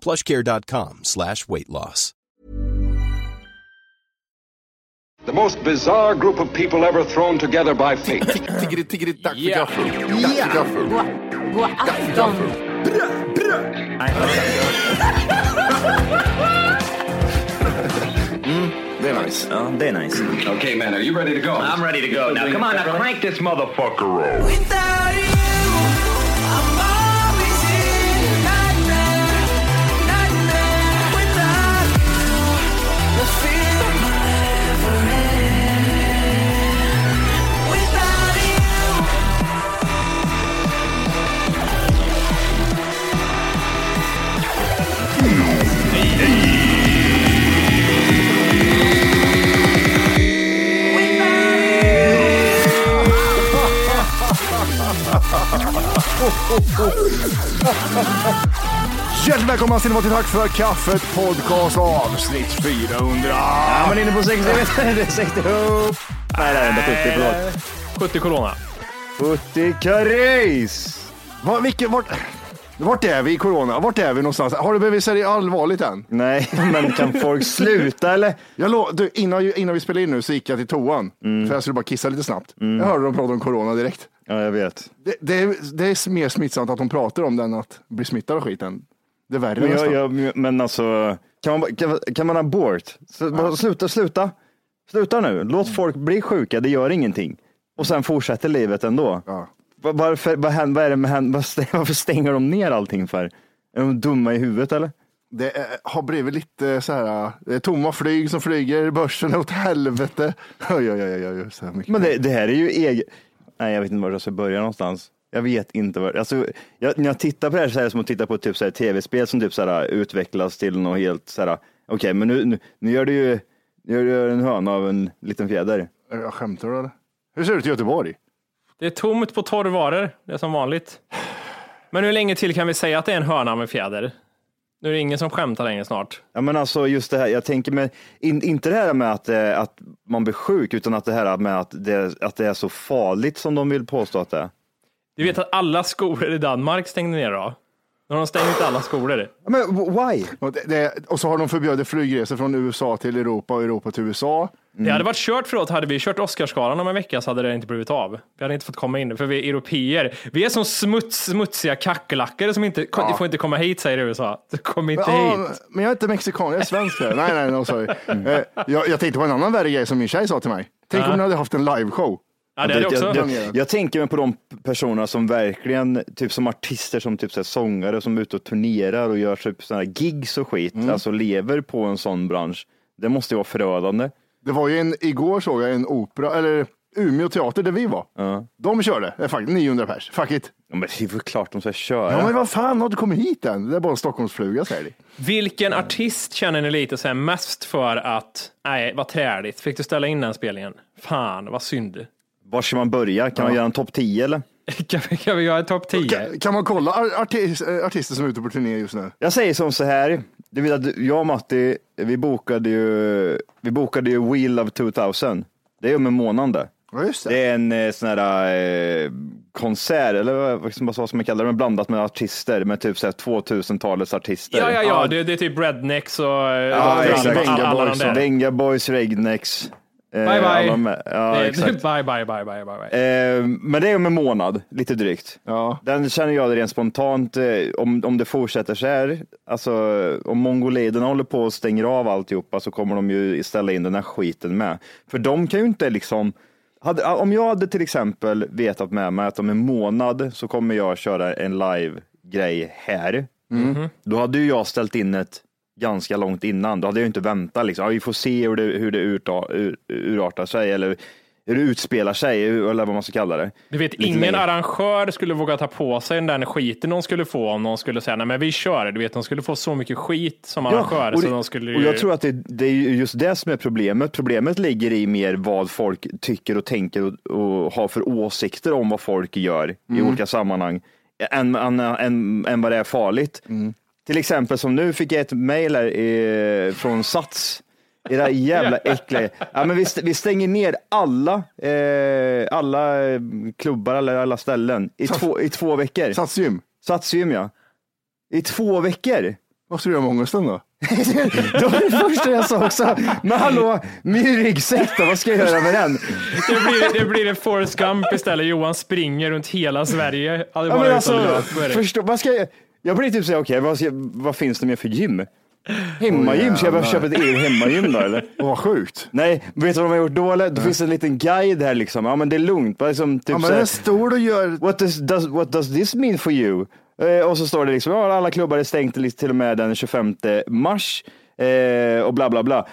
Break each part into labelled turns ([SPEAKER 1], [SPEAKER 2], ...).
[SPEAKER 1] Plushcare.com slash weight loss.
[SPEAKER 2] The most bizarre group of people ever thrown together by fate.
[SPEAKER 3] Tiggeri, tiggeri, dack för
[SPEAKER 4] Yeah.
[SPEAKER 3] gaffel. Dack för gaffel.
[SPEAKER 5] God
[SPEAKER 3] Dack för
[SPEAKER 5] afton.
[SPEAKER 3] gaffel. Brö, brö. Mm, det är nice.
[SPEAKER 6] Oh, they're nice.
[SPEAKER 2] okay, man, are you ready to go?
[SPEAKER 6] I'm ready to go now. Come on, now crank this motherfucker up.
[SPEAKER 3] Hjärtligt välkomna ska ni vara till Tack för kaffet podcast avsnitt 400.
[SPEAKER 6] Ja, men inne på 60, det är 60 upp. Nej, det är ändå 70, förlåt.
[SPEAKER 4] 70 corona.
[SPEAKER 3] 70 karis. Var, vilken, vart, vart är vi i corona? Vart är vi någonstans? Har du blivit seriös allvarligt än?
[SPEAKER 6] Nej, men kan folk sluta eller?
[SPEAKER 3] Jag lo, du, innan, innan vi spelade in nu så gick jag till toan för jag skulle bara kissa lite snabbt. Jag hörde dem prata om corona direkt.
[SPEAKER 6] Mm. Ja, jag vet.
[SPEAKER 3] Det, det, är, det är mer smittsamt att de pratar om det än att bli smittad av skiten. Det är värre
[SPEAKER 6] Men, jag,
[SPEAKER 3] nästan.
[SPEAKER 6] jag, men alltså, kan man, bara- kan, kan man abort? Så, bara Sluta, sluta. Sluta nu. Låt folk bli sjuka, det gör ingenting. Och sen fortsätter livet ändå.
[SPEAKER 3] Ja.
[SPEAKER 6] Va- Varför, vad, händer- vad är det med, hän- vad stäng- varför stänger de ner allting för? Är de dumma i huvudet eller?
[SPEAKER 3] Det är, har blivit lite så här, det är tomma flyg som flyger, börsen är åt helvete. Oj, oj, oj, oj, oj, så här mycket.
[SPEAKER 6] Men det, det här är ju egen... Nej, jag vet inte var jag ska börja någonstans. Jag vet inte var... Alltså, jag, när jag tittar på det här så är det som att titta på typ så här tv-spel som typ så här utvecklas till något helt så här. Okej, men nu, nu, nu gör du ju nu gör du en höna av en liten fjäder.
[SPEAKER 3] Jag skämtar du eller? Hur ser det ut i Göteborg?
[SPEAKER 4] Det är tomt på torrvaror, det är som vanligt. Men hur länge till kan vi säga att det är en höna med fjäder? Nu är det ingen som skämtar längre snart.
[SPEAKER 6] Ja, men alltså just det här, jag tänker med, in, inte det här med att, eh, att man blir sjuk, utan att det här med att det, att det är så farligt som de vill påstå att det är.
[SPEAKER 4] Du vet att alla skolor i Danmark stängde ner då? Nu har de stängt alla skolor.
[SPEAKER 6] Ja, Men why?
[SPEAKER 3] Och, det, det, och så har de förbjudit flygresor från USA till Europa och Europa till USA.
[SPEAKER 4] Det
[SPEAKER 6] Mm.
[SPEAKER 4] hade varit kört för oss. Hade vi kört Oscarsgalan om en vecka så hade det inte blivit av. Vi hade inte fått komma in, för vi är europeer. Vi är som smuts, smutsiga kackerlackor som inte ja. får inte komma hit, säger USA. Så Kom inte
[SPEAKER 3] Ja,
[SPEAKER 4] hit.
[SPEAKER 3] men jag är inte mexikan, jag är svensk. här. nej, nej, no, sorry.
[SPEAKER 6] Mm.
[SPEAKER 3] Eh, jag, jag tänkte på en annan värre grej som min tjej sa till mig. Tänk om ni hade haft en liveshow.
[SPEAKER 4] Ja, det är det
[SPEAKER 6] Jag-
[SPEAKER 4] också.
[SPEAKER 6] Jag, jag, jag tänker mig på de personerna som verkligen, typ som artister, som typ så här sångare som är ute och turnerar och gör typ sådana här gigs och skit, alltså lever på en sån bransch. Det måste ju vara förödande.
[SPEAKER 3] Det var ju en, igår såg jag en opera, eller Umeå teater där vi var. De körde, eh, fuck, 900 pers. Fuck it.
[SPEAKER 6] Ja, Men det är väl klart de ska köra.
[SPEAKER 3] Ja, men vad fan har du kommit hit än? Det är bara en Stockholmsfluga säger de.
[SPEAKER 4] Vilken artist känner ni lite så här mest för att, nej, vad träligt. Fick du ställa in den spelningen? Fan, vad synd.
[SPEAKER 6] Var ska man börja? Kan man göra en topp 10 eller?
[SPEAKER 4] Kan vi, kan vi göra en topp 10?
[SPEAKER 3] Kan, kan man kolla ar- artis, eh, artister som är ute på turné just nu?
[SPEAKER 6] Jag säger som så här, du vet att jag och Matti, vi bokade ju, vi bokade ju Wheel of 2000. Det är om en månad det.
[SPEAKER 3] Ja, just det.
[SPEAKER 6] Det är en eh, sån här eh, konsert, eller vad- vad ska man- vad ska man kalla det, men blandat med artister, med typ så här 2000-talets artister.
[SPEAKER 4] Ja, ja, ja, det, det är typ Rednecks och
[SPEAKER 6] Ja,
[SPEAKER 4] alla-
[SPEAKER 6] exakt.
[SPEAKER 4] alla- alla
[SPEAKER 3] Venga
[SPEAKER 4] de
[SPEAKER 3] Boys
[SPEAKER 4] där.
[SPEAKER 6] Venga Boys, Regnex. Eh,
[SPEAKER 4] Bye, bye.
[SPEAKER 6] alla med- Ja,
[SPEAKER 4] Det-
[SPEAKER 6] exakt.
[SPEAKER 4] bye, bye, bye, bye, bye, bye.
[SPEAKER 6] Eh, men det är om en månad, lite drygt.
[SPEAKER 3] Ja.
[SPEAKER 6] Den känner jag rent spontant, eh, om, om det fortsätter så här, alltså om mongoliderna håller på och stänger av alltihopa så kommer de ju ställa in den här skiten med. För de kan ju inte liksom, hade, om jag hade till exempel vetat med mig att om en månad så kommer jag köra en live-grej här,
[SPEAKER 4] Mm.
[SPEAKER 6] Mhm. då hade ju jag ställt in ett ganska långt innan. Då hade jag ju inte väntat. Liksom. Ja, vi får se hur det, hur det urta, ur, urartar sig eller hur det utspelar sig, eller vad man ska kalla det.
[SPEAKER 4] Du vet,
[SPEAKER 6] Lite
[SPEAKER 4] ingen
[SPEAKER 6] längre.
[SPEAKER 4] arrangör skulle våga ta på sig den där skiten de skulle få om de skulle säga nej men vi kör. Du vet, de skulle få så mycket skit som arrangör.
[SPEAKER 6] och,
[SPEAKER 4] så
[SPEAKER 6] det-
[SPEAKER 4] de skulle
[SPEAKER 6] och
[SPEAKER 4] ju...
[SPEAKER 6] jag tror att det, det är ju just det som är problemet. Problemet ligger i mer vad folk tycker och tänker och, och har för åsikter om vad folk gör i olika sammanhang än, än, än, än vad det är farligt. Till exempel som nu fick jag ett mejl här, eh, från Sats. Era jävla äckliga. Ja, men vi, st- vi stänger ner alla, eh, alla eh, klubbar, eller alla ställen i två, i två veckor.
[SPEAKER 3] Satsgym.
[SPEAKER 6] Satsgym ja. I två veckor.
[SPEAKER 3] Vad ska du göra med ångesten då?
[SPEAKER 6] Det var det första jag sa också. Men hallå, min ryggsäck då, vad ska jag göra med den?
[SPEAKER 4] det, blir, det blir en Forrest Gump istället. Johan springer runt hela Sverige. Ja, det är
[SPEAKER 6] Ja,
[SPEAKER 4] bara
[SPEAKER 6] men
[SPEAKER 4] utan
[SPEAKER 6] alltså,
[SPEAKER 4] lön. Så är det.
[SPEAKER 6] förstå, vad ska jag, jag blir typ såhär, okej, vad, ska- vad finns det mer för gym? Hemmagym, ska jag behöva köpa ett eget hemmagym då eller?
[SPEAKER 3] Åh, vad
[SPEAKER 4] Typ
[SPEAKER 3] sjukt.
[SPEAKER 6] Nej, vet du vad de har gjort då eller? Då finns det en liten guide här liksom. Ja men det är lugnt, bara liksom typ
[SPEAKER 3] Ja, men
[SPEAKER 6] så här-
[SPEAKER 3] den är stor och gör...
[SPEAKER 6] what does, does, what does this mean for you? Eh, och så står det liksom, ja, alla klubbar är stängt liksom till och med den 25 mars eh, och bla bla bla.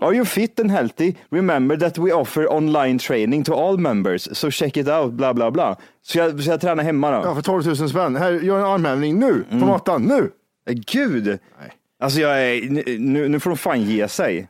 [SPEAKER 6] Are you fit and healthy? Remember that we offer online training to all members, so check it out, bla bla bla. Så jag, så jag tränar hemma då.
[SPEAKER 3] Ja, för 12 000 spänn. Här, gör en armhävning nu,
[SPEAKER 4] Mm.
[SPEAKER 3] på mattan, nu.
[SPEAKER 6] Eh, Gud! Alltså jag är, nu- nu, nu får de fan ge sig.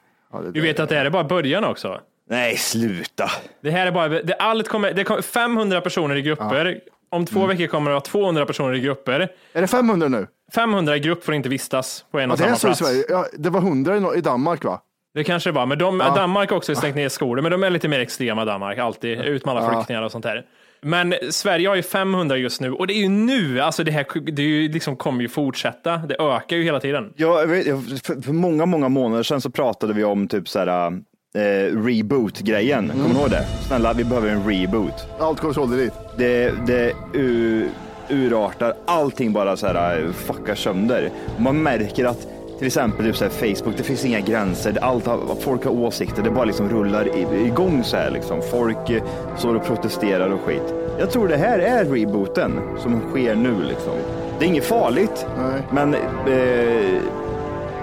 [SPEAKER 4] Du vet att det här är bara början också.
[SPEAKER 6] Nej, sluta.
[SPEAKER 4] Det här är bara, det, allt kommer, det kommer 500 personer i grupper. Om
[SPEAKER 6] Mm.
[SPEAKER 4] två veckor kommer det vara 200 personer i grupper.
[SPEAKER 3] Är det 500 nu?
[SPEAKER 4] 500 i grupp får inte vistas på en
[SPEAKER 3] Ja,
[SPEAKER 4] och
[SPEAKER 3] det är
[SPEAKER 4] samma
[SPEAKER 3] så i
[SPEAKER 4] plats.
[SPEAKER 3] Sverige. Ja, det var 100 i Nor- i Danmark va?
[SPEAKER 4] Det kanske det var, men de, Danmark har också stängt ner skolor, men de är lite mer extrema Danmark, alltid ut med alla flyktingar och sånt där. Men Sverige har ju 500 just nu och det är ju nu, alltså det här det är ju liksom, kommer ju fortsätta. Det ökar ju hela tiden.
[SPEAKER 6] Jag vet, jag- för, för många, många månader sedan så pratade vi om typ så här eh, reboot-grejen. Kommer du ihåg det? Snälla, vi behöver en reboot.
[SPEAKER 3] Allt går sålde dit.
[SPEAKER 6] Det, det u- urartar, allting bara så här eh, fuckar sönder. Och Man märker att till exempel typ så här Facebook, det finns inga gränser. Det- Allt har, folk har åsikter, det bara liksom rullar i- igång så här liksom. Folk eh, står och protesterar och skit. Jag tror det här är rebooten som sker nu liksom. Det är inget farligt,
[SPEAKER 3] Nej.
[SPEAKER 6] men eh,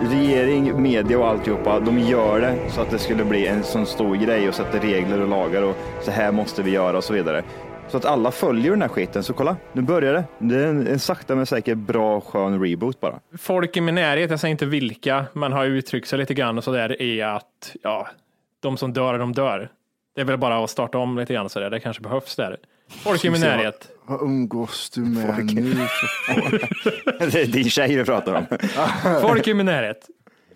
[SPEAKER 6] regering, media och alltihopa, de gör det så att det skulle bli en sån stor grej och sätter regler och lagar och så här måste vi göra och så vidare. Så att alla följer den här skiten. Så kolla, nu börjar det. Det är en, en sakta men säkert bra skön reboot bara.
[SPEAKER 4] Folk i min närhet, jag säger inte vilka, men har uttryckt sig lite grann och sådär, är att ja, de som dör, de dör. Det är väl bara att starta om lite grann sådär, det kanske behövs där. Folk i min närhet.
[SPEAKER 3] Vad umgås du med nu? för fan?
[SPEAKER 6] Det är din tjej vi pratar om.
[SPEAKER 4] Folk i min närhet.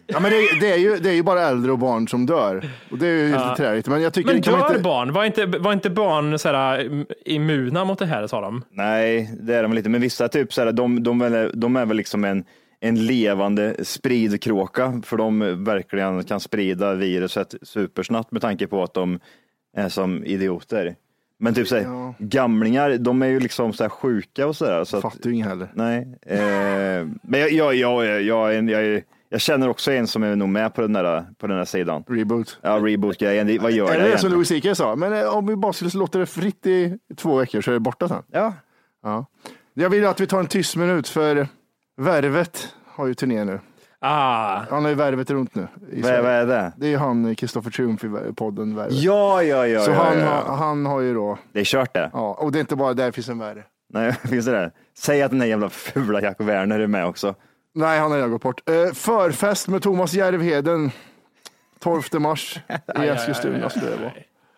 [SPEAKER 3] Ja, men det, det, är ju, det är ju bara äldre och barn som dör. Och det är ju lite träligt. Men jag tycker
[SPEAKER 4] Men
[SPEAKER 3] kan man
[SPEAKER 4] dör
[SPEAKER 3] inte...
[SPEAKER 4] barn? Var inte, var inte barn sådär, immuna mot det här, sa de?
[SPEAKER 6] Nej, det är de väl inte. Men vissa typ så här, de, de, väl- de är väl liksom en, en levande spridkråka för de verkligen kan sprida viruset supersnabbt med tanke på att de är som idioter. Men typ så här, gamlingar, de är ju liksom så här sjuka och så där. Så att,
[SPEAKER 3] Fattar ju ingen heller.
[SPEAKER 6] nej. Eh, men jag, jag, jag, jag, jag, är en- jag, är- jag känner också en som är nog med på den där, på den där sidan.
[SPEAKER 3] Reboot.
[SPEAKER 6] Ja, reboot-grejen, det- vad gör
[SPEAKER 3] Eller
[SPEAKER 6] det
[SPEAKER 3] som
[SPEAKER 6] egentligen?
[SPEAKER 3] Louis CK sa, men eh, om vi bara skulle låta det fritt i två veckor så är det borta sen.
[SPEAKER 6] Ja,
[SPEAKER 3] Ja. Jag vill att vi tar en tyst minut för Värvet har ju turné nu.
[SPEAKER 4] Ah,
[SPEAKER 3] Han har ju Värvet runt nu. i
[SPEAKER 6] vad,
[SPEAKER 3] Sverige.
[SPEAKER 6] vad är det?
[SPEAKER 3] Det är ju han, Kristoffer Triumf i Vär- podden Värvet.
[SPEAKER 6] Ja, ja, ja.
[SPEAKER 3] så
[SPEAKER 6] ja,
[SPEAKER 3] han,
[SPEAKER 6] ja,
[SPEAKER 3] Har, han har ju då,
[SPEAKER 6] Det är kört det.
[SPEAKER 3] ja, och det är inte bara där finns en värre.
[SPEAKER 6] Nej, finns det det? Säg att den där jävla fula Jack Werner är med också.
[SPEAKER 3] Nej, han har redan gått bort. Eh, förfest med Thomas Järvheden 12 mars i Eskilstuna skulle det vara.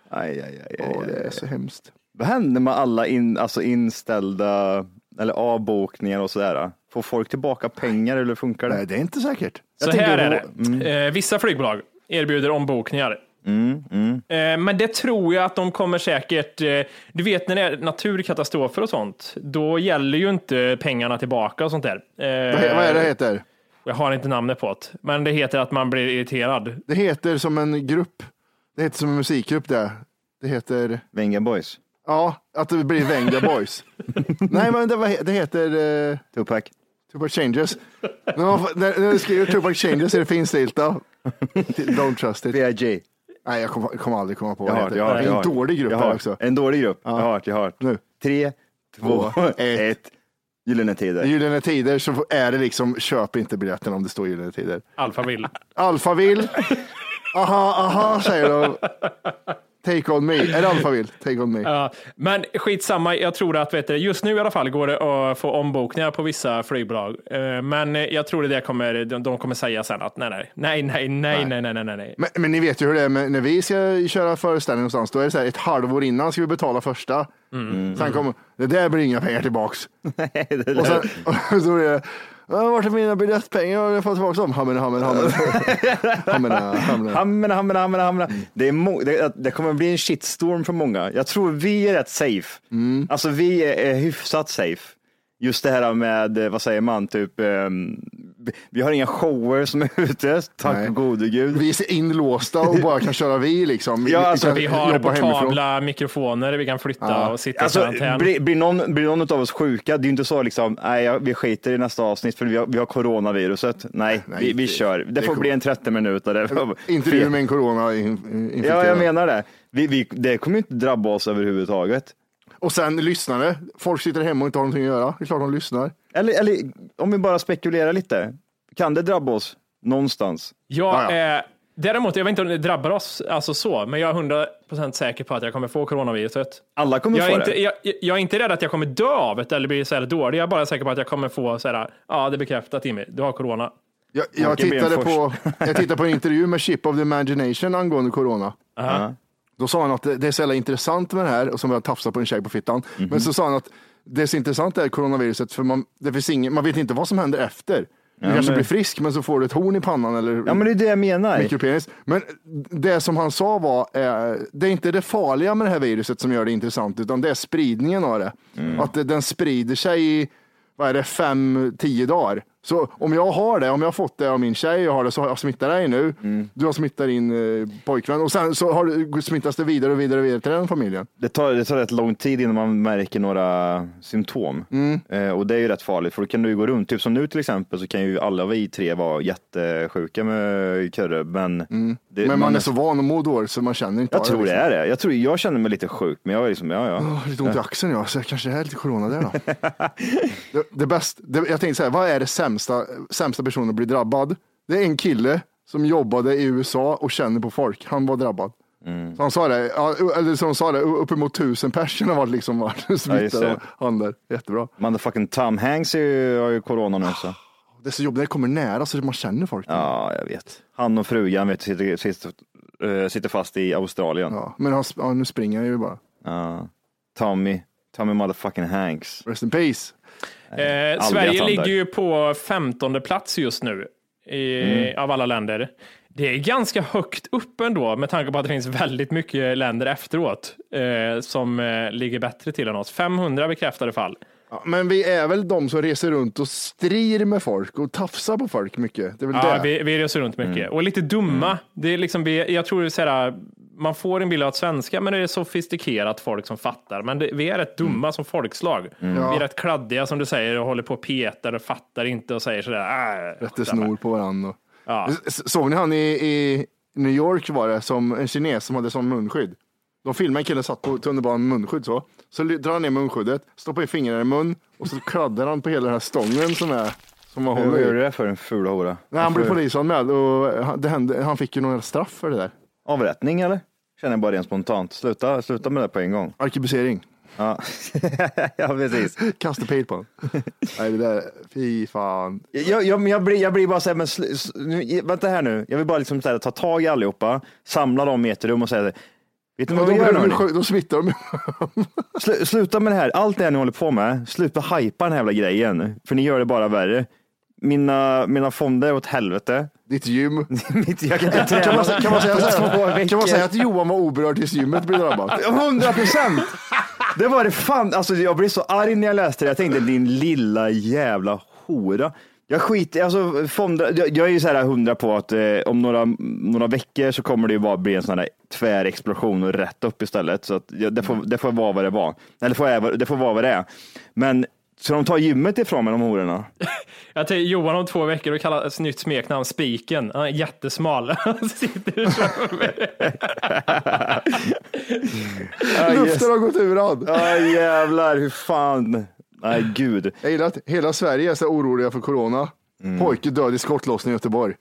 [SPEAKER 6] Aj, aj, aj, aj,
[SPEAKER 3] Åh,
[SPEAKER 6] aj.
[SPEAKER 3] det är så hemskt.
[SPEAKER 6] Vad händer med alla in, alltså inställda eller avbokningar och sådär? Får folk tillbaka pengar eller funkar det?
[SPEAKER 3] Nej, det är inte säkert.
[SPEAKER 4] så
[SPEAKER 6] tänkte
[SPEAKER 4] här
[SPEAKER 6] det
[SPEAKER 4] är
[SPEAKER 6] var-
[SPEAKER 4] det.
[SPEAKER 3] Mm.
[SPEAKER 4] Eh, vissa flygbolag erbjuder ombokningar.
[SPEAKER 3] mm.
[SPEAKER 4] Eh, men det tror jag att de kommer säkert... Eh, du vet när det är naturkatastrofer och sånt, då gäller ju inte pengarna tillbaka och sånt där. Eh,
[SPEAKER 3] Vad, he- vad är det heter?
[SPEAKER 4] Jag har inte namnet på det, men det heter att man blir irriterad.
[SPEAKER 3] Det heter som en grupp. Det heter som en musikgrupp där. Det heter,
[SPEAKER 6] Venga Boys,
[SPEAKER 3] ja, att det blir Venga Boys. Nej, men det, var- det heter eh,
[SPEAKER 6] Tupac.
[SPEAKER 3] Tupac Changes. Men vad fan- När när du skriver Tupac Changes är det finstilta. Don't trust it.
[SPEAKER 6] B.I.G.
[SPEAKER 3] Nej, jag kommer kom aldrig komma på
[SPEAKER 6] Jag
[SPEAKER 3] vad det
[SPEAKER 6] har,
[SPEAKER 3] heter.
[SPEAKER 6] jag har,
[SPEAKER 3] det
[SPEAKER 6] jag
[SPEAKER 3] är
[SPEAKER 6] har.
[SPEAKER 3] en dålig grupp
[SPEAKER 6] jag har.
[SPEAKER 3] här också.
[SPEAKER 6] En dålig grupp. Jag har, jag har.
[SPEAKER 3] Nu.
[SPEAKER 6] Tre, två,
[SPEAKER 3] Två, ett.
[SPEAKER 6] ett. Gyllene
[SPEAKER 3] I
[SPEAKER 6] Tider.
[SPEAKER 3] Gyllene Tider så är det liksom, köp inte biljetten om det står Gyllene Tider.
[SPEAKER 4] Alfavill.
[SPEAKER 3] Alphaville. Aha, aha, säger de. Take on me. Är det Alphaville? Take on me.
[SPEAKER 4] Ja, men skitsamma, jag tror att vet du, just nu i alla fall går det att få ombokningar på vissa flygbolag. Eh, Men jag tror det kommer, de de kommer säga sen att nej, nej, nej, nej, nej, nej, nej, nej, nej, nej.
[SPEAKER 3] Men, men ni vet ju hur det är med, när vi ska köra föreställning någonstans. Då är det så här, ett halvår innan ska vi betala första.
[SPEAKER 6] Mm.
[SPEAKER 3] Sen kommer, det där blir inga pengar tillbaks. och sen och så blir det, "Ja, vart är mina biljettpengar? Har jag fått tillbaka dem? Hamna, hamna, hamna. hamna, hamna.
[SPEAKER 6] Hamna, hamna, hamna, hamna. Det, är må- det, det kommer bli en shitstorm för många. Jag tror vi är rätt safe.
[SPEAKER 3] Mm.
[SPEAKER 6] Alltså vi är, är hyfsat safe. Just det här med, eh, vad säger man, typ, ehm, vi- vi har inga shower som är ute, tack
[SPEAKER 3] Nej.
[SPEAKER 6] gode gud.
[SPEAKER 3] Vi är inlåsta och bara kan köra vi liksom. Vi,
[SPEAKER 6] Ja, alltså,
[SPEAKER 3] kan
[SPEAKER 4] Vi har
[SPEAKER 3] jobba hemifrån.
[SPEAKER 4] portabla mikrofoner vi kan flytta och sitta i
[SPEAKER 6] Alltså,
[SPEAKER 4] karantän.
[SPEAKER 6] blir, blir, någon, blir någon av oss sjuka, det är ju inte så liksom, nej, jag- vi skiter i nästa avsnitt för vi har, vi har coronaviruset. Nej,
[SPEAKER 3] Nej,
[SPEAKER 6] vi, vi
[SPEAKER 3] det-
[SPEAKER 6] kör. Det,
[SPEAKER 3] det
[SPEAKER 6] får
[SPEAKER 3] kommer-
[SPEAKER 6] bli en 30 minuter.
[SPEAKER 3] Inte du med en corona-infekterad.
[SPEAKER 6] Ja, jag menar det. Vi, vi, det kommer ju inte drabba oss överhuvudtaget.
[SPEAKER 3] Och sen lyssnare. Folk sitter hemma och inte har någonting att göra. Det är klart de lyssnar.
[SPEAKER 6] Eller, eller om vi bara spekulerar lite, kan det drabba oss någonstans?
[SPEAKER 4] Jag
[SPEAKER 3] Ja, ja.
[SPEAKER 4] är, däremot, jag vet inte om det drabbar oss alltså så, men jag är 100% säker på att jag kommer få coronaviruset.
[SPEAKER 6] Alla kommer
[SPEAKER 4] Jag
[SPEAKER 6] få
[SPEAKER 4] är, inte,
[SPEAKER 6] det.
[SPEAKER 4] jag, jag är inte rädd att jag kommer dö av det eller bli så här dålig. Jag är bara säker på att jag kommer få så här, ja det är bekräftat Jimmy, du har corona.
[SPEAKER 3] Jag, jag,
[SPEAKER 6] Åke
[SPEAKER 3] tittade på,
[SPEAKER 6] Benfors.
[SPEAKER 3] jag tittade på en intervju med Chip of the Imagination angående corona.
[SPEAKER 6] Ja.
[SPEAKER 3] Då sa han att det det är så jävla intressant med det här, och som jag tafsade på en tjej på fittan.
[SPEAKER 6] Mhm.
[SPEAKER 3] Men så sa han att det är så intressant det här coronaviruset, för man, det finns ingen, man vet inte vad som händer efter. Du kanske
[SPEAKER 6] men-
[SPEAKER 3] blir frisk, men så får du ett horn i pannan eller
[SPEAKER 6] ja, men det är det jag menar.
[SPEAKER 3] mikropenis. Men det som han sa var, eh, det är inte det farliga med det här viruset som gör det intressant, utan det är spridningen av det.
[SPEAKER 6] Mm.
[SPEAKER 3] Att det- den sprider sig i, vad är det, fem, tio dagar. Så om jag har det, om jag har fått det av min tjej och har det, så har jag smittat dig nu.
[SPEAKER 6] Mm.
[SPEAKER 3] Du har smittat din eh, pojkvän och sen så har du, smittas det vidare och vidare och vidare till den familjen.
[SPEAKER 6] Det tar, det tar rätt lång tid innan man märker några symptom.
[SPEAKER 3] Mm.
[SPEAKER 6] Eh, och det är ju rätt farligt, för då kan du ju gå runt. Typ som nu till exempel så kan ju alla vi tre vara jättesjuka med kurre, men, det,
[SPEAKER 3] Mm. Men man är så van att må dåligt så man känner inte
[SPEAKER 6] Jag
[SPEAKER 3] av
[SPEAKER 6] tror det
[SPEAKER 3] liksom. Oh.
[SPEAKER 6] är det. Jag, tror, jag känner mig lite sjuk, men jag är liksom, ja, ja.
[SPEAKER 3] Åh, lite ont i axeln ja, så kanske det är lite corona där då. det, det bäst, det, jag tänkte så här, vad är det sämsta, sämsta personen att bli drabbad? Det är en kille som jobbade i USA och känner på folk. Han var drabbad.
[SPEAKER 6] Mm.
[SPEAKER 3] Så han sa det, ja, eller som han sa det, uppemot tusen personer har liksom varit
[SPEAKER 6] just
[SPEAKER 3] smittade
[SPEAKER 6] det.
[SPEAKER 3] av han där. Jättebra.
[SPEAKER 6] Motherfucking Tom Hanks är ju, har ju corona nu
[SPEAKER 3] Oh.
[SPEAKER 6] så.
[SPEAKER 3] Det är så jobbigt när det kommer nära så man känner folk.
[SPEAKER 6] Ja, jag vet. Han och frugan vet, du, sitter, sitter, eh, sitter fast i Australien.
[SPEAKER 3] Ja, men han, ja, nu springer han ju bara.
[SPEAKER 6] Ja. Tommy, Tommy motherfucking Hanks.
[SPEAKER 3] Rest in peace.
[SPEAKER 4] Eh,
[SPEAKER 6] aldrig att
[SPEAKER 4] Sverige
[SPEAKER 6] han
[SPEAKER 4] ligger
[SPEAKER 6] där.
[SPEAKER 4] ju på 15 plats just nu i,
[SPEAKER 3] Mm.
[SPEAKER 4] av alla länder. Det är ganska högt upp ändå med tanke på att det finns väldigt mycket länder efteråt eh, som eh, ligger bättre till än oss. 500 bekräftade fall.
[SPEAKER 3] Ja, men vi är väl de som reser runt och strir med folk och tafsar på folk mycket. Det är väl
[SPEAKER 4] Ja,
[SPEAKER 3] det. Mm.
[SPEAKER 4] vi, vi reser runt mycket och lite dumma. Det är liksom, vi, jag tror så här, man får en bild av att svenska, men det är sofistikerat folk som fattar. Men det, vi är rätt dumma
[SPEAKER 3] Mm.
[SPEAKER 4] som folkslag. Vi är rätt kladdiga som du säger och håller på och petar och fattar inte och säger sådär. Äh,
[SPEAKER 3] Rätte snor på varandra.
[SPEAKER 4] Ja.
[SPEAKER 3] Såg ni han i, i New York var det, som en kines som hade som munskydd? De filmade en kille satt på tunnelbanan med munskydd så. Så ly- drar han ner munskyddet, stoppar i fingrarna i mun och så kladdar han på hela den här stången som är som man
[SPEAKER 6] Hur
[SPEAKER 3] håller
[SPEAKER 6] gjorde
[SPEAKER 3] i.
[SPEAKER 6] du det för en ful hora?
[SPEAKER 3] Nej, han blev
[SPEAKER 6] För-
[SPEAKER 3] polisanmäld och han, det hände, han fick ju några straff för det där.
[SPEAKER 6] Avrättning eller? Känner jag bara rent spontant. Sluta, sluta med det på en gång.
[SPEAKER 3] Arkebusering.
[SPEAKER 6] Ja, ja precis.
[SPEAKER 3] Kastepil på honom. Nej, det där, fy fan.
[SPEAKER 6] Jag, jag, men jag, blir, jag blir bara så här, men sl, s- nu, vänta här nu. Jag vill bara liksom så här, ta tag i allihopa, samla dem i ett rum och säga, vet ni
[SPEAKER 3] Ja,
[SPEAKER 6] vad
[SPEAKER 3] då,
[SPEAKER 6] vi
[SPEAKER 3] blir
[SPEAKER 6] gör nu?
[SPEAKER 3] de ju
[SPEAKER 6] hörni?
[SPEAKER 3] sjuk- då smittar de.
[SPEAKER 6] Slu, sluta med det här, allt det här ni håller på med, sluta hypa den här jävla grejen, för ni gör det bara värre. Mina, mina fonder åt helvete.
[SPEAKER 3] Ditt gym.
[SPEAKER 6] Mitt- Jag kan inte träna.
[SPEAKER 3] Kan man, sä- kan, man säga så
[SPEAKER 6] Två
[SPEAKER 3] här,
[SPEAKER 6] veckor.
[SPEAKER 3] kan man säga att Johan var oberörd tills gymmet blev drabbat?
[SPEAKER 6] 100 procent! Det var det fan, alltså jag blev så arg när jag läste det. Jag tänkte din lilla jävla hora. Jag skiter alltså fonder, jag, jag är ju så här hundra på att eh, om några, några veckor så kommer det ju bara bli en sån här tvärexplosion och rätt upp istället. Så att, ja, det, får,
[SPEAKER 3] Mm.
[SPEAKER 6] det får vara vad det var. Eller får, jag- det får vara vad det är. Men ska de ta gymmet ifrån mig de hororna?
[SPEAKER 4] Jag tänker Johan om två veckor och kallar ett nytt smeknamn Spiken. Han är jättesmal. Han sitter framför mig.
[SPEAKER 3] Luften har gått ur han.
[SPEAKER 6] Ja jävlar, hur fan. Nej gud.
[SPEAKER 3] Jag gillar att hela Sverige är så oroliga för corona. Pojke död i skottlossning i Göteborg.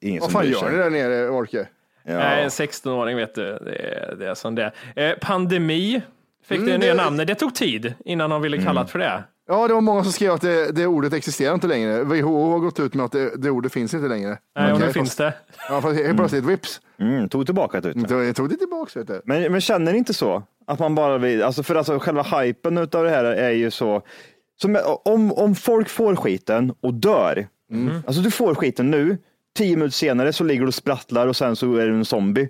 [SPEAKER 6] Ingen
[SPEAKER 3] Vad
[SPEAKER 6] som
[SPEAKER 3] fan
[SPEAKER 6] bryr
[SPEAKER 3] gör
[SPEAKER 6] sig.
[SPEAKER 3] ni där nere, Orke?
[SPEAKER 4] Nej, en 16-åring vet du. Det är, det är som det är. Eh, Pandemi fick
[SPEAKER 6] Mm,
[SPEAKER 4] det nya namnet. Det tog tid innan de ville kalla det för det.
[SPEAKER 3] Ja, det var många som skrev att det, det ordet existerar inte längre. WHO har gått ut med att det, det ordet finns inte längre.
[SPEAKER 4] Nej, och
[SPEAKER 3] Okej,
[SPEAKER 4] nu finns
[SPEAKER 3] fast-
[SPEAKER 4] Eh, det.
[SPEAKER 3] Ja, fast helt plötsligt, vips,
[SPEAKER 6] Mm, tog tillbaka det.
[SPEAKER 3] då- jag tog det tillbaks. Vet du.
[SPEAKER 6] Men, men känner ni inte så? Att man bara vill, alltså för alltså själva hypen utav det här är ju så, som, om, om folk får skiten och dör, alltså du får skiten nu, tio minuter senare så ligger du och sprattlar och sen så är du en zombie.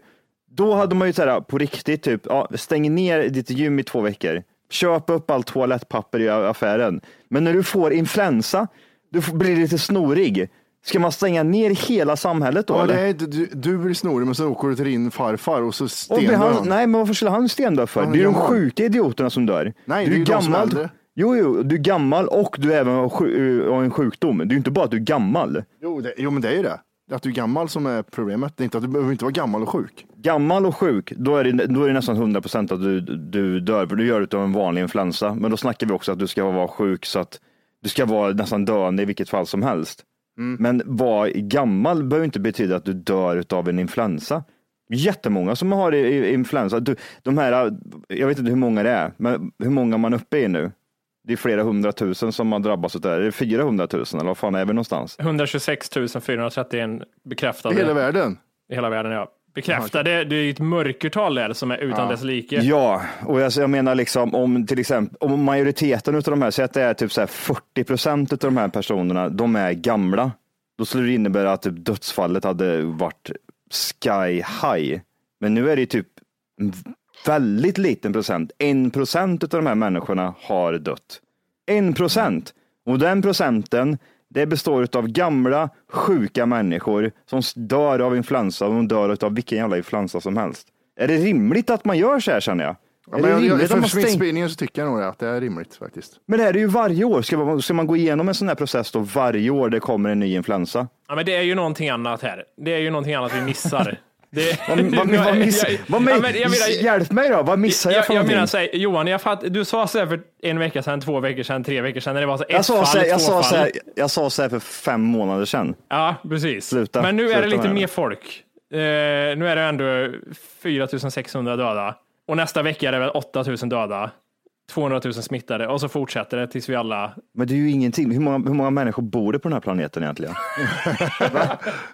[SPEAKER 6] Då hade man ju så här, på riktigt, typ, ja, stäng ner ditt gym i två veckor. Köp upp allt toalettpapper i affären. Men när du får influensa, du får- blir lite snorig. Ska man stänga ner hela samhället då?
[SPEAKER 3] Ja,
[SPEAKER 6] eller?
[SPEAKER 3] det är, du, du blir snorig men sen åker du till din farfar och så
[SPEAKER 6] Och blir
[SPEAKER 3] stenar
[SPEAKER 6] han,
[SPEAKER 3] han.
[SPEAKER 6] nej, men varför skulle han stendö för?
[SPEAKER 3] Han är
[SPEAKER 6] det är ju de
[SPEAKER 3] gammal.
[SPEAKER 6] sjuka idioterna som dör.
[SPEAKER 3] Nej,
[SPEAKER 6] du
[SPEAKER 3] det är ju de som är
[SPEAKER 6] gammal.
[SPEAKER 3] äldre.
[SPEAKER 6] Jo, jo, du är gammal och du även har, sju, har en sjukdom. Det är ju inte bara att du är gammal.
[SPEAKER 3] Jo, det, jo, men det är ju det. Det är Att du är gammal som är problemet. Det är inte att du behöver inte vara gammal och sjuk.
[SPEAKER 6] Gammal och sjuk, då är det, då är det nästan 100 procent att du, du dör, för du gör det av en vanlig influensa. Men då snackar vi också att du ska vara sjuk så att du ska vara nästan döende i vilket fall som helst. Men vara gammal behöver inte betyda att du dör av en influensa. Jättemånga som har i- i- influensa. Du, de här, jag vet inte hur många det är, men hur många man är uppe i nu. Det är flera hundratusen som har drabbats av det här. Är det 400 000 eller vad fan är vi någonstans?
[SPEAKER 4] 126 431
[SPEAKER 3] I
[SPEAKER 4] bekräftade
[SPEAKER 3] hela världen.
[SPEAKER 4] i hela världen. Ja. Bekräftade, det är ju ett mörkertal där som är utan dess like.
[SPEAKER 6] Ja, och jag, jag menar liksom om till exempel om majoriteten av de här, säg att det är typ så här 40 procent av de här personerna, de är gamla. Då skulle det innebära att typ dödsfallet hade varit sky high. Men nu är det ju typ en väldigt liten procent. En procent av de här människorna har dött. En procent. Och den procenten, det består av gamla, sjuka människor som s- dör av influensa och de dör av vilken jävla influensa som helst. Är det rimligt att man gör så här känner jag?
[SPEAKER 3] Ja, men
[SPEAKER 6] är det
[SPEAKER 3] jag, jag,
[SPEAKER 6] rimligt
[SPEAKER 3] för
[SPEAKER 6] att man stänger?
[SPEAKER 3] smittspridningen så tycker jag nog det, att det är rimligt faktiskt.
[SPEAKER 6] Men det här är ju varje år. Ska man, ska man gå igenom en sån här process då varje år det kommer en ny influensa?
[SPEAKER 4] Ja, men det är ju någonting annat här. Det är ju någonting annat vi missar. Det,
[SPEAKER 6] Vad, vad, vad, miss, vad,
[SPEAKER 4] Ja,
[SPEAKER 6] men,
[SPEAKER 4] men jag menar-
[SPEAKER 6] hjälp mig då, vad missar jag,
[SPEAKER 4] jag,
[SPEAKER 6] för
[SPEAKER 4] jag menar
[SPEAKER 6] någonting?
[SPEAKER 4] så här, Johan, jag fatt, du sa så här för en vecka sedan, två veckor sedan, tre veckor sedan, när det var så här, ett
[SPEAKER 6] Jag sa,
[SPEAKER 4] fall,
[SPEAKER 6] så här, jag,
[SPEAKER 4] två
[SPEAKER 6] sa så
[SPEAKER 4] fall.
[SPEAKER 6] här, jag sa så här för fem månader sedan.
[SPEAKER 4] Ja, precis.
[SPEAKER 6] Sluta,
[SPEAKER 4] Men nu är det
[SPEAKER 6] sluta
[SPEAKER 4] lite
[SPEAKER 6] med det.
[SPEAKER 4] mer folk. Eh, nu är det ändå 4600 döda och nästa vecka är det väl 8000 döda, 200 000 smittade och så fortsätter det tills vi alla.
[SPEAKER 6] Men det är ju ingenting. Hur många, hur många människor bor det på den här planeten egentligen? Va?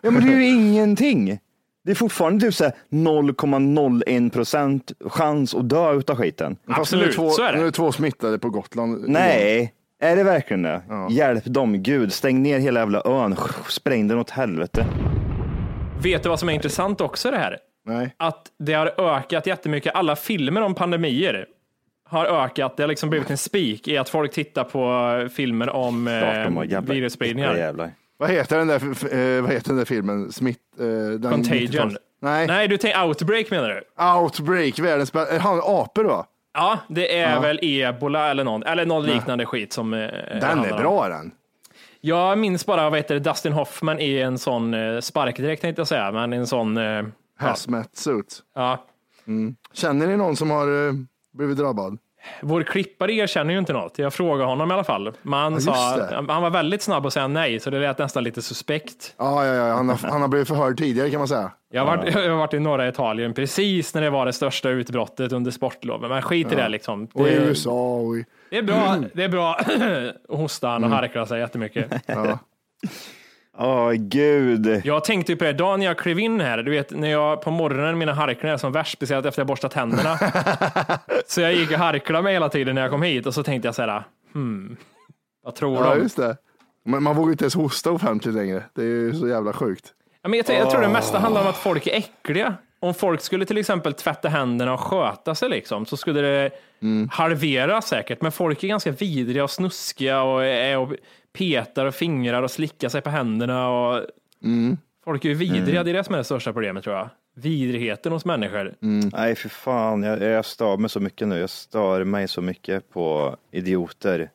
[SPEAKER 6] ja, men det är ju ingenting. Det är fortfarande typ så här 0,01 procent chans att dö utav skiten.
[SPEAKER 3] Fast nu
[SPEAKER 4] Absolut,
[SPEAKER 3] två,
[SPEAKER 4] så är det.
[SPEAKER 3] Nu är det två smittade på Gotland.
[SPEAKER 6] Nej, är det verkligen det? Hjälp dem, Gud. Stäng ner hela jävla ön. Spräng den åt helvete.
[SPEAKER 4] Vet du vad som är intressant också det här?
[SPEAKER 3] Nej.
[SPEAKER 4] Att det har ökat jättemycket. Alla filmer om pandemier har ökat. Det har liksom blivit en spik i att folk tittar på filmer om
[SPEAKER 6] Klart de har
[SPEAKER 4] eh,
[SPEAKER 6] jävla-
[SPEAKER 4] virusspridningar.
[SPEAKER 6] Ja, jävlar.
[SPEAKER 3] Vad heter den där, f- f- eh, vad heter den där filmen? Smitt... eh, den
[SPEAKER 4] Contagion.
[SPEAKER 3] 90-tals- Nej.
[SPEAKER 4] Nej, du tänker outbreak menar du?
[SPEAKER 3] Outbreak, världens bästa. Han apor va?
[SPEAKER 4] Ja, det är väl ebola eller någon, eller någon liknande skit som eh,
[SPEAKER 3] Den
[SPEAKER 4] handlar
[SPEAKER 3] är
[SPEAKER 4] om.
[SPEAKER 3] bra den.
[SPEAKER 4] Jag minns bara, vad heter det, Dustin Hoffman i en sån eh, sparkdräkt tänkte jag säga, men en sån, eh,
[SPEAKER 3] Hazmat suit.
[SPEAKER 4] ja.
[SPEAKER 3] Känner ni någon som har eh, blivit drabbad?
[SPEAKER 4] Vår klippare erkänner ju inte något. Jag frågade honom i alla fall. Men han,
[SPEAKER 3] just
[SPEAKER 4] sa,
[SPEAKER 3] det.
[SPEAKER 4] han var väldigt snabb att säga nej, så det lät nästan lite suspekt.
[SPEAKER 3] Ja, ja, ja. Han, har, han har blivit förhörd tidigare kan man säga.
[SPEAKER 4] Jag har, varit, jag har varit i norra Italien precis när det var det största utbrottet under sportloven, men skit i det liksom.
[SPEAKER 3] Och i
[SPEAKER 4] Det,
[SPEAKER 3] USA och i...
[SPEAKER 4] det är bra, det är bra att hosta han och
[SPEAKER 3] Mm.
[SPEAKER 4] harkla sig jättemycket.
[SPEAKER 3] Ja.
[SPEAKER 6] Åh, Gud.
[SPEAKER 4] Jag tänkte ju på det dagen jag klev in här, du vet när jag på morgonen mina harklor är som värst, speciellt efter jag borstat tänderna. så jag gick och harklade mig hela tiden när jag kom hit och så tänkte jag så här, hmm, vad tror
[SPEAKER 3] ja,
[SPEAKER 4] de?
[SPEAKER 3] just det. Men man vågar ju inte ens hosta offentligt längre. Det är ju så jävla sjukt.
[SPEAKER 4] Ja, men jag, tror- jag tror det
[SPEAKER 6] Ah.
[SPEAKER 4] mesta handlar om att folk är äckliga. Om folk skulle till exempel tvätta händerna och sköta sig liksom, så
[SPEAKER 6] Mm.
[SPEAKER 4] skulle det halvera säkert. Men folk är ganska vidriga och snuskiga och är och petar och fingrar och slickar sig på händerna. Och
[SPEAKER 6] Mm.
[SPEAKER 4] Folk är ju vidriga, det är det som är det största problemet tror jag. Vidrigheten hos människor.
[SPEAKER 6] Nej, för fan, jag, jag stör mig så mycket nu. Jag stör mig så mycket på idioter.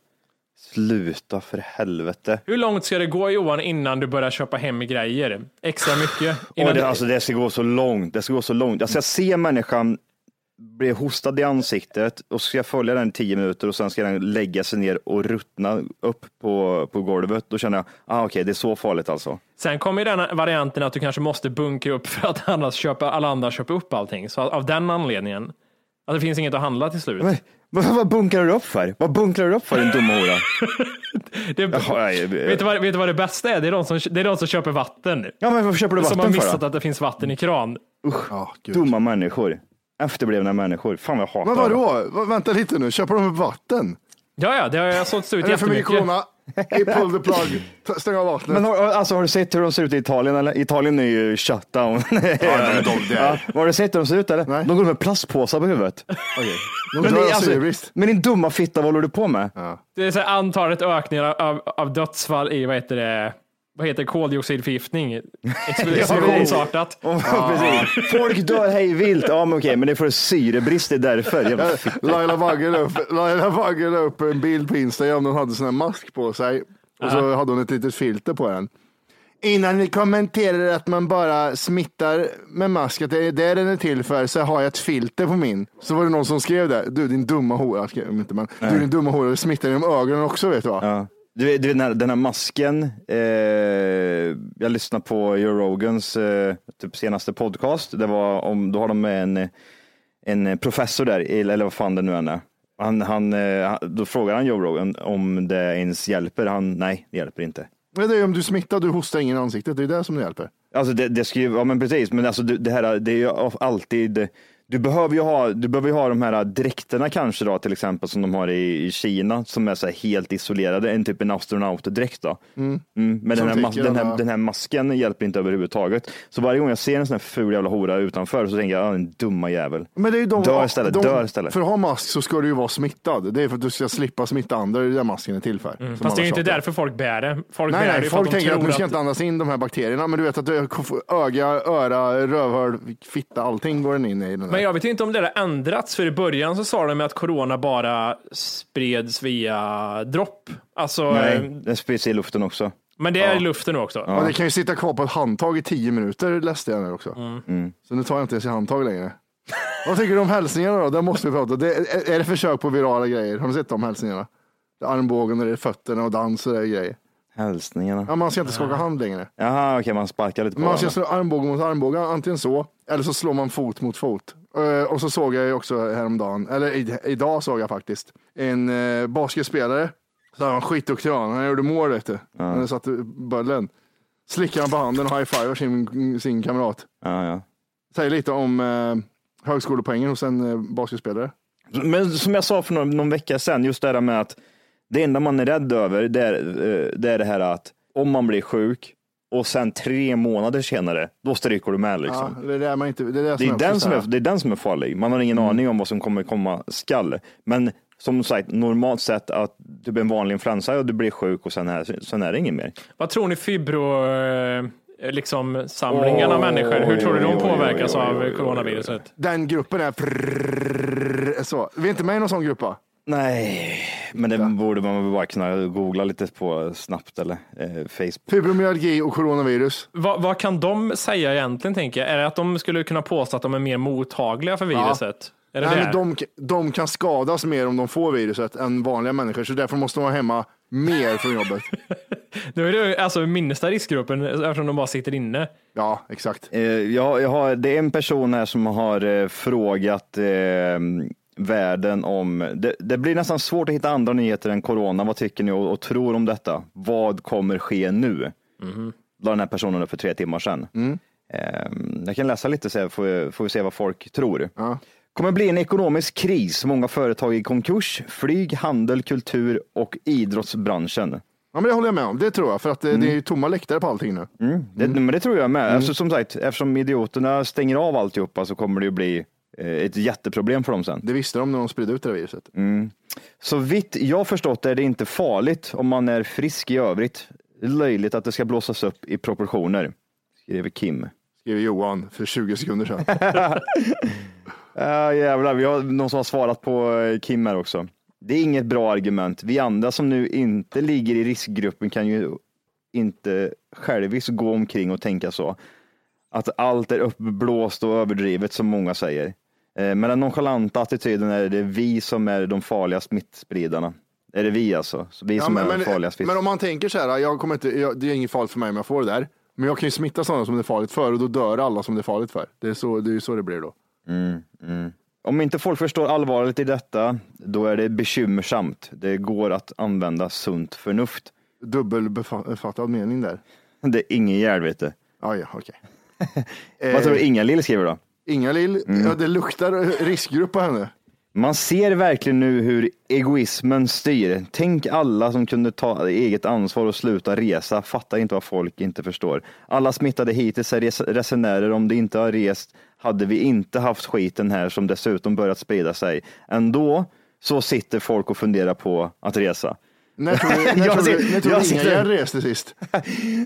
[SPEAKER 6] Sluta för helvete.
[SPEAKER 4] Hur långt ska det gå Johan innan du börjar köpa hem grejer? Extra mycket?
[SPEAKER 6] Åh,
[SPEAKER 4] Innan
[SPEAKER 6] det,
[SPEAKER 4] du-
[SPEAKER 6] alltså, det ska gå så långt. Det ska gå så långt. Alltså, jag
[SPEAKER 4] Mm.
[SPEAKER 6] ser människan bli hostad i ansiktet och så ska jag följa den i tio minuter och sen ska den lägga sig ner och ruttna upp på, på golvet. Då känner jag, ah, okej, det är så farligt alltså.
[SPEAKER 4] Sen kommer ju den varianten att du kanske måste bunkra upp för att annars köpa, alla andra köper upp allting. Så av den anledningen. Att det finns inget att handla till slut.
[SPEAKER 6] Men, vad, vad bunkrar du upp för? Vad bunkrar du upp för din dumma hora?
[SPEAKER 4] Det,
[SPEAKER 6] Jaha, nej, eh.
[SPEAKER 4] vet, du vad, vet du vad det bästa är? Det är de som, det är de som köper vatten.
[SPEAKER 6] Ja, men varför köper du
[SPEAKER 4] som har
[SPEAKER 6] vatten för
[SPEAKER 4] missat
[SPEAKER 6] då?
[SPEAKER 4] att det finns vatten i kran.
[SPEAKER 3] Ja, gud.
[SPEAKER 6] Dumma människor. Efterblivna människor. Fan vad jag hatar
[SPEAKER 3] Men
[SPEAKER 6] dem.
[SPEAKER 3] vadå? Va- Vänta lite nu, köper de upp vatten?
[SPEAKER 4] Ja, ja, det har jag sålt ut
[SPEAKER 3] Är det för mycket
[SPEAKER 4] jättemycket.
[SPEAKER 3] corona? I pull the plug, Ta- stäng av vattnet.
[SPEAKER 6] Men har, alltså, har du sett hur de ser ut i Italien? Eller? Italien är ju shutdown. Ja,
[SPEAKER 3] är de där.
[SPEAKER 6] har du sett hur de ser ut? Eller?
[SPEAKER 3] Nej.
[SPEAKER 6] De går med plastpåsar på huvudet.
[SPEAKER 3] De
[SPEAKER 6] Men,
[SPEAKER 3] dör
[SPEAKER 6] det,
[SPEAKER 3] av
[SPEAKER 6] alltså,
[SPEAKER 3] syrebrist.
[SPEAKER 6] men din dumma fitta, vad håller du på med?
[SPEAKER 4] Det är så här, antalet ökningar av, av dödsfall i vad heter det? Vad heter det? koldioxidförgiftning? Explosionsartat.
[SPEAKER 6] Oh, precis. Folk dör hej vilt. Ja, men okej, men det är för syrebrist, det är därför. Jävla fitta.
[SPEAKER 3] Laila Bagge la upp, Laila Bagge la upp en bild på Instagram där hon hade sån här mask på sig och så hade hon ett litet filter på den. Innan ni kommenterar att man bara smittar med mask, att det är det den är till för, så har jag ett filter på min. Så var det någon som skrev det. Du din dumma hora, skrev de inte, men, du din dumma hora, du smittar genom ögonen också vet du va?
[SPEAKER 6] Ja. Du, vet- du vet den här, den här masken, eh, jag lyssnade på Joe Rogans eh, typ senaste podcast, det var om, då har de med en, en professor där, eller eller vad fan det nu än är. Han, han, eh, han- då frågar han Joe Rogan om det ens hjälper, han, nej det hjälper inte.
[SPEAKER 3] Men det är om du smittar, du hostar ingen i ansiktet, det är det som det hjälper.
[SPEAKER 6] Alltså det, det ska ju, ja men precis, men alltså det, det här det är ju alltid, du behöver ju ha, du behöver ju ha de här dräkterna kanske då till exempel som de har i, i Kina som är så här helt isolerade, en typ en astronautdräkt då. Mm. men den här,
[SPEAKER 3] tycker
[SPEAKER 6] mas- den,
[SPEAKER 3] alla-
[SPEAKER 6] här, den här masken hjälper inte överhuvudtaget. Så varje gång jag ser en sån här ful jävla hora utanför så tänker jag, "Ah, den dumma jävel.
[SPEAKER 3] Men det är ju de,
[SPEAKER 6] Dör istället,
[SPEAKER 3] de,
[SPEAKER 6] dör istället.
[SPEAKER 3] För att ha mask så ska du ju vara smittad. Det är för att du ska slippa smitta andra, det är det masken är till för. som
[SPEAKER 4] Mm. Fast det är ju
[SPEAKER 3] alla
[SPEAKER 4] inte
[SPEAKER 3] tjatar.
[SPEAKER 4] därför folk bär det. Folk
[SPEAKER 3] Nej,
[SPEAKER 4] bär
[SPEAKER 3] nej,
[SPEAKER 4] det ju för
[SPEAKER 3] folk
[SPEAKER 4] att de
[SPEAKER 3] tänker att
[SPEAKER 4] tror
[SPEAKER 3] du ska inte andas in de här bakterierna, men du vet att du, öga, öra, rövhål, fitta, allting går den in i. Den där.
[SPEAKER 4] Men jag vet inte om det där har ändrats, för i början så sa de att corona bara spreds via dropp. Alltså,
[SPEAKER 6] Nej,
[SPEAKER 4] eh,
[SPEAKER 6] den sprids i luften också.
[SPEAKER 4] men det är i luften nu också.
[SPEAKER 3] ja. Det kan ju sitta kvar på ett handtag i tio minuter, läste jag nu också. Så nu tar jag inte ens i handtag längre. Vad tycker du om hälsningarna då? Det måste vi prata om. Det, är, är det försök på virala grejer? Har ni sett de hälsningarna? Det är Armbågen och det är fötterna och dans och det är grejer.
[SPEAKER 6] Hälsningarna.
[SPEAKER 3] Ja, man ska inte skaka hand längre.
[SPEAKER 6] Jaha, okej, man sparkar lite på
[SPEAKER 3] Man ska
[SPEAKER 6] varandra.
[SPEAKER 3] slå armbåge mot armbåge, antingen så, eller så slår man fot mot fot. Eh, Och så såg jag ju också häromdagen, eller i, idag såg jag faktiskt, en eh, basketspelare. Så han var skitduktig han, han gjorde mål vet du. Han satte bollen. Slickar han på handen och high-fivar sin, sin kamrat.
[SPEAKER 6] Ja, ja.
[SPEAKER 3] Säger lite om eh, högskolepoängen hos en eh, basketspelare.
[SPEAKER 6] Men som jag sa för någon, någon vecka sedan, just det här med att det enda man är rädd över, det är, eh, det är det här att om man blir sjuk och sen tre månader senare, då stryker du med. Liksom.
[SPEAKER 3] Ja, det är där man inte, det är, det
[SPEAKER 6] det, är den som är,
[SPEAKER 3] är,
[SPEAKER 6] det är den som är farlig. Man har ingen aning om vad som kommer komma skall. Men som sagt, normalt sett att du blir en vanlig influensa och du blir sjuk och sen är, sen är det ingen mer.
[SPEAKER 4] Vad tror ni fibro, eh, liksom samlingarna av
[SPEAKER 6] Oj,
[SPEAKER 4] människor, hur tror du
[SPEAKER 6] oj,
[SPEAKER 4] de
[SPEAKER 6] oj,
[SPEAKER 4] påverkas
[SPEAKER 6] oj, oj, oj,
[SPEAKER 4] av
[SPEAKER 6] oj, oj.
[SPEAKER 4] coronaviruset?
[SPEAKER 3] den gruppen är prrrr, så. Vi är inte med i någon sån grupp va?
[SPEAKER 6] Nej, men det borde man väl bara kunna googla lite på snabbt eller eh, Facebook.
[SPEAKER 3] Fibromyalgi och coronavirus.
[SPEAKER 4] Vad, vad kan de säga egentligen, tänker jag? Är det att de skulle kunna påstå att de är mer mottagliga för viruset? Är det
[SPEAKER 3] Nej,
[SPEAKER 4] det?
[SPEAKER 3] men de, de kan skadas mer om de får viruset än vanliga människor, så därför måste de vara hemma mer från jobbet.
[SPEAKER 4] Nu är det ju alltså minsta riskgruppen eftersom de bara sitter inne.
[SPEAKER 3] Ja, exakt.
[SPEAKER 6] Eh, Jag, jag har, det är en person här som har eh, frågat eh, världen om, det, det blir nästan svårt att hitta andra nyheter än corona. Vad tycker ni och, och tror om detta? Vad kommer ske nu? La den här personen upp för tre timmar sedan. Eh, jag kan läsa lite så här, får, får vi se vad folk tror. Kommer bli en ekonomisk kris, många företag i konkurs, flyg, handel, kultur och idrottsbranschen.
[SPEAKER 3] Ja, men det håller jag med om, det tror jag, för att eh, det,
[SPEAKER 4] Mm.
[SPEAKER 3] det är ju tomma läktare på allting nu.
[SPEAKER 6] Det, Men det tror jag med. Alltså, som sagt, eftersom idioterna stänger av alltihopa så kommer det ju bli eh, ett jätteproblem för dem sen.
[SPEAKER 4] Mm.
[SPEAKER 3] Det visste de när de spridde ut det där viruset.
[SPEAKER 6] Så vitt jag förstått är det inte farligt om man är frisk i övrigt. Löjligt att det ska blåsas upp i proportioner, skriver Kim.
[SPEAKER 3] Skrev Johan för 20 sekunder sedan.
[SPEAKER 6] Ah, jävlar, vi har någon som har svarat på eh, Kim här också. Det är inget bra argument. Vi andra som nu inte ligger i riskgruppen kan ju inte självis gå omkring och tänka så. Att allt är uppblåst och överdrivet som många säger. Eh, Med den nonchalanta attityden är det vi som är de farliga smittspridarna. Är det vi alltså? Så Vi
[SPEAKER 3] Ja,
[SPEAKER 6] som
[SPEAKER 3] men,
[SPEAKER 6] är de farliga
[SPEAKER 3] men,
[SPEAKER 6] smittspridarna.
[SPEAKER 3] men om man tänker så här, jag kommer inte, jag, det är inget farligt för mig om jag får det där. Men jag kan ju smitta sådana som det är farligt för och då dör alla som det är farligt för. Det är, så, det är ju så det blir då.
[SPEAKER 6] Om inte folk förstår allvaret i detta, då är det bekymmersamt. Det går att använda sunt förnuft.
[SPEAKER 3] Dubbelbefattad mening där.
[SPEAKER 6] Det är ingen hjärl, vet du.
[SPEAKER 3] Ah, ja, okej.
[SPEAKER 6] Vad tror du Inga-Lill skriver då?
[SPEAKER 3] Inga-Lill,
[SPEAKER 4] Mm.
[SPEAKER 3] ja, det luktar riskgrupp på henne.
[SPEAKER 6] Man ser verkligen nu hur egoismen styr. Tänk alla som kunde ta eget ansvar och sluta resa. Fattar inte vad folk inte förstår. Alla smittade hittills är res- resenärer. Om de inte har rest hade vi inte haft skiten här som dessutom börjat sprida sig. Ändå så sitter folk och funderar på att resa.
[SPEAKER 3] När tror du, när
[SPEAKER 6] Jag
[SPEAKER 3] tror du,
[SPEAKER 6] ser-
[SPEAKER 3] när tror
[SPEAKER 6] jag
[SPEAKER 3] du
[SPEAKER 6] sitter-
[SPEAKER 3] Inga-Lill reste sist?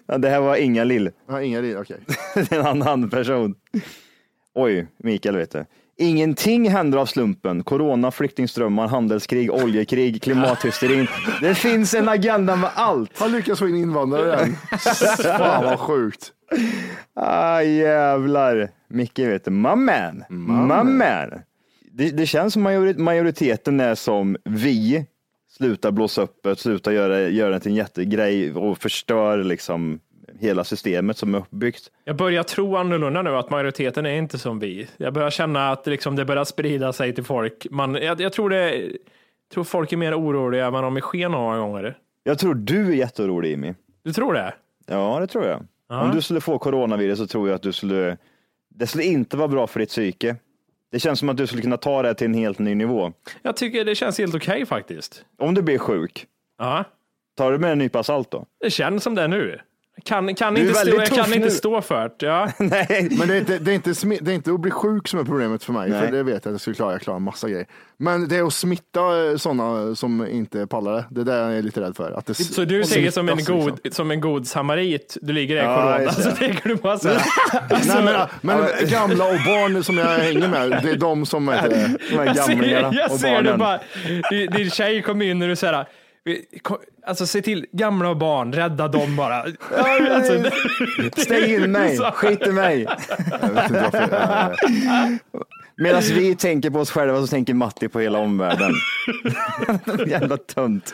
[SPEAKER 6] Ja, Det här var Inga Lill.
[SPEAKER 3] Ja, Inga-Lill, okej.
[SPEAKER 6] Det är en annan person. Oj, Mikael vet du. Ingenting händer av slumpen. Corona, flyktingströmmar, handelskrig, oljekrig, klimathysterin. Det finns en agenda med allt.
[SPEAKER 3] Han lyckas få in invandrare igen. Fan vad sjukt.
[SPEAKER 6] Ah, jävlar. Micke vet du. My man. My man. Det, det känns som majori- majoriteten är som vi. Sluta blåsa upp det, sluta göra, göra det till en jättegrej och förstör liksom hela systemet som är uppbyggt.
[SPEAKER 4] Jag börjar tro annorlunda nu, att majoriteten är inte som vi. Jag börjar känna att liksom det börjar sprida sig till folk. Man, jag, jag tror det jag tror folk är mer oroliga än vad de är sken av många gånger.
[SPEAKER 6] Jag tror du är jätteorolig Jimmy.
[SPEAKER 4] Du tror det?
[SPEAKER 6] Ja, det tror jag. Om du skulle få coronavirus så tror jag att du skulle, det skulle inte vara bra för ditt psyke. Det känns som att du skulle kunna ta det här till en helt ny nivå.
[SPEAKER 4] Jag tycker det känns helt okej faktiskt.
[SPEAKER 6] Om du blir sjuk,
[SPEAKER 4] Ja,
[SPEAKER 6] tar du med en nypa salt då?
[SPEAKER 4] det känns som det nu. Kan, kan,
[SPEAKER 6] är
[SPEAKER 4] inte, stå,
[SPEAKER 6] väldigt
[SPEAKER 4] jag
[SPEAKER 6] tuff
[SPEAKER 4] kan
[SPEAKER 6] nu.
[SPEAKER 4] inte stå för det. Ja.
[SPEAKER 6] Nej.
[SPEAKER 3] Men det är, inte, det, är inte smi- det är inte att bli sjuk som är problemet för mig,
[SPEAKER 6] Nej.
[SPEAKER 3] för det vet jag att jag skulle klara. Jag klarar en massa grejer. Men det är att smitta sådana som inte pallar det. Det där är jag lite rädd för. Att det s-
[SPEAKER 4] Så du säger som en,
[SPEAKER 3] smittas, liksom.
[SPEAKER 4] god, som en god samarit, du ligger där i
[SPEAKER 6] alltså,
[SPEAKER 4] corona,
[SPEAKER 6] Ja, just det.
[SPEAKER 4] så tänker du bara så här. Alltså-
[SPEAKER 3] Nej, men, eh, men gamla och barn som jag hänger med, det är de som... Vet, du,
[SPEAKER 6] De här
[SPEAKER 4] Jag
[SPEAKER 6] gamlingarna
[SPEAKER 4] ser, jag
[SPEAKER 6] och
[SPEAKER 4] ser det
[SPEAKER 6] barnen.
[SPEAKER 4] bara. Din, din tjej kom in och du säger Alltså se till gamla och barn, rädda dem bara. Alltså, det-
[SPEAKER 6] Stäng in mig,
[SPEAKER 4] Så-
[SPEAKER 6] skit i mig.
[SPEAKER 3] jag vet inte varför. jag-
[SPEAKER 6] Medan vi tänker på oss själva så tänker Matti på hela omvärlden. Jävla tunt.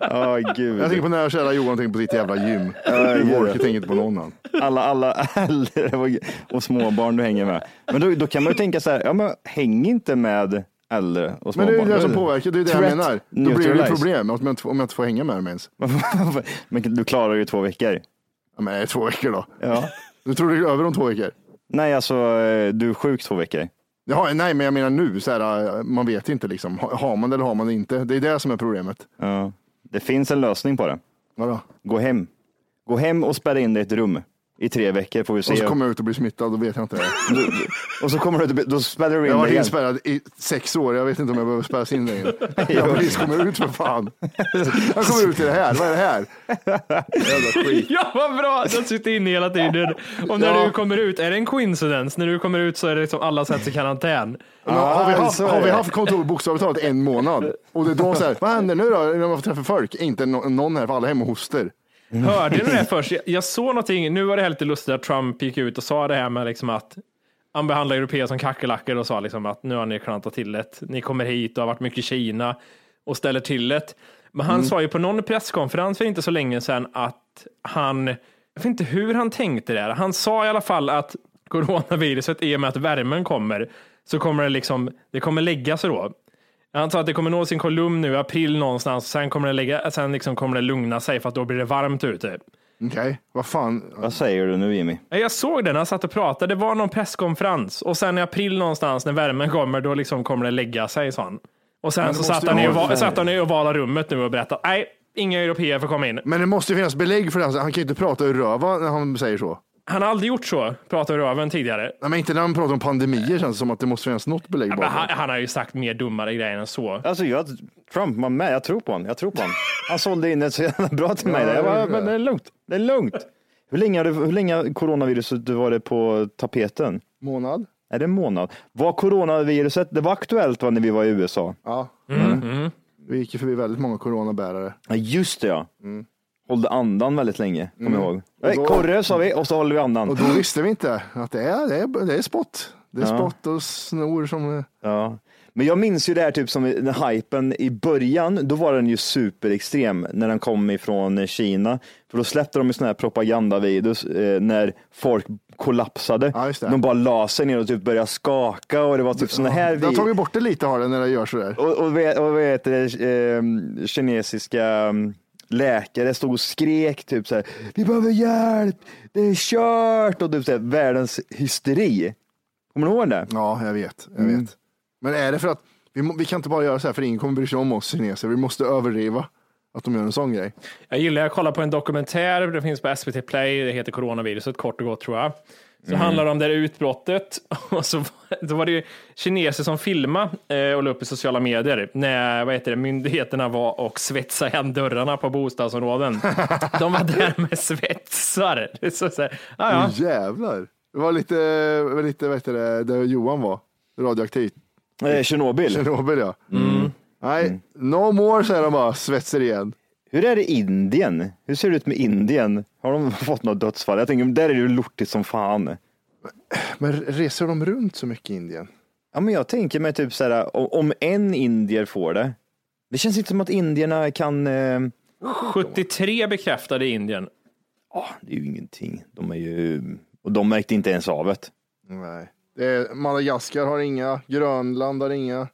[SPEAKER 6] Åh
[SPEAKER 3] Jag
[SPEAKER 6] gud.
[SPEAKER 3] tänker på när jag kära Johan tänker på sitt jävla gym.
[SPEAKER 6] jag gör
[SPEAKER 3] Wolke
[SPEAKER 6] det.
[SPEAKER 3] tänker inte på någon annan.
[SPEAKER 6] alla, alla äldre och, och småbarn du hänger med. Men då, då kan man ju tänka så här, ja, men häng inte med äldre och
[SPEAKER 3] Men
[SPEAKER 6] småbarn.
[SPEAKER 3] det är ju det som påverkar, det är det jag
[SPEAKER 6] Threat
[SPEAKER 3] menar. Då blir det ju
[SPEAKER 6] neutralized.
[SPEAKER 3] problem om jag inte, om jag inte får hänga med dem ens.
[SPEAKER 6] men du klarar ju två veckor.
[SPEAKER 3] Ja, Men det är två veckor då.
[SPEAKER 6] Ja.
[SPEAKER 3] Du tror det är över om två veckor? Nej.
[SPEAKER 6] Nej, alltså eh, du är sjuk två veckor.
[SPEAKER 3] Ja, nej, men jag menar nu, så här, eh, man vet inte liksom. Ha- Har man det eller har man det inte? Det är det som är problemet.
[SPEAKER 6] Ja. Det finns en lösning på det.
[SPEAKER 3] Vadå?
[SPEAKER 6] Gå hem. Gå hem och spärra in dig i ett rum i tre veckor får vi se.
[SPEAKER 3] Och så kommer jag ut och blir smittad, då vet jag inte.
[SPEAKER 6] och så kommer du, då spärrar du
[SPEAKER 3] Jag
[SPEAKER 6] in
[SPEAKER 3] har
[SPEAKER 6] dig
[SPEAKER 3] varit
[SPEAKER 6] igen.
[SPEAKER 3] inspärrad i sex år, jag vet inte om jag behöver spärras in längre. Jag precis kommer ut för fan. Jag kommer ut i det här, vad är det här? Jävla skit.
[SPEAKER 4] Ja vad bra, du har suttit inne hela tiden. Och när
[SPEAKER 3] Ja.
[SPEAKER 4] du kommer ut, är det en coincidence? När du kommer ut så är det liksom alla sätts i karantän.
[SPEAKER 3] Men har, vi haft,
[SPEAKER 6] Ah, så är
[SPEAKER 3] har vi
[SPEAKER 6] det.
[SPEAKER 3] haft kontor bokstavligt talat en månad och det är då så här, vad händer nu då när man får träffa folk? Inte no- någon här, för alla är hemma och hostar.
[SPEAKER 4] Hörde ni det först? Jag, jag såg någonting, nu var det här lite lustigt att Trump gick ut och sa det här med liksom att han behandlar europeer som kackerlackor och sa liksom att nu har ni klantat till det. Ni kommer hit och har varit mycket i Kina och ställer till det. Men han sa ju på någon presskonferens för inte så länge sedan att han, jag vet inte hur han tänkte där. Han sa i alla fall att coronaviruset i och med att värmen kommer så kommer det liksom, det kommer lägga sig då. Han sa att det kommer nå sin kolumn nu i april någonstans. Sen kommer det, lägga, sen liksom kommer det lugna sig för att då blir det varmt ute.
[SPEAKER 3] Okej, vad fan.
[SPEAKER 6] Vad säger du nu Jimmy?
[SPEAKER 4] Nej, Jag såg det när jag satt och pratade. Det var någon presskonferens och sen i april någonstans när värmen kommer, då liksom kommer det lägga sig, sa han. Och sen
[SPEAKER 3] Men
[SPEAKER 4] så
[SPEAKER 3] det måste
[SPEAKER 4] satt han,
[SPEAKER 3] ju
[SPEAKER 4] i
[SPEAKER 3] vara
[SPEAKER 4] oval,
[SPEAKER 3] värme.
[SPEAKER 4] satt han i ovala rummet nu och berättade. Nej, inga europeer får komma in.
[SPEAKER 3] Men det måste ju finnas belägg för det. här. Han kan ju inte prata ur röva när han säger så.
[SPEAKER 4] Han har aldrig gjort så, pratade röven tidigare.
[SPEAKER 3] Nej, men inte när man pratar om pandemier känns det som att det måste finnas något belägg
[SPEAKER 4] Men han,
[SPEAKER 3] bakom.
[SPEAKER 4] han har ju sagt mer dummare grejer än så.
[SPEAKER 6] Alltså jag, Trump var med, jag tror på honom. Jag tror på honom. Han sålde in det så jävla bra till mig. där. Jag bara, men det är lugnt. Det är lugnt. Hur länge, har det- hur länge har coronaviruset varit på tapeten?
[SPEAKER 3] Månad?
[SPEAKER 6] Är det en månad? Var coronaviruset, det var aktuellt va, när vi var i USA?
[SPEAKER 3] Ja.
[SPEAKER 4] Mm,
[SPEAKER 3] Vi gick ju förbi väldigt många coronabärare.
[SPEAKER 6] Ja, just det ja. Hållde andan väldigt länge, kommer jag ihåg. Nej,
[SPEAKER 3] Mm. då-
[SPEAKER 6] Korre sa vi och så håller vi andan.
[SPEAKER 3] Och då visste vi inte att det är, det är, det är spott. Det är spott och snor som...
[SPEAKER 6] Ja. Men jag minns ju det här typ som i- när hypen i början, då var den ju superextrem när den kom ifrån Kina. För då släppte de ju sådana här propagandavideos eh, när folk kollapsade.
[SPEAKER 3] Ja, just det.
[SPEAKER 6] De bara la sig ner och typ började skaka och det var typ sådana här
[SPEAKER 3] Jag har
[SPEAKER 6] videos.
[SPEAKER 3] tagit bort det lite har det när jag gör sådär.
[SPEAKER 6] Och, och, vet- och vad heter det, eh, kinesiska mm, läkare stod och skrek typ så här, vi behöver hjälp, det är kört och typ så här, världens hysteri. Kommer du ihåg det?
[SPEAKER 3] Ja, jag vet. Jag vet. Men är det för att vi, må- vi kan inte bara göra så här för ingen kommer bry sig om oss kineser. Vi måste överdriva att de gör en sån grej.
[SPEAKER 4] Jag gillar att kolla på en dokumentär, det finns på SVT Play, det heter Coronaviruset kort och gott tror jag. Så handlar det om det här utbrottet och så var- då var det ju kineser som filmade eh, och la upp i sociala medier när vad heter det, myndigheterna var och svetsade igen dörrarna på bostadsområden. De var där med svetsare. Det är så, så här, ja, ja.
[SPEAKER 3] Åh, jävlar. Det var lite, det var lite vad heter det, där Johan var. Radioaktivt.
[SPEAKER 6] Eh, Tjernobyl.
[SPEAKER 3] Tjernobyl ja. Mm. Nej, no more säger de bara, svetsar igen.
[SPEAKER 6] Hur är det i Indien? Hur ser det ut med Indien? Har de fått något dödsfall? Jag tänker, där är det ju lortigt som fan.
[SPEAKER 3] Men reser de runt så mycket i Indien?
[SPEAKER 6] Ja, men jag tänker mig typ så här, o- om en indier får det. Det känns inte som att indierna kan, eh,
[SPEAKER 4] 73 bekräftade i Indien.
[SPEAKER 6] ah, det är ju ingenting. De är ju, och de märkte inte ens av det.
[SPEAKER 3] Nej. Det är, Madagaskar har inga, Grönland har inga.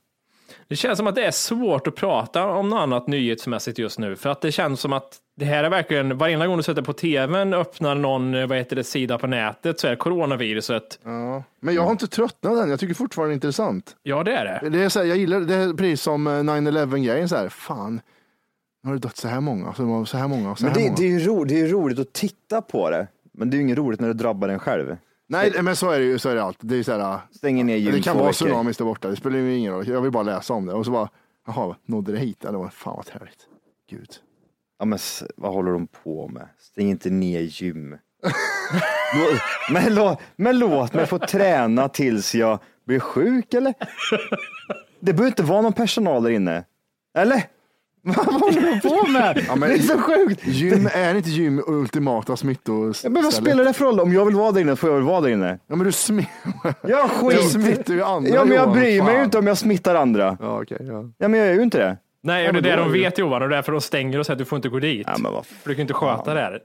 [SPEAKER 4] Det känns som att det är svårt att prata om något annat nyhetsmässigt just nu, för att det känns som att det här är verkligen, varenda gång du sätter på tvn, öppnar någon eh, vad heter det, sida på nätet så är det coronaviruset.
[SPEAKER 3] Ja. Men jag har inte tröttnat än, jag tycker fortfarande det är intressant.
[SPEAKER 4] Ja, det är
[SPEAKER 6] Mm.
[SPEAKER 4] det.
[SPEAKER 3] Det är så här, jag gillar det är precis som eh, 9-11 grejen, så här, fan, nu har det dött så här många, så många, så här många, så
[SPEAKER 6] Men
[SPEAKER 3] här
[SPEAKER 6] det,
[SPEAKER 3] många.
[SPEAKER 6] det, är ju ro, det är ju roligt att titta på det. Men det är ju inget roligt när det drabbar en själv.
[SPEAKER 3] Nej, men så är det ju, så är det allt. Det, är så här, eh,
[SPEAKER 6] Stänger ner gym
[SPEAKER 3] det kan
[SPEAKER 6] två
[SPEAKER 3] vara
[SPEAKER 6] veckor.
[SPEAKER 3] tsunamis där borta, det spelar ju ingen roll, jag vill bara läsa om det. Och så bara, jaha, nådde det hit? Eller, vad- fan vad trevligt. Gud.
[SPEAKER 6] Ja, men s- vad håller de på med? Stäng inte ner gym. Lå- men, lå, men låt mig få träna tills jag blir sjuk eller? Det behöver inte vara någon personal där inne. Eller? Vad håller de på med?
[SPEAKER 3] men-
[SPEAKER 6] det är så sjukt.
[SPEAKER 3] Gym, är inte gym ultimata
[SPEAKER 6] Ja, Men vad spelar
[SPEAKER 3] smittostället?
[SPEAKER 6] det för roll? Om jag vill vara där inne får jag väl vara där inne.
[SPEAKER 3] Ja, men du smi-
[SPEAKER 6] Jag
[SPEAKER 3] Du
[SPEAKER 6] skiter
[SPEAKER 3] smittar ju andra
[SPEAKER 6] Ja men jag
[SPEAKER 3] Johan,
[SPEAKER 6] bryr mig
[SPEAKER 3] fan.
[SPEAKER 6] ju inte om jag smittar andra.
[SPEAKER 3] Ja, okej. ja.
[SPEAKER 6] Ja men jag gör ju inte det.
[SPEAKER 4] Nej, och det är det de vet Johan, och därför de stänger och säger att du får inte gå dit.
[SPEAKER 6] Ja, men vad fan.
[SPEAKER 4] För du kan inte sköta det här.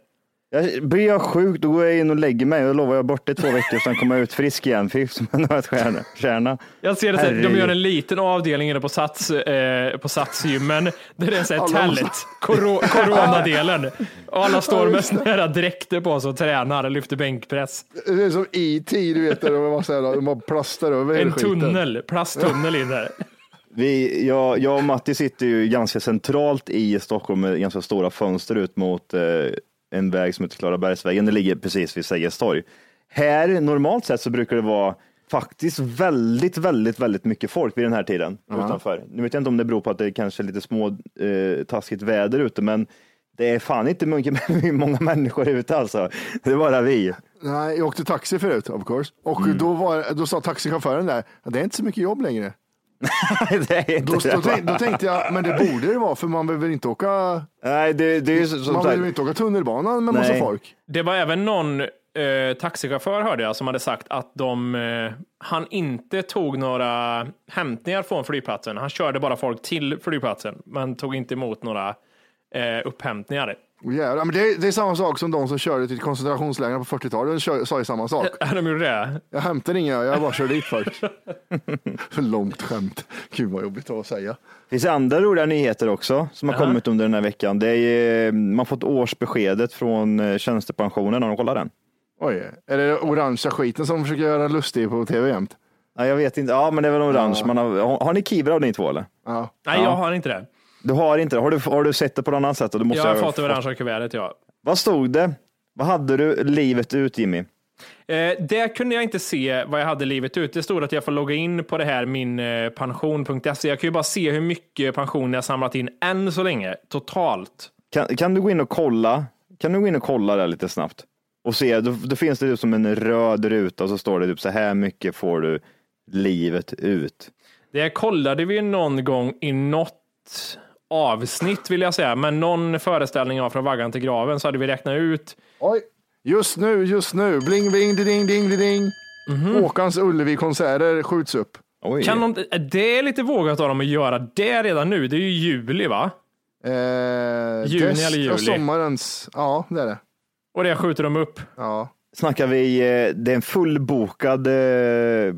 [SPEAKER 6] Jag, blir jag sjuk då går jag in och lägger mig. Då lovar jag bort det två veckor sen kommer jag ut frisk igen. Fy som en nötkärna. Kärna.
[SPEAKER 4] Jag ser det så här, de
[SPEAKER 6] Herregud.
[SPEAKER 4] gör en liten avdelning inne på, sats, eh, på satsgymmen, där det är så här
[SPEAKER 3] Alla måste-
[SPEAKER 4] tält, koro, coronadelen. Och alla står med såna här dräkter på sig och tränar, lyfter bänkpress.
[SPEAKER 3] Det är som IT, du vet, där de bara, så här, de bara plastar över hela
[SPEAKER 4] En
[SPEAKER 3] skiten.
[SPEAKER 4] tunnel, plasttunnel in där.
[SPEAKER 6] Vi, jag, jag och Matti sitter ju ganska centralt i Stockholm med ganska stora fönster ut mot eh, en väg som heter Klarabergsvägen. Det ligger precis vid Sergels torg. Här normalt sett så brukar det vara faktiskt väldigt, väldigt, väldigt mycket folk vid den här tiden utanför. Nu vet jag inte om det beror på att det kanske är lite små eh, taskigt väder ute, men det är fan inte mycket, många människor ute alltså. Det är bara vi.
[SPEAKER 3] Nej, jag åkte taxi förut, of course. Och
[SPEAKER 6] Mm.
[SPEAKER 3] då, var, då sa taxichauffören där, det är inte så mycket jobb längre.
[SPEAKER 6] det är
[SPEAKER 3] Då,
[SPEAKER 6] inte
[SPEAKER 3] då,
[SPEAKER 6] det.
[SPEAKER 3] tänk, då tänkte jag, men det borde det vara, för man behöver inte åka,
[SPEAKER 6] Nej, det, det är ju som
[SPEAKER 3] man
[SPEAKER 6] sagt.
[SPEAKER 3] behöver inte åka tunnelbanan med massa
[SPEAKER 6] Nej.
[SPEAKER 3] folk.
[SPEAKER 4] Det var även någon eh, taxichaufför hörde jag som hade sagt att de, eh, han inte tog några hämtningar från flygplatsen. Han körde bara folk till flygplatsen, men tog inte emot några eh, upphämtningar.
[SPEAKER 3] Och jävlar, men det, det är samma sak som de som körde till koncentrationslägren på 40-talet, de kör- sa ju samma sak.
[SPEAKER 4] De gjorde det.
[SPEAKER 3] Jag hämtar inga, jag bara kör dit folk. Långt skämt. Gud vad jobbigt det var att säga.
[SPEAKER 6] Det finns andra roliga nyheter också som har kommit under den här veckan. Det är, ju- man har fått årsbeskedet från eh, tjänstepensionen. Har du kollat den?
[SPEAKER 3] Oj, är det den orangea skiten som försöker göra lustig på tv jämt?
[SPEAKER 6] Nej, jag vet inte. Ja, men det är väl orange. Man har, har, har ni Kivra av ni två eller?
[SPEAKER 3] Ja.
[SPEAKER 4] Nej, jag har inte det.
[SPEAKER 6] Du har inte det. Har du, har du sett det på något annat sätt? Och Du måste
[SPEAKER 4] Jag har
[SPEAKER 6] ha
[SPEAKER 4] fått det orangea kuvertet, ja.
[SPEAKER 6] Vad stod det? Vad hade du livet ut Jimmy?
[SPEAKER 4] Eh, där kunde jag inte se vad jag hade livet ut. Det stod att jag får logga in på det här eh, minpension.se. E. Jag kan ju bara se hur mycket pension jag samlat in än så länge, totalt.
[SPEAKER 6] Kan, kan du gå in och kolla? Kan du gå in och kolla där lite snabbt? Och se, då, då finns det typ som en röd ruta och så står det typ så här mycket får du livet ut.
[SPEAKER 4] Det kollade vi någon gång i något avsnitt vill jag säga, men någon föreställning av Från vaggan till graven så hade vi räknat ut.
[SPEAKER 3] Oj, just nu, just nu. Bling, bling, ding, ding, ding.
[SPEAKER 6] Mhm.
[SPEAKER 3] Håkans Ullevi-konserter skjuts upp.
[SPEAKER 6] Oj.
[SPEAKER 4] Kan de, det är lite vågat av dem att göra det redan nu. Det är ju juli va?
[SPEAKER 3] Eh,
[SPEAKER 4] Juni
[SPEAKER 3] det-
[SPEAKER 4] eller
[SPEAKER 3] ja,
[SPEAKER 4] juli?
[SPEAKER 3] Sommarens, ja det är det.
[SPEAKER 4] Och det skjuter de upp.
[SPEAKER 3] Ja.
[SPEAKER 6] Snackar vi, eh, det är en fullbokad eh,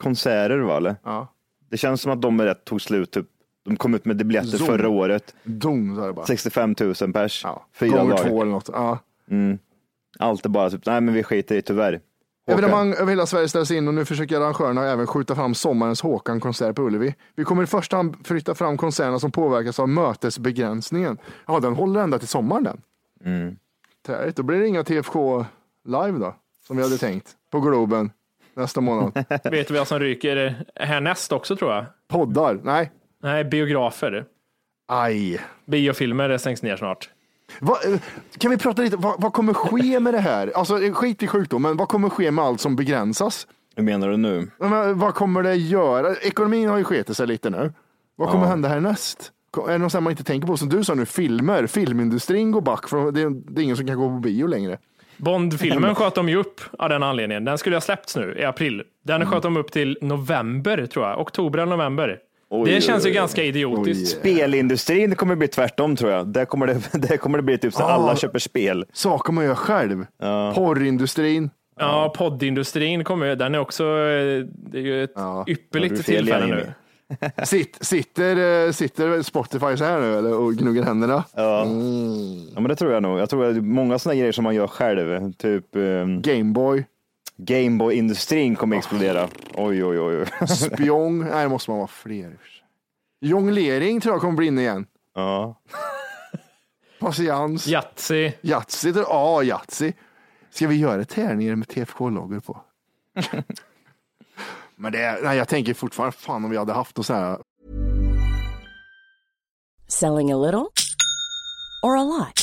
[SPEAKER 6] konserter va? Eller?
[SPEAKER 3] Ja.
[SPEAKER 6] Det känns som att de är rätt tog slut. Typ. De kom ut med biljetter
[SPEAKER 3] Zoom.
[SPEAKER 6] förra året.
[SPEAKER 3] Dom sa det bara.
[SPEAKER 6] 65 000 pers.
[SPEAKER 3] Ja.
[SPEAKER 6] Fyra
[SPEAKER 3] Gånger
[SPEAKER 6] dagar.
[SPEAKER 3] två eller något. Ja.
[SPEAKER 6] Allt är bara typ, nej men vi skiter i det, tyvärr. Håkan.
[SPEAKER 3] Evenemang över hela Sverige ställs in och nu försöker arrangörerna även skjuta fram sommarens Håkan-konsert på Ullevi. Vi kommer i första hand flytta fram konserterna som påverkas av mötesbegränsningen. Ja, den håller ända till sommaren den.
[SPEAKER 6] Mm.
[SPEAKER 3] Träligt. Då blir det inga TFK live då, som vi hade tänkt, på Globen nästa månad.
[SPEAKER 4] Vet du vad som ryker härnäst också tror jag?
[SPEAKER 3] Poddar? Nej.
[SPEAKER 4] Nej, biografer.
[SPEAKER 3] Aj.
[SPEAKER 4] Biofilmer det stängs ner snart.
[SPEAKER 3] Va, eh, kan vi prata lite, vad, vad kommer ske med det här? Alltså eh, skit i sjukdomen, vad kommer ske med allt som begränsas?
[SPEAKER 6] Hur menar du nu?
[SPEAKER 3] Ja, Men, vad kommer det göra? Ekonomin har ju skitit sig lite nu. Vad kommer hända härnäst? Ko- Är det något som man inte tänker på? Som du sa nu, filmer. Filmindustrin går back. För det, är- det är ingen som kan gå på bio längre.
[SPEAKER 4] Bondfilmen sköt de ju upp av den anledningen. Den skulle ha släppts nu i april. Den
[SPEAKER 6] Mm.
[SPEAKER 4] sköt de upp till november tror jag. Oktober eller november.
[SPEAKER 6] Oj,
[SPEAKER 4] det känns ju
[SPEAKER 6] oj, oj.
[SPEAKER 4] ganska idiotiskt.
[SPEAKER 6] Spelindustrin kommer bli tvärtom tror jag. Där kommer det, där kommer det bli typ så att
[SPEAKER 3] Ah.
[SPEAKER 6] alla köper spel.
[SPEAKER 3] Saker man gör själv. Porrindustrin.
[SPEAKER 4] Ja, poddindustrin kommer ju. Den är också, eh, det är ju ett
[SPEAKER 6] Ja, du är
[SPEAKER 4] ypperligt
[SPEAKER 6] fel
[SPEAKER 4] tillfälle
[SPEAKER 6] igen,
[SPEAKER 4] nu.
[SPEAKER 6] Jimmy.
[SPEAKER 3] Sitt, sitter, eh, sitter Spotify så här nu eller, och gnuggar händerna?
[SPEAKER 6] Ja, men det tror jag nog. Jag tror att många sådana grejer som man gör själv, typ ehm,
[SPEAKER 3] Gameboy.
[SPEAKER 6] Gameboy-industrin kommer explodera. Oj, oj, oj. oj.
[SPEAKER 3] Spjong. Nej, det måste man vara fler. Jonglering tror jag kommer bli inne igen.
[SPEAKER 6] ja.
[SPEAKER 3] Patiens.
[SPEAKER 4] Yatzy.
[SPEAKER 3] Yatzy. tror- Ja, Yatzy. Ska vi göra tärningar med TFK-loggor på? Men det, är- nej, jag tänker fortfarande, fan om vi hade haft och så här.
[SPEAKER 5] Selling a little or a lot?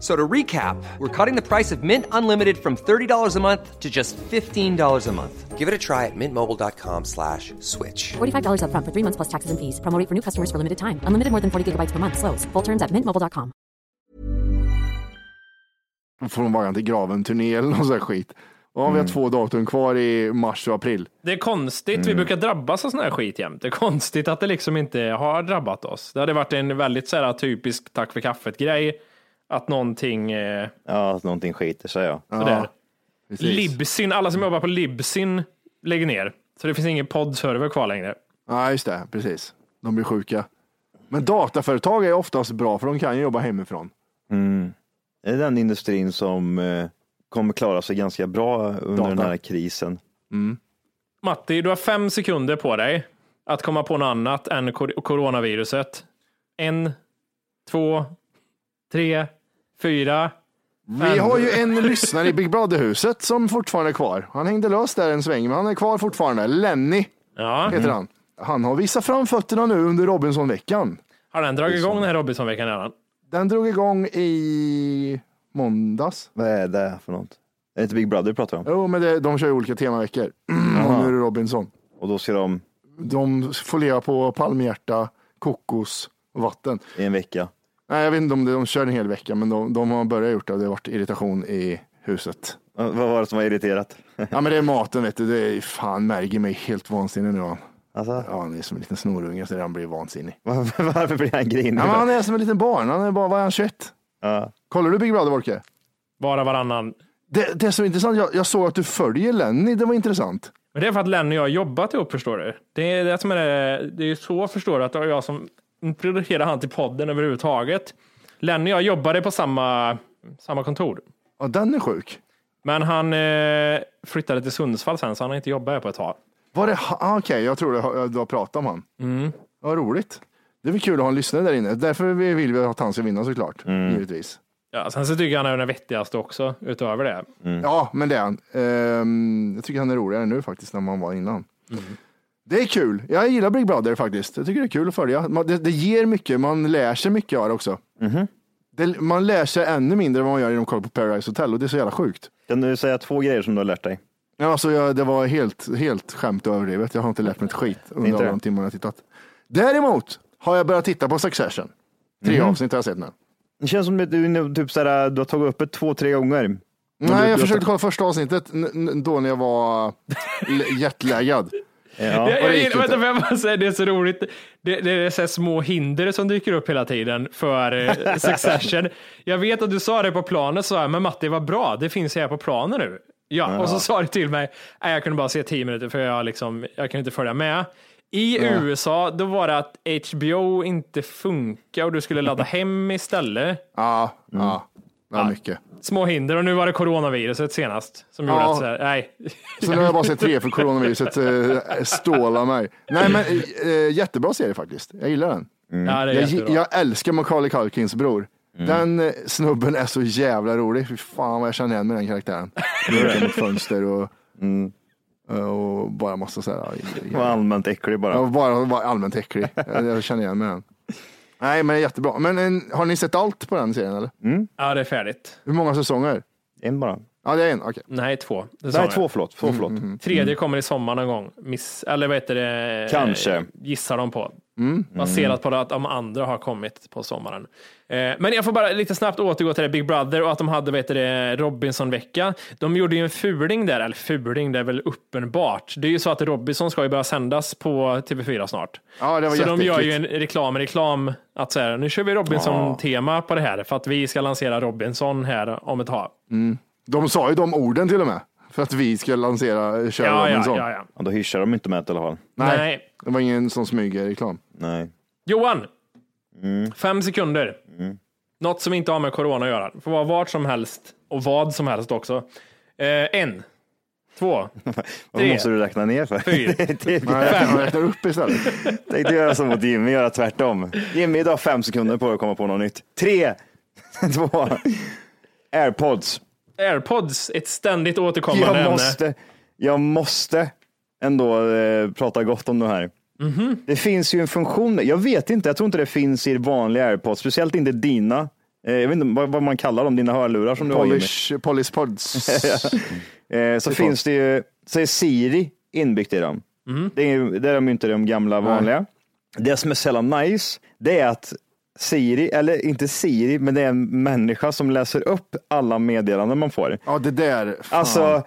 [SPEAKER 7] So to recap, we're cutting the price of Mint Unlimited from $30 a month to just $15 a month. Give it a try at mintmobile.com slash switch.
[SPEAKER 8] $45 up front for three months plus taxes and fees. Promo rate for new customers for limited time. Unlimited more than 40 gigabytes per month. Slows. Full terms at mintmobile.com.
[SPEAKER 3] Från vaggan till graven-turné eller någon sån här skit. Och har vi
[SPEAKER 6] Mm.
[SPEAKER 3] har två datum kvar i mars och april.
[SPEAKER 4] Det är konstigt.
[SPEAKER 6] Mm.
[SPEAKER 4] Vi brukar drabbas av sån här skit jämt. Det är konstigt att det liksom inte har drabbat oss. Det hade varit en väldigt så här, typisk tack för kaffet grej. Att någonting eh,
[SPEAKER 6] ja, att någonting skiter sig. Ja.
[SPEAKER 4] sådär.
[SPEAKER 3] Precis.
[SPEAKER 4] Libsyn, alla som jobbar på Libsyn lägger ner. Så det finns ingen poddserver kvar längre.
[SPEAKER 3] Ja, just det. Precis. De blir sjuka. Men dataföretag är oftast bra för de kan ju jobba hemifrån.
[SPEAKER 6] Det är den industrin som eh, kommer klara sig ganska bra under
[SPEAKER 3] Data.
[SPEAKER 6] den här krisen.
[SPEAKER 4] Matti, du har fem sekunder på dig att komma på något annat än kor- coronaviruset. En, två, tre, fyra.
[SPEAKER 3] Vi har ju en lyssnare i Big Brother-huset som fortfarande är kvar. Han hängde lös där en sväng, men han är kvar fortfarande. Lenny
[SPEAKER 4] Ja, Mm.
[SPEAKER 3] heter
[SPEAKER 6] Mm.
[SPEAKER 3] han. Han har visat fram fötterna nu under Robinson-veckan.
[SPEAKER 4] har den dragit igång den här Robinson-veckan redan?
[SPEAKER 3] Den drog igång i måndags.
[SPEAKER 6] Vad är det för något? Är det inte Big Brother vi pratar om?
[SPEAKER 3] Jo, men det, de kör ju olika temaveckor. Och nu är det Robinson.
[SPEAKER 6] Och då ska de
[SPEAKER 3] de får leva på palmhjärta, kokos och vatten.
[SPEAKER 7] i en vecka.
[SPEAKER 3] Nej, jag vet inte om det, de kör en hel vecka, men de, de har börjat gjort det och det har varit irritation i huset.
[SPEAKER 7] Ja, Vad var det som var irriterat?
[SPEAKER 3] Ja, men det är maten vet du. Det är, fan, Mergi mig helt vansinnig nu. han.
[SPEAKER 7] Alltså,
[SPEAKER 3] Ja, han är som en liten snorunge så han blir vansinnig.
[SPEAKER 7] varför, varför blir han grinig?
[SPEAKER 3] Ja, men
[SPEAKER 7] för?
[SPEAKER 3] han är som en liten barn. Han är bara, vad är han, 21?
[SPEAKER 7] Ja.
[SPEAKER 3] Kollar du Big Brother, Wolke?
[SPEAKER 4] Bara varannan.
[SPEAKER 3] Det, det som är intressant, jag, jag såg att du följer Lenny. Det var intressant.
[SPEAKER 4] Men det är för att Lenny och jag har jobbat ihop förstår du. Det är det som är det. Det är ju så förstår du att det var jag som introducerade han till podden överhuvudtaget. Lenny och jag jobbade på samma, samma kontor.
[SPEAKER 3] Ja, den är sjuk.
[SPEAKER 4] Men han eh, flyttade till Sundsvall sen, så han har inte jobbat här på ett tag.
[SPEAKER 3] Var det, ha- ah, okej, jag tror det, du har pratat om han. Mm. Vad roligt. Det är väl kul att ha en lyssnare där inne. Därför vi- vill vi att han ska vinna såklart, givetvis.
[SPEAKER 4] Ja, alltså, sen så tycker jag han är den vettigaste också, utöver det.
[SPEAKER 3] Ja, men det är han. Ehm, jag tycker han är roligare nu faktiskt än vad han var innan.
[SPEAKER 7] Mm.
[SPEAKER 3] Det är kul. Jag gillar Big Brother faktiskt. Jag tycker det är kul att följa. Man- Det, det ger mycket, man lär sig mycket av det också.
[SPEAKER 7] Mhm.
[SPEAKER 3] Det, man lär sig ännu mindre än vad man gör genom att kolla på Paradise Hotel och det är så jävla sjukt.
[SPEAKER 7] Kan du säga två grejer som du har lärt dig?
[SPEAKER 3] Ja, alltså jag, det var helt, helt skämt och överdrivet. Jag har inte lärt mig ett skit under
[SPEAKER 7] Inte
[SPEAKER 3] alla
[SPEAKER 7] det.
[SPEAKER 3] de timmar jag har tittat. Däremot har jag börjat titta på Succession. Tre
[SPEAKER 7] Mhm.
[SPEAKER 3] avsnitt har jag sett nu.
[SPEAKER 7] Det känns som att du, är inne- typ, såhär, du har tagit upp det två, tre gånger.
[SPEAKER 3] Nej, jag
[SPEAKER 7] du-
[SPEAKER 3] försökte kolla första avsnittet n- n- då när jag var l- jetlaggad.
[SPEAKER 4] jag,
[SPEAKER 3] och det
[SPEAKER 4] jag,
[SPEAKER 3] gick
[SPEAKER 4] gillar- vänta,
[SPEAKER 3] inte.
[SPEAKER 4] får jag bara säga, det är så roligt. Det, det är så här små hinder som dyker upp hela tiden för eh, Succession. jag vet att du sa det på planet, så här, men Matti, vad bra, det finns här på planen nu. Ja, och så sa du till mig, nej, jag kunde bara se tio minuter för jag, liksom, jag kunde inte följa med. I USA, då var det att HBO inte funkar och du skulle ladda hem istället.
[SPEAKER 3] Ja, ja,
[SPEAKER 4] Mm.
[SPEAKER 3] ja, mycket.
[SPEAKER 4] Små hinder och nu var det coronaviruset senast som gjorde
[SPEAKER 3] Ja.
[SPEAKER 4] att, så här, nej.
[SPEAKER 3] Så nu har jag bara sett tre för coronaviruset eh, stålar mig. Nej, men eh, jättebra serie faktiskt. Jag gillar den.
[SPEAKER 4] Ja, det är
[SPEAKER 3] Mm. Jag,
[SPEAKER 4] jättebra. Mm.
[SPEAKER 3] jag älskar Macaulay Culkins bror. Den eh, snubben är så jävla rolig. Fy fan vad jag känner igen med den karaktären. Röker mot fönster och,
[SPEAKER 4] Mm.
[SPEAKER 3] eh, och bara massa så här.
[SPEAKER 7] Det var allmänt äcklig bara.
[SPEAKER 3] Jag var bara, bara allmänt äcklig. Jag, jag känner igen med den. Nej, men jättebra. Men en, har ni sett allt på den serien eller?
[SPEAKER 4] Ja, det är färdigt.
[SPEAKER 3] Hur många säsonger?
[SPEAKER 7] En bara. Mm,
[SPEAKER 3] Ja, det är en. Okej.
[SPEAKER 4] Nej, två. Det sa
[SPEAKER 7] Nej,
[SPEAKER 4] jag.
[SPEAKER 7] två förlåt. Två, förlåt.
[SPEAKER 4] Tredje
[SPEAKER 3] Mm.
[SPEAKER 4] kommer i sommar någon gång. Miss, eller vad heter det? Eh,
[SPEAKER 7] Kanske.
[SPEAKER 4] Gissar de på.
[SPEAKER 3] Mm.
[SPEAKER 4] Baserat på att de andra har kommit på sommaren. Eh, Men jag får bara lite snabbt återgå till det Big Brother och att de hade vad heter det, Robinson-vecka. De gjorde ju en fuling där, eller fuling, det är väl uppenbart. Det är ju så att Robinson ska ju börja sändas på TV4 snart.
[SPEAKER 3] Ja, det var
[SPEAKER 4] så de gör ju
[SPEAKER 3] jätteäckligt.
[SPEAKER 4] en reklam i reklam, att så här, nu kör vi Robinson-tema på det här för att vi ska lansera Robinson här om ett tag.
[SPEAKER 3] De sa ju de orden till och med. För att vi ska lansera Kör
[SPEAKER 4] Ja, ja,
[SPEAKER 3] Robinson.
[SPEAKER 4] ja, ja.
[SPEAKER 7] Ja, då hyschar de inte med det i alla fall.
[SPEAKER 3] Nej.
[SPEAKER 4] Nej.
[SPEAKER 3] Det var ingen sån smygreklam.
[SPEAKER 7] Nej.
[SPEAKER 4] Johan! Fem sekunder. Något som inte har med corona att göra. Det får vara vart som helst och vad som helst också. Eh, en, två,
[SPEAKER 7] Vad
[SPEAKER 4] Tre.
[SPEAKER 7] måste du räkna ner för?
[SPEAKER 4] Fyra.
[SPEAKER 7] det är- typ-
[SPEAKER 3] Nej, jag räknar upp istället.
[SPEAKER 7] Tänkte göra som mot Jimmy, göra tvärtom. Jimmy, du har fem sekunder på dig att komma på något nytt. Tre, två, airpods.
[SPEAKER 4] airpods, ett ständigt återkommande
[SPEAKER 7] Jag
[SPEAKER 4] ämne.
[SPEAKER 7] måste, jag måste ändå eh, prata gott om de här.
[SPEAKER 4] Mhm.
[SPEAKER 7] Det finns ju en funktion, jag vet inte, jag tror inte det finns i vanliga airpods, speciellt inte dina. Eh, jag vet inte vad, vad man kallar dem, dina hörlurar som du har Jimmy.
[SPEAKER 3] Polish, Polish Pods.
[SPEAKER 7] Eh, så finns det ju, så är Siri inbyggt i dem. Det, är, ju- det är de ju inte de gamla vanliga. Det som är sällan nice, det är att Siri, eller inte Siri, men det är en människa som läser upp alla meddelanden man får.
[SPEAKER 3] Ja, det där. Fan.
[SPEAKER 7] Alltså,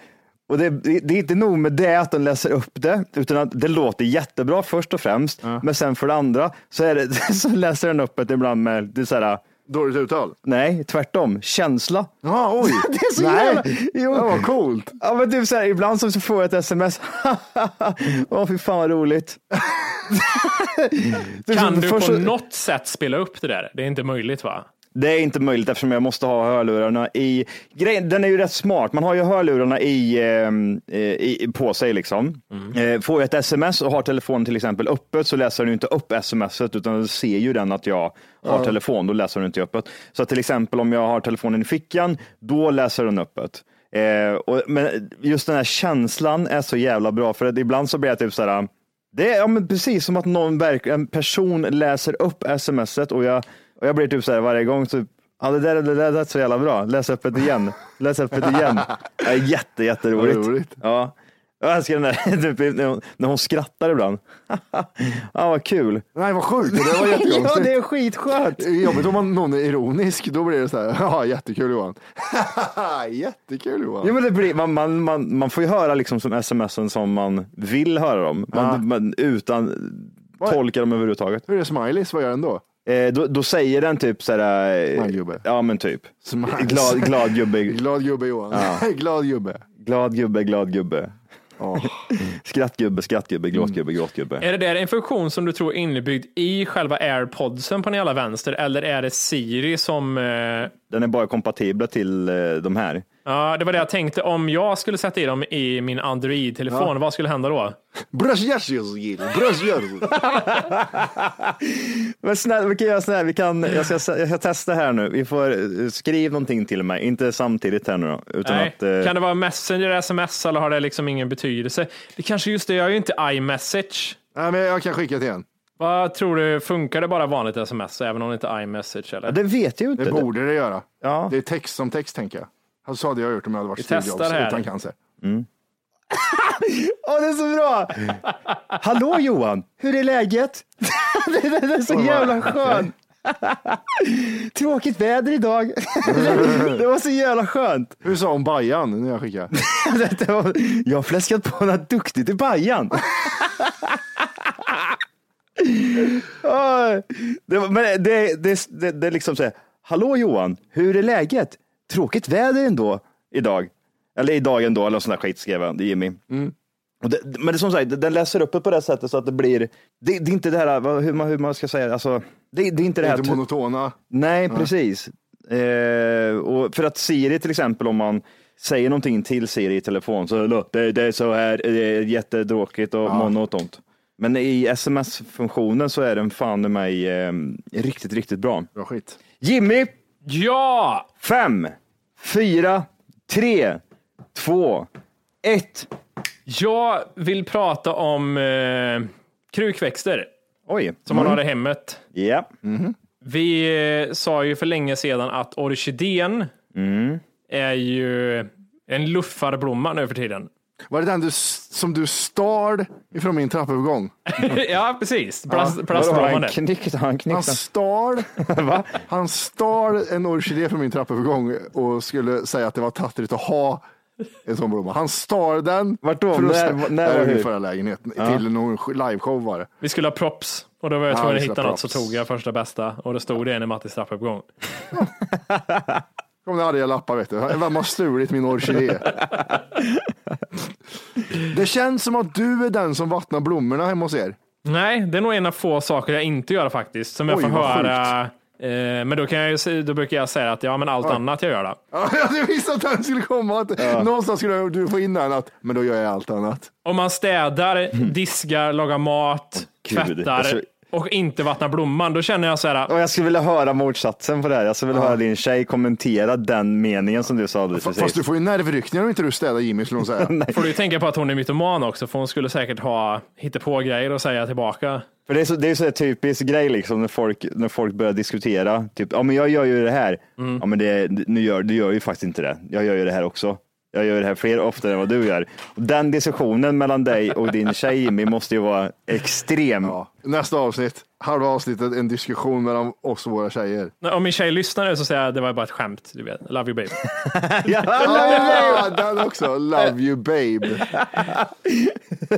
[SPEAKER 7] och det, det är inte nog med det att den läser upp det, utan att det låter jättebra först och främst. Men sen för det andra så, är det, så läser den upp det ibland med, det är så här,
[SPEAKER 3] Dåligt uttal.
[SPEAKER 7] nej, tvärtom, känsla.
[SPEAKER 3] Ja, oj.
[SPEAKER 7] Det är så
[SPEAKER 3] Nej.
[SPEAKER 7] jävla- Jo.
[SPEAKER 3] Det var coolt.
[SPEAKER 7] Ja men typ såhär, ibland så får jag ett sms. Åh fy fan vad roligt. Typ
[SPEAKER 4] Kan
[SPEAKER 7] så-
[SPEAKER 4] du på
[SPEAKER 7] först så-
[SPEAKER 4] något sätt spela upp det där? Det är inte möjligt va?
[SPEAKER 7] Det är inte möjligt eftersom jag måste ha hörlurarna i. Grejen, den är ju rätt smart. Man har ju hörlurarna i, ehm, eh, i, på sig liksom. Eh, Får jag ett sms och har telefonen till exempel öppet så läser den ju inte upp smset utan den ser ju den att jag har telefon. Då läser den inte öppet. Så att till exempel om jag har telefonen i fickan, då läser den öppet. Eh, och, men just den här känslan är så jävla bra för att ibland så blir jag typ så här. Det är ja, men precis som att någon verk, en person läser upp smset och jag, och jag blir typ så här varje gång. Typ, ja, det där det där lät så jävla bra. Läs upp det igen. Läs upp det igen. Ja, jätte, jätteroligt.
[SPEAKER 3] Vad roligt.
[SPEAKER 7] Ja. Jag älskar den där, typ, när, hon, när hon skrattar ibland. ah, vad kul.
[SPEAKER 3] Nej, vad sjukt. Det var jättekonstigt.
[SPEAKER 7] ja, det är skitskönt.
[SPEAKER 3] Det är Jobbigt om man, någon är ironisk, då blir det så här, ja jättekul Johan. jättekul Johan.
[SPEAKER 7] Jo, men det blir, man, man, man, man får ju höra liksom som smsen som man vill höra dem, man,
[SPEAKER 3] Ja.
[SPEAKER 7] man, utan tolka dem överhuvudtaget.
[SPEAKER 3] Hur är det smileys, vad gör den då?
[SPEAKER 7] Eh, då, då säger den typ så här. eh,
[SPEAKER 3] Smile gubbe.
[SPEAKER 7] Ja, men typ.
[SPEAKER 3] Smiles.
[SPEAKER 7] Glad, glad gubbe,
[SPEAKER 3] Glad gubbe Johan. Glad gubbe.
[SPEAKER 7] glad gubbe, glad gubbe.
[SPEAKER 3] Ja. Mm.
[SPEAKER 7] Skrattgubbe, skrattgubbe, gråtgubbe, gråtgubbe.
[SPEAKER 4] Är det där en funktion som du tror är inbyggd i själva airpodsen på den jävla vänster eller är det Siri som... eh,
[SPEAKER 7] Den är bara kompatibla till eh, de här.
[SPEAKER 4] Ja, det var det jag tänkte. Om jag skulle sätta i dem i min Android-telefon, vad skulle hända då?
[SPEAKER 3] Brush yourself, Jill. Brush yourself.
[SPEAKER 7] Men snälla, vi kan göra så här, vi kan, jag, ska, jag ska testa här nu. Vi får eh, skriv någonting till mig, inte samtidigt här nu då. Utan
[SPEAKER 4] Nej.
[SPEAKER 7] att, eh,
[SPEAKER 4] Kan det vara Messenger, sms eller har det liksom ingen betydelse? Det kanske just det, jag är ju inte iMessage.
[SPEAKER 3] Nej, men jag kan skicka till en.
[SPEAKER 4] Vad tror du, funkar det bara vanligt sms även om det inte är iMessage? Eller?
[SPEAKER 7] ja, det vet jag ju inte.
[SPEAKER 3] Det borde det göra.
[SPEAKER 7] Ja.
[SPEAKER 3] Det är text som text tänker jag. Alltså, så hade jag gjort om jag hade varit
[SPEAKER 4] Vi
[SPEAKER 3] Steve
[SPEAKER 4] testar
[SPEAKER 3] Jobs
[SPEAKER 4] här.
[SPEAKER 3] utan cancer.
[SPEAKER 7] Åh, det är så bra! Hallå Johan, hur är läget? det, det, det är så jävla skönt. Tråkigt väder idag. det var så jävla skönt.
[SPEAKER 3] Hur sa hon Bajan när jag skickade?
[SPEAKER 7] Det var, jag har fläskat på något duktigt i Bajan. Åh, det, var- men det, det, det, det är liksom så här, hallå Johan, hur är läget? Tråkigt väder ändå idag. Eller idag ändå, eller något sån där skit skrev han, det är Jimmy.
[SPEAKER 3] Mm.
[SPEAKER 7] Och det, men det är som sagt, den läser upp det på det sättet så att det blir, det, det är inte det här, vad- hur man, hur man ska säga, alltså, det, det är inte det
[SPEAKER 3] Det
[SPEAKER 7] här
[SPEAKER 3] är inte monotona.
[SPEAKER 7] Nej, precis. Eh, och för att Siri till exempel, om man säger någonting till Siri i telefon, så "Hallå, det, det är så här det är jättedråkigt och monotont. Men i sms-funktionen så är den fan i mig eh, riktigt, riktigt bra.
[SPEAKER 3] Bra skit.
[SPEAKER 7] Jimmy,
[SPEAKER 4] Ja!
[SPEAKER 7] fem, fyra, tre, två, ett.
[SPEAKER 4] Jag vill prata om eh, krukväxter
[SPEAKER 7] Oj.
[SPEAKER 4] som man har i hemmet.
[SPEAKER 7] Ja,
[SPEAKER 3] Mm.
[SPEAKER 4] Vi eh, sa ju för länge sedan att orkidén
[SPEAKER 7] Mm.
[SPEAKER 4] är ju en luffarblomma nu för tiden.
[SPEAKER 3] Var det den du, s- som du stal ifrån min trappuppgång?
[SPEAKER 4] ja, precis. Plast,
[SPEAKER 7] Vadå,
[SPEAKER 4] plastblomman.
[SPEAKER 7] han
[SPEAKER 4] där.
[SPEAKER 7] knyckte, han
[SPEAKER 3] Han
[SPEAKER 7] knyckte.
[SPEAKER 3] stal, han stal en orkidé från min trappuppgång och skulle säga att det var tattrigt att ha en sån blomma. Han stal den.
[SPEAKER 7] Vart då?
[SPEAKER 3] För att
[SPEAKER 7] När- när
[SPEAKER 3] stä- Nej,
[SPEAKER 7] var
[SPEAKER 3] i
[SPEAKER 7] det?
[SPEAKER 3] min förra lägenheten. Till någon sk- liveshow var det.
[SPEAKER 4] Vi skulle ha props och då var jag
[SPEAKER 3] Ja,
[SPEAKER 4] tvungen
[SPEAKER 3] vi
[SPEAKER 4] att
[SPEAKER 3] skulle
[SPEAKER 4] hitta
[SPEAKER 3] ha
[SPEAKER 4] något så
[SPEAKER 3] props.
[SPEAKER 4] tog jag första bästa och då stod det en i Mattis trappuppgång.
[SPEAKER 3] kom det arga lappar vet du. Vem har stulit min orkidé? Det känns som att du är den som vattnar blommorna hemma hos er.
[SPEAKER 4] Nej, det är nog en av få saker jag inte gör faktiskt som jag
[SPEAKER 3] Oj,
[SPEAKER 4] får
[SPEAKER 3] vad
[SPEAKER 4] höra. Eh, men då, kan jag ju, se- då brukar jag säga att ja, men allt annat jag gör då.
[SPEAKER 3] Ja, Jag visste att den skulle komma. Att Någonstans skulle du få in den att, men då gör jag allt annat.
[SPEAKER 4] Om man städar,
[SPEAKER 3] Mm.
[SPEAKER 4] diskar, lagar mat,
[SPEAKER 7] Gud,
[SPEAKER 4] tvättar
[SPEAKER 7] alltså-
[SPEAKER 4] och inte vattnar blomman, då känner jag så här.
[SPEAKER 7] Och jag skulle vilja höra motsatsen på det här. Jag skulle vilja höra din tjej kommentera den meningen som du sa alldeles precis.
[SPEAKER 3] Fast du får ju nervryckningar om inte du städar Jimmy skulle hon säga.
[SPEAKER 4] Får du ju tänka på att hon är mytoman också, för hon skulle säkert ha hittat på grejer och säga tillbaka.
[SPEAKER 7] För det är så, det är så här typisk grej liksom när folk, när folk börjar diskutera. Typ, ja men jag gör ju det här.
[SPEAKER 3] Mm.
[SPEAKER 7] Ja men det, nu gör, du gör ju faktiskt inte det. Jag gör ju det här också. Jag gör det här fler oftare än vad du gör. Och den diskussionen mellan dig och din tjej Jimmy måste ju vara extrem.
[SPEAKER 3] Ja. Nästa avsnitt, halva avsnittet, en diskussion mellan oss och våra tjejer.
[SPEAKER 4] Nej, Om min tjej lyssnar nu så säger jag det var bara ett skämt. Du vet. Love you babe.
[SPEAKER 3] Ah, den också, love you babe.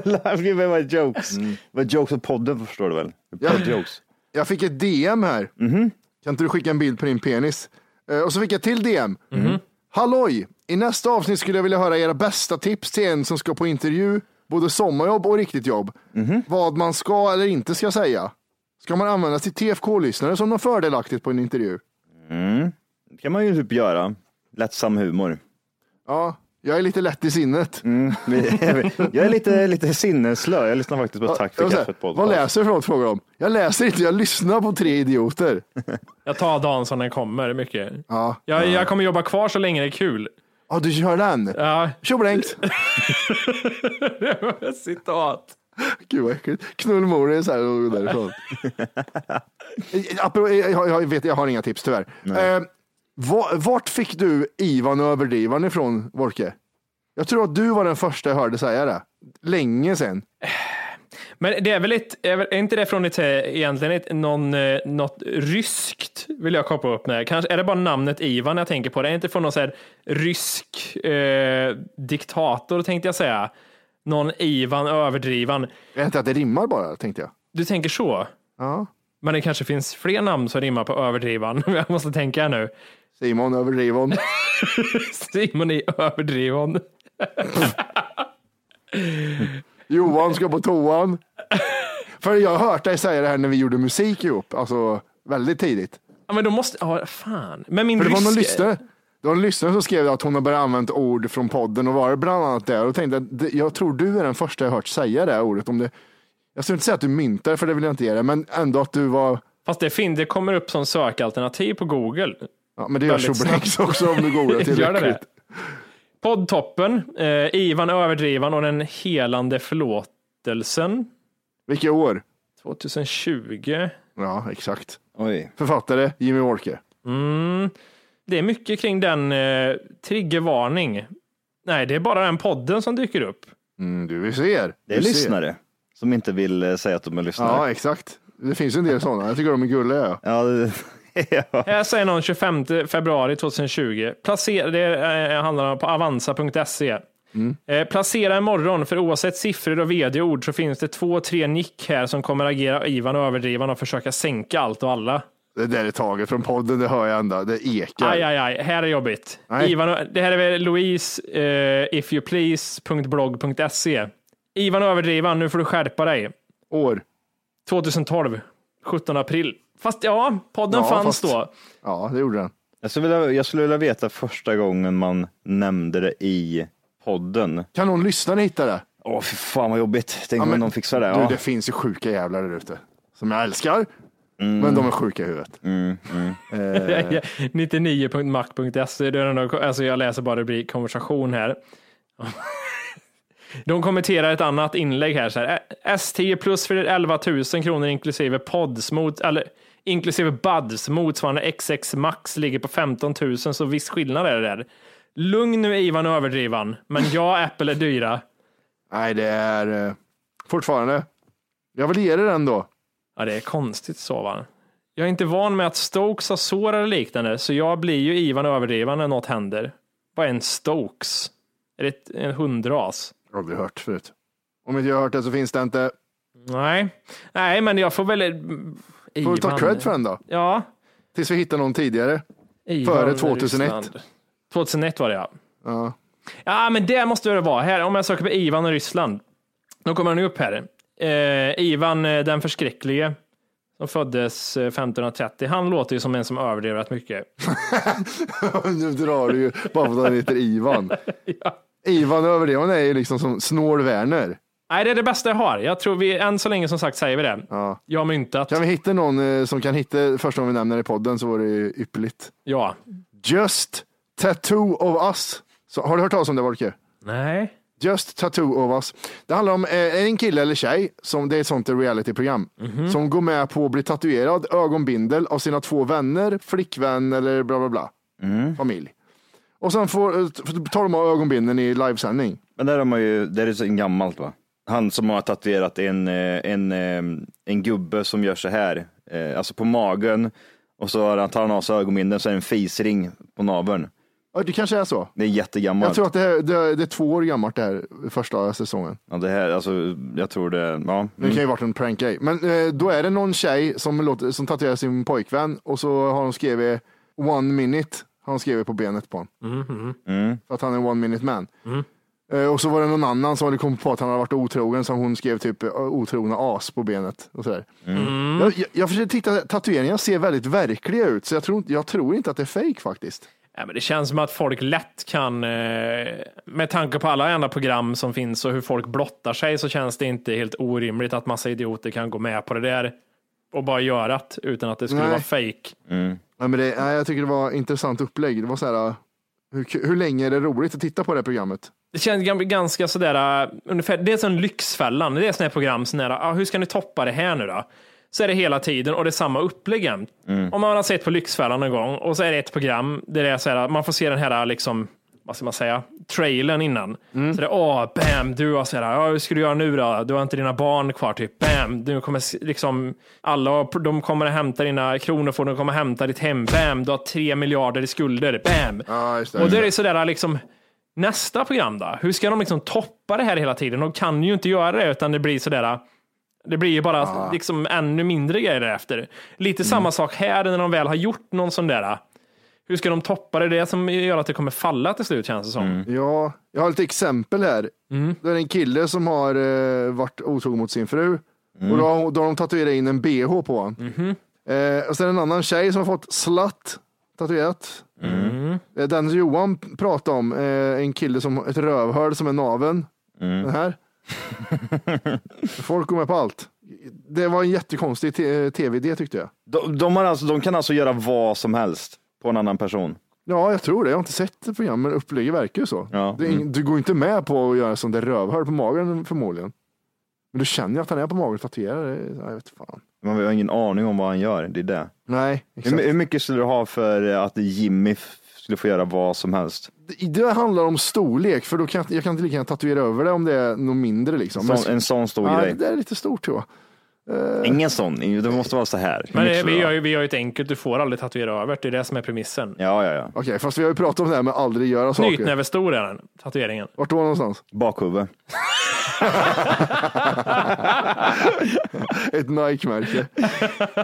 [SPEAKER 7] Love you med jokes. Mm. jokes på podden förstår du väl?
[SPEAKER 3] Ja.
[SPEAKER 7] Jokes.
[SPEAKER 3] Jag fick ett DM här.
[SPEAKER 7] Mhm.
[SPEAKER 3] Kan inte du skicka en bild på din penis? Eh, Och så fick jag till DM.
[SPEAKER 7] Mhm.
[SPEAKER 3] Halloj! I nästa avsnitt skulle jag vilja höra era bästa tips till en som ska på intervju, både sommarjobb och riktigt jobb.
[SPEAKER 7] Mhm.
[SPEAKER 3] Vad man ska eller inte ska säga. Ska man använda sitt TFK-lyssnare som något fördelaktigt på en intervju?
[SPEAKER 7] Det kan man ju typ göra. Lättsam humor.
[SPEAKER 3] Ja, jag är lite lätt i sinnet.
[SPEAKER 7] Mm, Jag är lite, lite sinneslö. Jag lyssnar faktiskt på Tack för
[SPEAKER 3] Jag säger,
[SPEAKER 7] kaffet podcast.
[SPEAKER 3] Vad läser du för något frågar de? Jag läser inte, jag lyssnar på tre idioter.
[SPEAKER 4] Jag tar dagen som den kommer mycket.
[SPEAKER 3] Ja,
[SPEAKER 4] Jag, jag kommer jobba kvar så länge det är kul.
[SPEAKER 3] ja du kör den.
[SPEAKER 4] Ja,
[SPEAKER 3] Tjoblänkt.
[SPEAKER 4] citat.
[SPEAKER 3] Gud vad äckligt. Knullmor är så här och därifrån. Apropå- jag, jag, vet, jag har inga tips tyvärr. Eh, va- vart fick du Ivan och överdrivaren ifrån, Wolke? Jag tror att du var den första jag hörde säga det. länge sedan.
[SPEAKER 4] Men det är väl ett, är inte det från ett, eh, egentligen ett, någon, eh, något ryskt, vill jag koppla upp med. Kanske, är det bara namnet Ivan jag tänker på? Det är inte från någon så här rysk eh, diktator tänkte jag säga. Någon Ivan överdrivan.
[SPEAKER 3] Jag vet inte att det rimmar bara, tänkte jag.
[SPEAKER 4] Du tänker så?
[SPEAKER 3] Ja.
[SPEAKER 4] Men det kanske finns fler namn som rimmar på överdrivan. Jag måste tänka här nu.
[SPEAKER 3] Simon över Rivon.
[SPEAKER 4] Simon i överdrivan.
[SPEAKER 3] Johan ska på toan. För jag har hört dig säga det här när vi gjorde musik ihop, alltså väldigt tidigt.
[SPEAKER 4] Ja, men då måste, ja fan. Men min
[SPEAKER 3] För det var någon
[SPEAKER 4] ryska-
[SPEAKER 3] lyssnare, det var en lyssnare som skrev att hon har börjat använda ord från podden och var det bland annat där och tänkte att det- jag tror du är den första jag hört säga det här ordet. Om det, jag skulle inte säga att du myntade för det vill jag inte ge dig, men ändå att du var,
[SPEAKER 4] Fast det, fin, det kommer upp som sökalternativ på Google.
[SPEAKER 3] ja, men det gör
[SPEAKER 4] Väldigt
[SPEAKER 3] Shoebrex också om du googlar tillräckligt.
[SPEAKER 4] Gör det det? Poddtoppen, eh, Ivan Överdrivan och den helande förlåtelsen.
[SPEAKER 3] Vilka år?
[SPEAKER 4] 2020.
[SPEAKER 3] Ja, exakt.
[SPEAKER 6] Oj.
[SPEAKER 3] Författare Jimmy Walker.
[SPEAKER 4] Mm. Det är mycket kring den eh, triggervarning. Nej, det är bara den podden som dyker upp.
[SPEAKER 3] Mm, du ser.
[SPEAKER 6] Det är
[SPEAKER 3] du ser.
[SPEAKER 6] lyssnare som inte vill eh, säga att de är
[SPEAKER 3] Ja,
[SPEAKER 6] lyssnare.
[SPEAKER 3] exakt. Det finns en del sådana. Jag tycker de är gulliga. ja.
[SPEAKER 6] Ja, det- ja.
[SPEAKER 4] Här Eh, säger någon 25 februari 2020. Placera, det eh, handlar på avanza.se.
[SPEAKER 3] Mm.
[SPEAKER 4] Eh, placera imorgon, för oavsett siffror och vd-ord så finns det två, tre nick här som kommer agera Ivan och överdrivan och försöka sänka allt och alla.
[SPEAKER 3] Det där är taget från podden, det hör jag ända. Det ekar.
[SPEAKER 4] Aj, aj, aj, här är jobbigt.
[SPEAKER 3] Nej.
[SPEAKER 4] Ivan, och- det här är väl Louise, eh, ifyouplease.blogg.se. Ivan och överdrivan, nu får du skärpa dig.
[SPEAKER 3] År.
[SPEAKER 4] 2012, 17 april. Fast ja, podden
[SPEAKER 3] Ja,
[SPEAKER 4] fanns
[SPEAKER 3] fast-
[SPEAKER 4] då.
[SPEAKER 3] Ja, det gjorde den.
[SPEAKER 6] Jag, skulle vilja, jag skulle vilja veta första gången man nämnde det i podden.
[SPEAKER 3] Kan någon lyssnare hitta det?
[SPEAKER 6] Åh, fy fan vad jobbigt. Tänk
[SPEAKER 3] men-
[SPEAKER 6] om någon fixar det.
[SPEAKER 3] Du,
[SPEAKER 6] Ja.
[SPEAKER 3] det finns ju sjuka jävlar där ute. Som jag älskar,
[SPEAKER 6] Mm.
[SPEAKER 3] men de är sjuka i huvudet.
[SPEAKER 4] 99.mac.se. det är den där- Alltså jag läser bara rubrik konversation här. De kommenterar ett annat inlägg här. Så här "Ä- S10 plus för 11 000 kronor inklusive pods mot, eller inklusive buds motsvarande XX max ligger på 15 000 så viss skillnad är det där. Lugn nu Ivan och överdrivan, men ja, Apple är dyra.
[SPEAKER 3] Nej, det är eh, fortfarande. Jag vill ge dig den då.
[SPEAKER 4] Ja, det är konstigt så va. Jag är inte van med att Stokes har sår eller liknande, så jag blir ju Ivan överdriven när något händer. Vad är en Stokes? Är det ett- en hundras?
[SPEAKER 3] Jag har aldrig hört förut. Om inte jag har hört det så finns det inte.
[SPEAKER 4] Nej, nej, men jag får väl...
[SPEAKER 3] Får
[SPEAKER 4] Ivan.
[SPEAKER 3] vi ta cred för den då?
[SPEAKER 4] Ja.
[SPEAKER 3] Tills vi hittar någon tidigare.
[SPEAKER 4] Ivan,
[SPEAKER 3] Före 2001.
[SPEAKER 4] Ryssland. 2001 var det ja.
[SPEAKER 3] Ja.
[SPEAKER 4] Ja, men det måste det vara. Här, om jag söker på Ivan och Ryssland, då kommer han upp här. Eh, Ivan eh, den förskräcklige, som föddes eh, 1530, han låter ju som en som överdrev rätt mycket.
[SPEAKER 3] nu drar du ju bara för att han heter Ivan. Ivan över det, hon är ju liksom som Snål Werner.
[SPEAKER 4] Nej, det är det bästa jag har. Jag tror vi, än så länge som sagt säger vi det.
[SPEAKER 3] Ja.
[SPEAKER 4] Jag har myntat.
[SPEAKER 3] Kan vi hitta någon eh, som kan hitta första gången vi nämner det i podden så vore det ju ypperligt.
[SPEAKER 4] Ja.
[SPEAKER 3] Just Tattoo of Us. Så, har du hört talas om det Volker?
[SPEAKER 4] Nej.
[SPEAKER 3] Just Tattoo of Us. Det handlar om eh, en kille eller tjej, som, det är ett sånt realityprogram, som går med på att bli tatuerad ögonbindel av sina två vänner, flickvän eller bla bla bla. Familj. Och sen får, eh, tar de av ögonbindeln i livesändning.
[SPEAKER 6] Men där har man ju, där är det så gammalt va? Han som har tatuerat en, eh, en, eh, en gubbe som gör så här, eh, alltså på magen och så har han- tar han av sig ögonbindeln så är det en fisring på naveln.
[SPEAKER 3] Ja, det kanske är så.
[SPEAKER 6] Det är
[SPEAKER 3] Jag
[SPEAKER 6] jättegammalt.
[SPEAKER 3] tror att det, här, det, det är två år gammalt det här, första säsongen.
[SPEAKER 6] ja, det här, alltså, jag tror det, ja. Mm.
[SPEAKER 3] Det kan ju varit en prank grej. Men eh, då är det någon tjej som, låter, som tatuerar sin pojkvän och så har hon skrivit one minute. Har hon skrivit på benet på honom. För att han är en one minute man. Eh, och så var det någon annan som hade kommit på att han hade varit otrogen så hon skrev typ eh, otrogna as på benet. Och sådär. Jag, jag, jag försöker titta, tatueringarna ser väldigt verkliga ut så jag tror, inte- jag tror inte att det är fake faktiskt.
[SPEAKER 4] Nej, men det känns som att folk lätt kan, eh, med tanke på alla andra program som finns och hur folk blottar sig, så känns det inte helt orimligt att massa idioter kan gå med på det där och bara göra det utan att det skulle
[SPEAKER 3] Nej.
[SPEAKER 4] vara fake.
[SPEAKER 3] Nej, men det, nej, jag tycker det var intressant upplägg. Det var så här, eh, hur, ku- hur länge är det roligt att titta på det här programmet?
[SPEAKER 4] Det känns gam- ganska sådär, äh, ungefär, det är som Lyxfällan, det är sådana här program, sån här, ah, hur ska ni toppa det här nu då? Så är det hela tiden och det är samma upplägg jämt. Om man har sett på Lyxfällan någon gång och så är det ett program där det är så här, man får se den här liksom, vad ska man säga, trailern innan. Så det är, åh, bam, du har sådär, ja, hur ska du göra nu då? Du har inte dina barn kvar, typ, bam, nu kommer s- liksom alla, de kommer att hämta dina kronofogden, de kommer att hämta ditt hem, bam, du har tre miljarder i skulder, bam.
[SPEAKER 3] Ja, just det.
[SPEAKER 4] och då är det sådär liksom, nästa program då? Hur ska de liksom toppa det här hela tiden? De kan ju inte göra det, utan det blir sådär, det blir ju bara liksom ännu mindre grejer därefter. Lite samma sak här när de väl har gjort någon sån där. Hur ska de toppa det? Det är det som gör att det kommer falla till slut känns det som.
[SPEAKER 3] Mm. Ja, jag har lite exempel här. Det är en kille som har eh, varit otrogen mot sin fru och då, har- då har de tatuerat in en bh på honom. Eh, och sen en annan tjej som har fått slatt tatuerat. Eh, den Johan pratade om, eh, en kille som ett rövhål som är naven. Den här. Folk går med på allt. Det var en jättekonstig te- eh, tv-idé tyckte jag.
[SPEAKER 7] De, de, har alltså, de kan alltså göra vad som helst på en annan person.
[SPEAKER 3] Ja, jag tror det. Jag har inte sett det programmet, men upplägget verkar ju så.
[SPEAKER 7] Ja. mm.
[SPEAKER 3] Det är ing- Du går inte med på att göra sånt där rövhål på magen förmodligen. Men du känner ju att han är på magen och tatuerar. det. Jag vet fan.
[SPEAKER 7] Man har ingen aning om vad han gör. Det är det.
[SPEAKER 3] Nej,
[SPEAKER 7] Hur,
[SPEAKER 3] exakt.
[SPEAKER 7] hur mycket skulle du ha för eh, att Jimmy f- skulle få göra vad som helst?
[SPEAKER 3] Det- Det handlar om storlek, för då kan jag, jag kan inte lika gärna tatuera över det om det är något mindre. Liksom. Men-
[SPEAKER 7] Sån, en sån stor
[SPEAKER 3] ja, det
[SPEAKER 7] grej.
[SPEAKER 3] där är lite stort tror jag.
[SPEAKER 7] Ingen sån. Det måste vara så här. Hur
[SPEAKER 4] Men
[SPEAKER 7] mycket
[SPEAKER 4] det,
[SPEAKER 7] skulle
[SPEAKER 4] vi,
[SPEAKER 7] du
[SPEAKER 4] gör
[SPEAKER 7] ha?
[SPEAKER 4] ju, vi gör ju ett enkelt, du får aldrig tatuera över. Det är det som är premissen.
[SPEAKER 7] Ja, ja, ja.
[SPEAKER 3] Okej, fast vi har ju pratat om det här med aldrig göra saker.
[SPEAKER 4] Knytnävestor är den, tatueringen.
[SPEAKER 3] Vart då någonstans?
[SPEAKER 7] Bakhuvud.
[SPEAKER 3] Ett Nike-märke.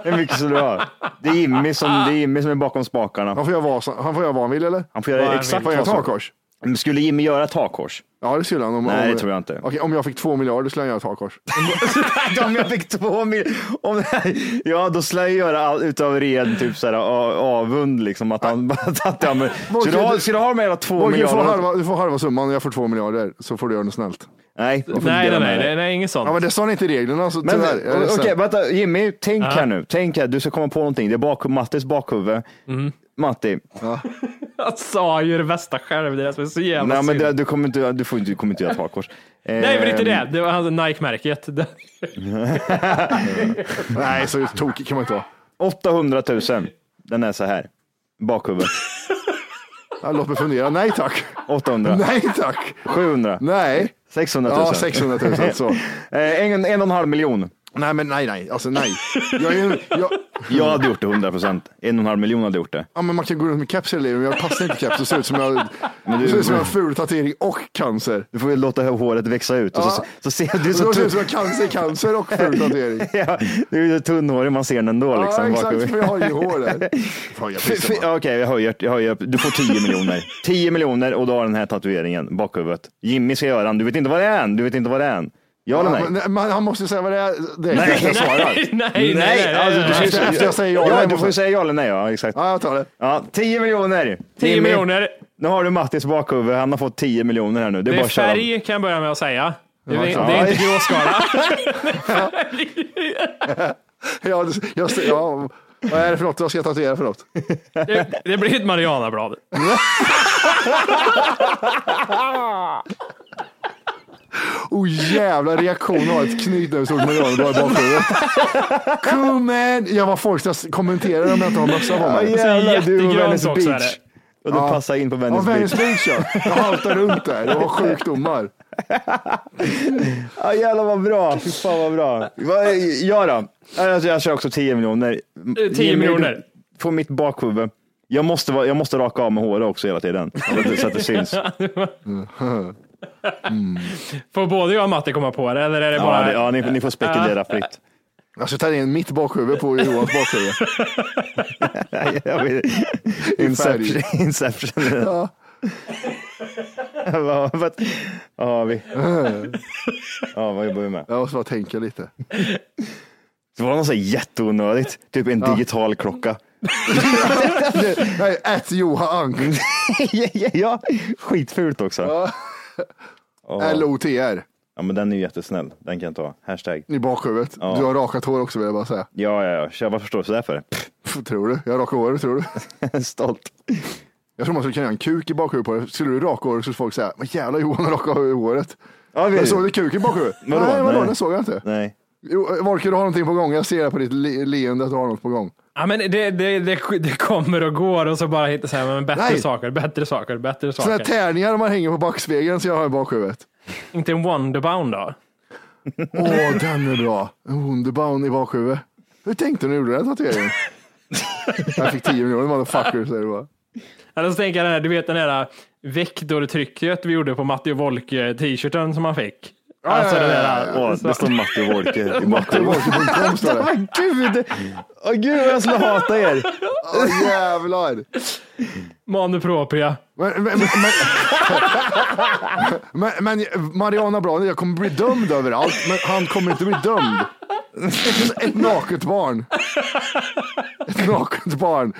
[SPEAKER 7] Hur mycket skulle du ha? Det är Jimmy som, det är, Jimmy som är bakom spakarna.
[SPEAKER 3] Han får göra vad, som- han får göra vad han vill eller?
[SPEAKER 7] Han får
[SPEAKER 4] Vad
[SPEAKER 7] göra
[SPEAKER 4] han
[SPEAKER 3] Han
[SPEAKER 7] exakt
[SPEAKER 3] får göra
[SPEAKER 7] vad
[SPEAKER 3] ett
[SPEAKER 7] som
[SPEAKER 3] hakkors.
[SPEAKER 7] Men Skulle Jimmy göra ett hakkors?
[SPEAKER 3] Ja, det skulle han. Om,
[SPEAKER 7] Nej,
[SPEAKER 3] om,
[SPEAKER 7] det tror jag inte.
[SPEAKER 3] Okej, om jag fick två miljarder skulle han göra ett hakkors.
[SPEAKER 7] Om jag fick två mil... Om, ja, då skulle jag göra allt utav ren typ så här, a- avund. Liksom, att han, att, att, ja, men, ska, du ha, ska du ha de här två
[SPEAKER 3] Okej, du, får
[SPEAKER 7] miljarderna?
[SPEAKER 3] halva, du får halva summan och jag får två miljarder så får du göra något snällt.
[SPEAKER 7] Nej, jag får inte
[SPEAKER 4] Nej,
[SPEAKER 7] dela
[SPEAKER 4] nej, nej,
[SPEAKER 7] med dig.
[SPEAKER 4] det, nej, inget sånt.
[SPEAKER 3] Ja, men det sa ni inte i reglerna. Så
[SPEAKER 7] Men
[SPEAKER 3] tyvärr, jag är
[SPEAKER 7] okej,
[SPEAKER 3] ledsen.
[SPEAKER 7] vänta Jimmy, tänk här nu. Tänk här, du ska komma på någonting. Det är bak, Mattis bakhuvud.
[SPEAKER 4] Mm.
[SPEAKER 7] Matti,
[SPEAKER 4] Jag sa ju det bästa själv, det är det som är så jävla
[SPEAKER 7] nej, men
[SPEAKER 4] synd.
[SPEAKER 7] det, ehm, du, kommer inte, du, får inte, du kommer inte göra ett hakkors. Eh,
[SPEAKER 4] Nej, men inte det. Det var hans Nike-märket.
[SPEAKER 3] Nej, så tokig kan man inte vara.
[SPEAKER 7] 800 000. Den är så här. Bakhuvud.
[SPEAKER 3] Ja, Låt mig fundera. Nej tack.
[SPEAKER 7] 800.
[SPEAKER 3] Nej tack.
[SPEAKER 7] 700.
[SPEAKER 3] Nej.
[SPEAKER 7] 600 000.
[SPEAKER 3] Ja, 600 000 så.
[SPEAKER 7] Eh, en, en och en halv miljon.
[SPEAKER 3] Nej, men nej, nej. Alltså nej. Jag är, ju- jag,
[SPEAKER 7] Jag hade gjort det 100 procent. En och en halv miljon hade gjort det.
[SPEAKER 3] ja, men man kan gå runt med keps hela livet, men jag passar inte keps. Det ser ut som jag, det ser ut som jag har ful tatuering och cancer.
[SPEAKER 7] Du får ju låta håret växa ut. Och så,
[SPEAKER 3] Ja.
[SPEAKER 7] så ser du är
[SPEAKER 3] Så
[SPEAKER 7] så
[SPEAKER 3] det ser
[SPEAKER 7] tunn.
[SPEAKER 3] ut som jag har cancer, cancer och ful tatuering.
[SPEAKER 7] Ja, du är ju så tunnhårig, man ser den ändå.
[SPEAKER 3] Ja,
[SPEAKER 7] Liksom,
[SPEAKER 3] exakt,
[SPEAKER 7] bakhuvud.
[SPEAKER 3] för jag har ju hår där. Fan, jag
[SPEAKER 7] F- f-
[SPEAKER 3] pissar bara.
[SPEAKER 7] Okej, jag höjer. Jag höjer. Du får 10 miljoner. 10 miljoner och du har den här tatueringen bakhuvudet. Jimmy ska göra den. Du vet inte vad det är än. Du vet inte vad det är än. Ja eller
[SPEAKER 3] Ja,
[SPEAKER 7] nej?
[SPEAKER 3] men- nej, men Han måste säga vad det är. Det är
[SPEAKER 7] Nej,
[SPEAKER 3] jag svarar.
[SPEAKER 4] nej, nej, nej,
[SPEAKER 7] alltså, du
[SPEAKER 4] nej,
[SPEAKER 7] ska ju
[SPEAKER 4] nej.
[SPEAKER 7] säga-
[SPEAKER 3] Efter jag säger ja eller nej,
[SPEAKER 7] Du får ju
[SPEAKER 3] måste-
[SPEAKER 7] säga ja eller nej. Ja, exakt.
[SPEAKER 3] Ja, jag tar det.
[SPEAKER 7] Ja, 10 miljoner.
[SPEAKER 4] 10
[SPEAKER 7] Jimmy,
[SPEAKER 4] miljoner.
[SPEAKER 7] Nu har du Mattis bakhuvud. Han har fått 10 miljoner här nu. Det är,
[SPEAKER 4] Det
[SPEAKER 7] bara
[SPEAKER 4] är
[SPEAKER 7] att köra.
[SPEAKER 4] färg kan jag börja med att säga. Det,
[SPEAKER 3] Ja,
[SPEAKER 4] är- det är inte gråskala.
[SPEAKER 3] Ja, det- jag, ser- ja, vad är det för något? Vad ska jag tatuera för något?
[SPEAKER 4] Det, det blir ett Marianablad.
[SPEAKER 3] Oh jävla reaktion av ett knytnävsord med öronen bara i bakhuvudet. Come in! Jag var folk ska kommentera om jag inte har mössa på
[SPEAKER 7] Ja,
[SPEAKER 3] mig.
[SPEAKER 7] jävlar, du och
[SPEAKER 4] jättegrönt
[SPEAKER 7] Venice
[SPEAKER 4] också är
[SPEAKER 7] Beach. Och du passar in på
[SPEAKER 3] Ja,
[SPEAKER 7] Venice
[SPEAKER 3] Venice
[SPEAKER 7] Beach.
[SPEAKER 3] Beach ja. Jag haltar runt där. Jag har sjukdomar.
[SPEAKER 7] Ja, jävlar vad bra. Fy fan vad bra. Vad- Jag då? Alltså, jag kör också 10 miljoner.
[SPEAKER 4] 10 miljoner.
[SPEAKER 7] På mitt bakhuvud. Jag måste, vara- jag måste raka av med håret också hela tiden. Så att det, så att det syns.
[SPEAKER 4] Får både jag och Matte komma på det, eller är det
[SPEAKER 7] Ja,
[SPEAKER 4] bara...
[SPEAKER 7] det, ja, ni, ni får spekulera fritt.
[SPEAKER 3] Alltså, Jag ska ta in mitt bakhuvud på Johans bakhuvud.
[SPEAKER 7] Nej, jag vet- Inception. Inception.
[SPEAKER 3] Ja.
[SPEAKER 7] Vad vad- vad har vi? Ja, vad jobbar vi med?
[SPEAKER 3] Jag måste bara tänka lite.
[SPEAKER 7] Det var något så här jätteonödigt. Typ en digital klocka.
[SPEAKER 3] Nej, ät Johan Ank.
[SPEAKER 7] ja, skitfult också.
[SPEAKER 3] Äh, L-O-T-R.
[SPEAKER 7] Ja, men den är ju jättesnäll. Den kan jag ta. Hashtag.
[SPEAKER 3] I bakhuvudet. Du har rakat hår också vill jag bara säga.
[SPEAKER 7] Ja, ja, ja. Kör, vad förstår du sådär för?
[SPEAKER 3] Pff, tror du? Jag rakar håret, tror du?
[SPEAKER 7] Pff, Stolt.
[SPEAKER 3] Jag tror man skulle kunna göra en kuk i bakhuvudet på det. Skulle du raka håret så skulle folk säga, men jävla Johan har rakat håret.
[SPEAKER 7] Ja, vi-
[SPEAKER 3] Men såg du kuken i bakhuvudet?
[SPEAKER 7] Vadå?
[SPEAKER 3] Nej, vadå?
[SPEAKER 7] Nej.
[SPEAKER 3] Den såg jag inte.
[SPEAKER 7] Nej.
[SPEAKER 3] Jo, Volker, du har någonting på gång. Jag ser det på ditt le- leende att du har något på gång.
[SPEAKER 4] Ja, men det, det, det, det kommer och går och så bara hittar så här, men bättre
[SPEAKER 3] Nej.
[SPEAKER 4] saker, bättre saker, bättre
[SPEAKER 3] Sådana
[SPEAKER 4] saker.
[SPEAKER 3] här tärningar man hänger på backspegeln så jag har i bakhuvudet.
[SPEAKER 4] Inte en Wonderbound då?
[SPEAKER 3] Åh, den är bra. En Wonderbound i bakhuvudet. Hur tänkte du när du gjorde den tatueringen? jag fick 10 miljoner motherfucker, säger du bara.
[SPEAKER 4] Eller så tänker jag den här, du vet den där vektortrycket vi gjorde på Matti och Volke t-shirten som han fick. Alltså
[SPEAKER 3] ja,
[SPEAKER 4] det
[SPEAKER 3] ja,
[SPEAKER 4] där.
[SPEAKER 7] Åh, det står Matti och Wolke i bakgrunden.
[SPEAKER 3] Volker.com står det.
[SPEAKER 7] Men gud! Åh gud vad jag skulle hata er!
[SPEAKER 3] Åh, jävlar.
[SPEAKER 4] Manu propria.
[SPEAKER 3] Men, men, men, men, men, men Mariana Braner, jag kommer bli dömd överallt, men han kommer inte bli dömd. Ett naket barn. Ett naket barn.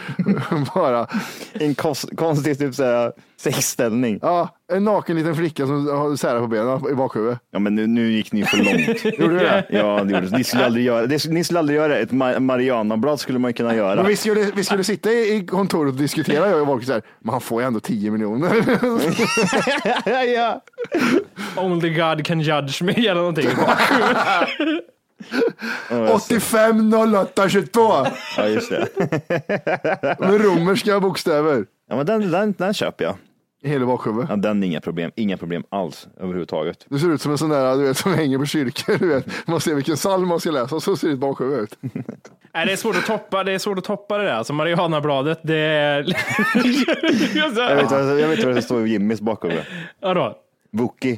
[SPEAKER 3] Bara.
[SPEAKER 7] En kos- konstig typ såhär sexställning.
[SPEAKER 3] Ja, en naken liten flicka som har sära på benen i bakhuvudet.
[SPEAKER 7] Ja men nu, nu gick ni för långt.
[SPEAKER 3] Gjorde du det?
[SPEAKER 7] Ja, det gjorde ni. skulle aldrig göra det. Ni skulle aldrig göra det. Ett Ma- Marianablad skulle man kunna göra.
[SPEAKER 3] Men vi, skulle, vi skulle sitta i i kontoret och diskutera, jag och Volker, så här, men han får ju ändå 10 miljoner.
[SPEAKER 7] ja, ja.
[SPEAKER 4] Only God can judge me eller någonting.
[SPEAKER 3] 85 08 22
[SPEAKER 7] ja, just det.
[SPEAKER 3] med romerska bokstäver
[SPEAKER 7] Ja, men den, den, den köper jag.
[SPEAKER 3] i hela bakhuvudet.
[SPEAKER 7] Ja, den är inga problem. Inga problem alls överhuvudtaget.
[SPEAKER 3] Du ser ut som en sån där du vet, som hänger på kyrkor. Du vet. Man ser vilken psalm man ska läsa och så ser ditt bakhuvud ut.
[SPEAKER 4] Nej, det är svårt att toppa det, är svårt att toppa det där. Alltså Marianabladet, det är... Alltså,
[SPEAKER 7] Jag vet, vad- jag vet vad det står i Jimmys bakhuvud.
[SPEAKER 4] Vadå?
[SPEAKER 7] Wookie.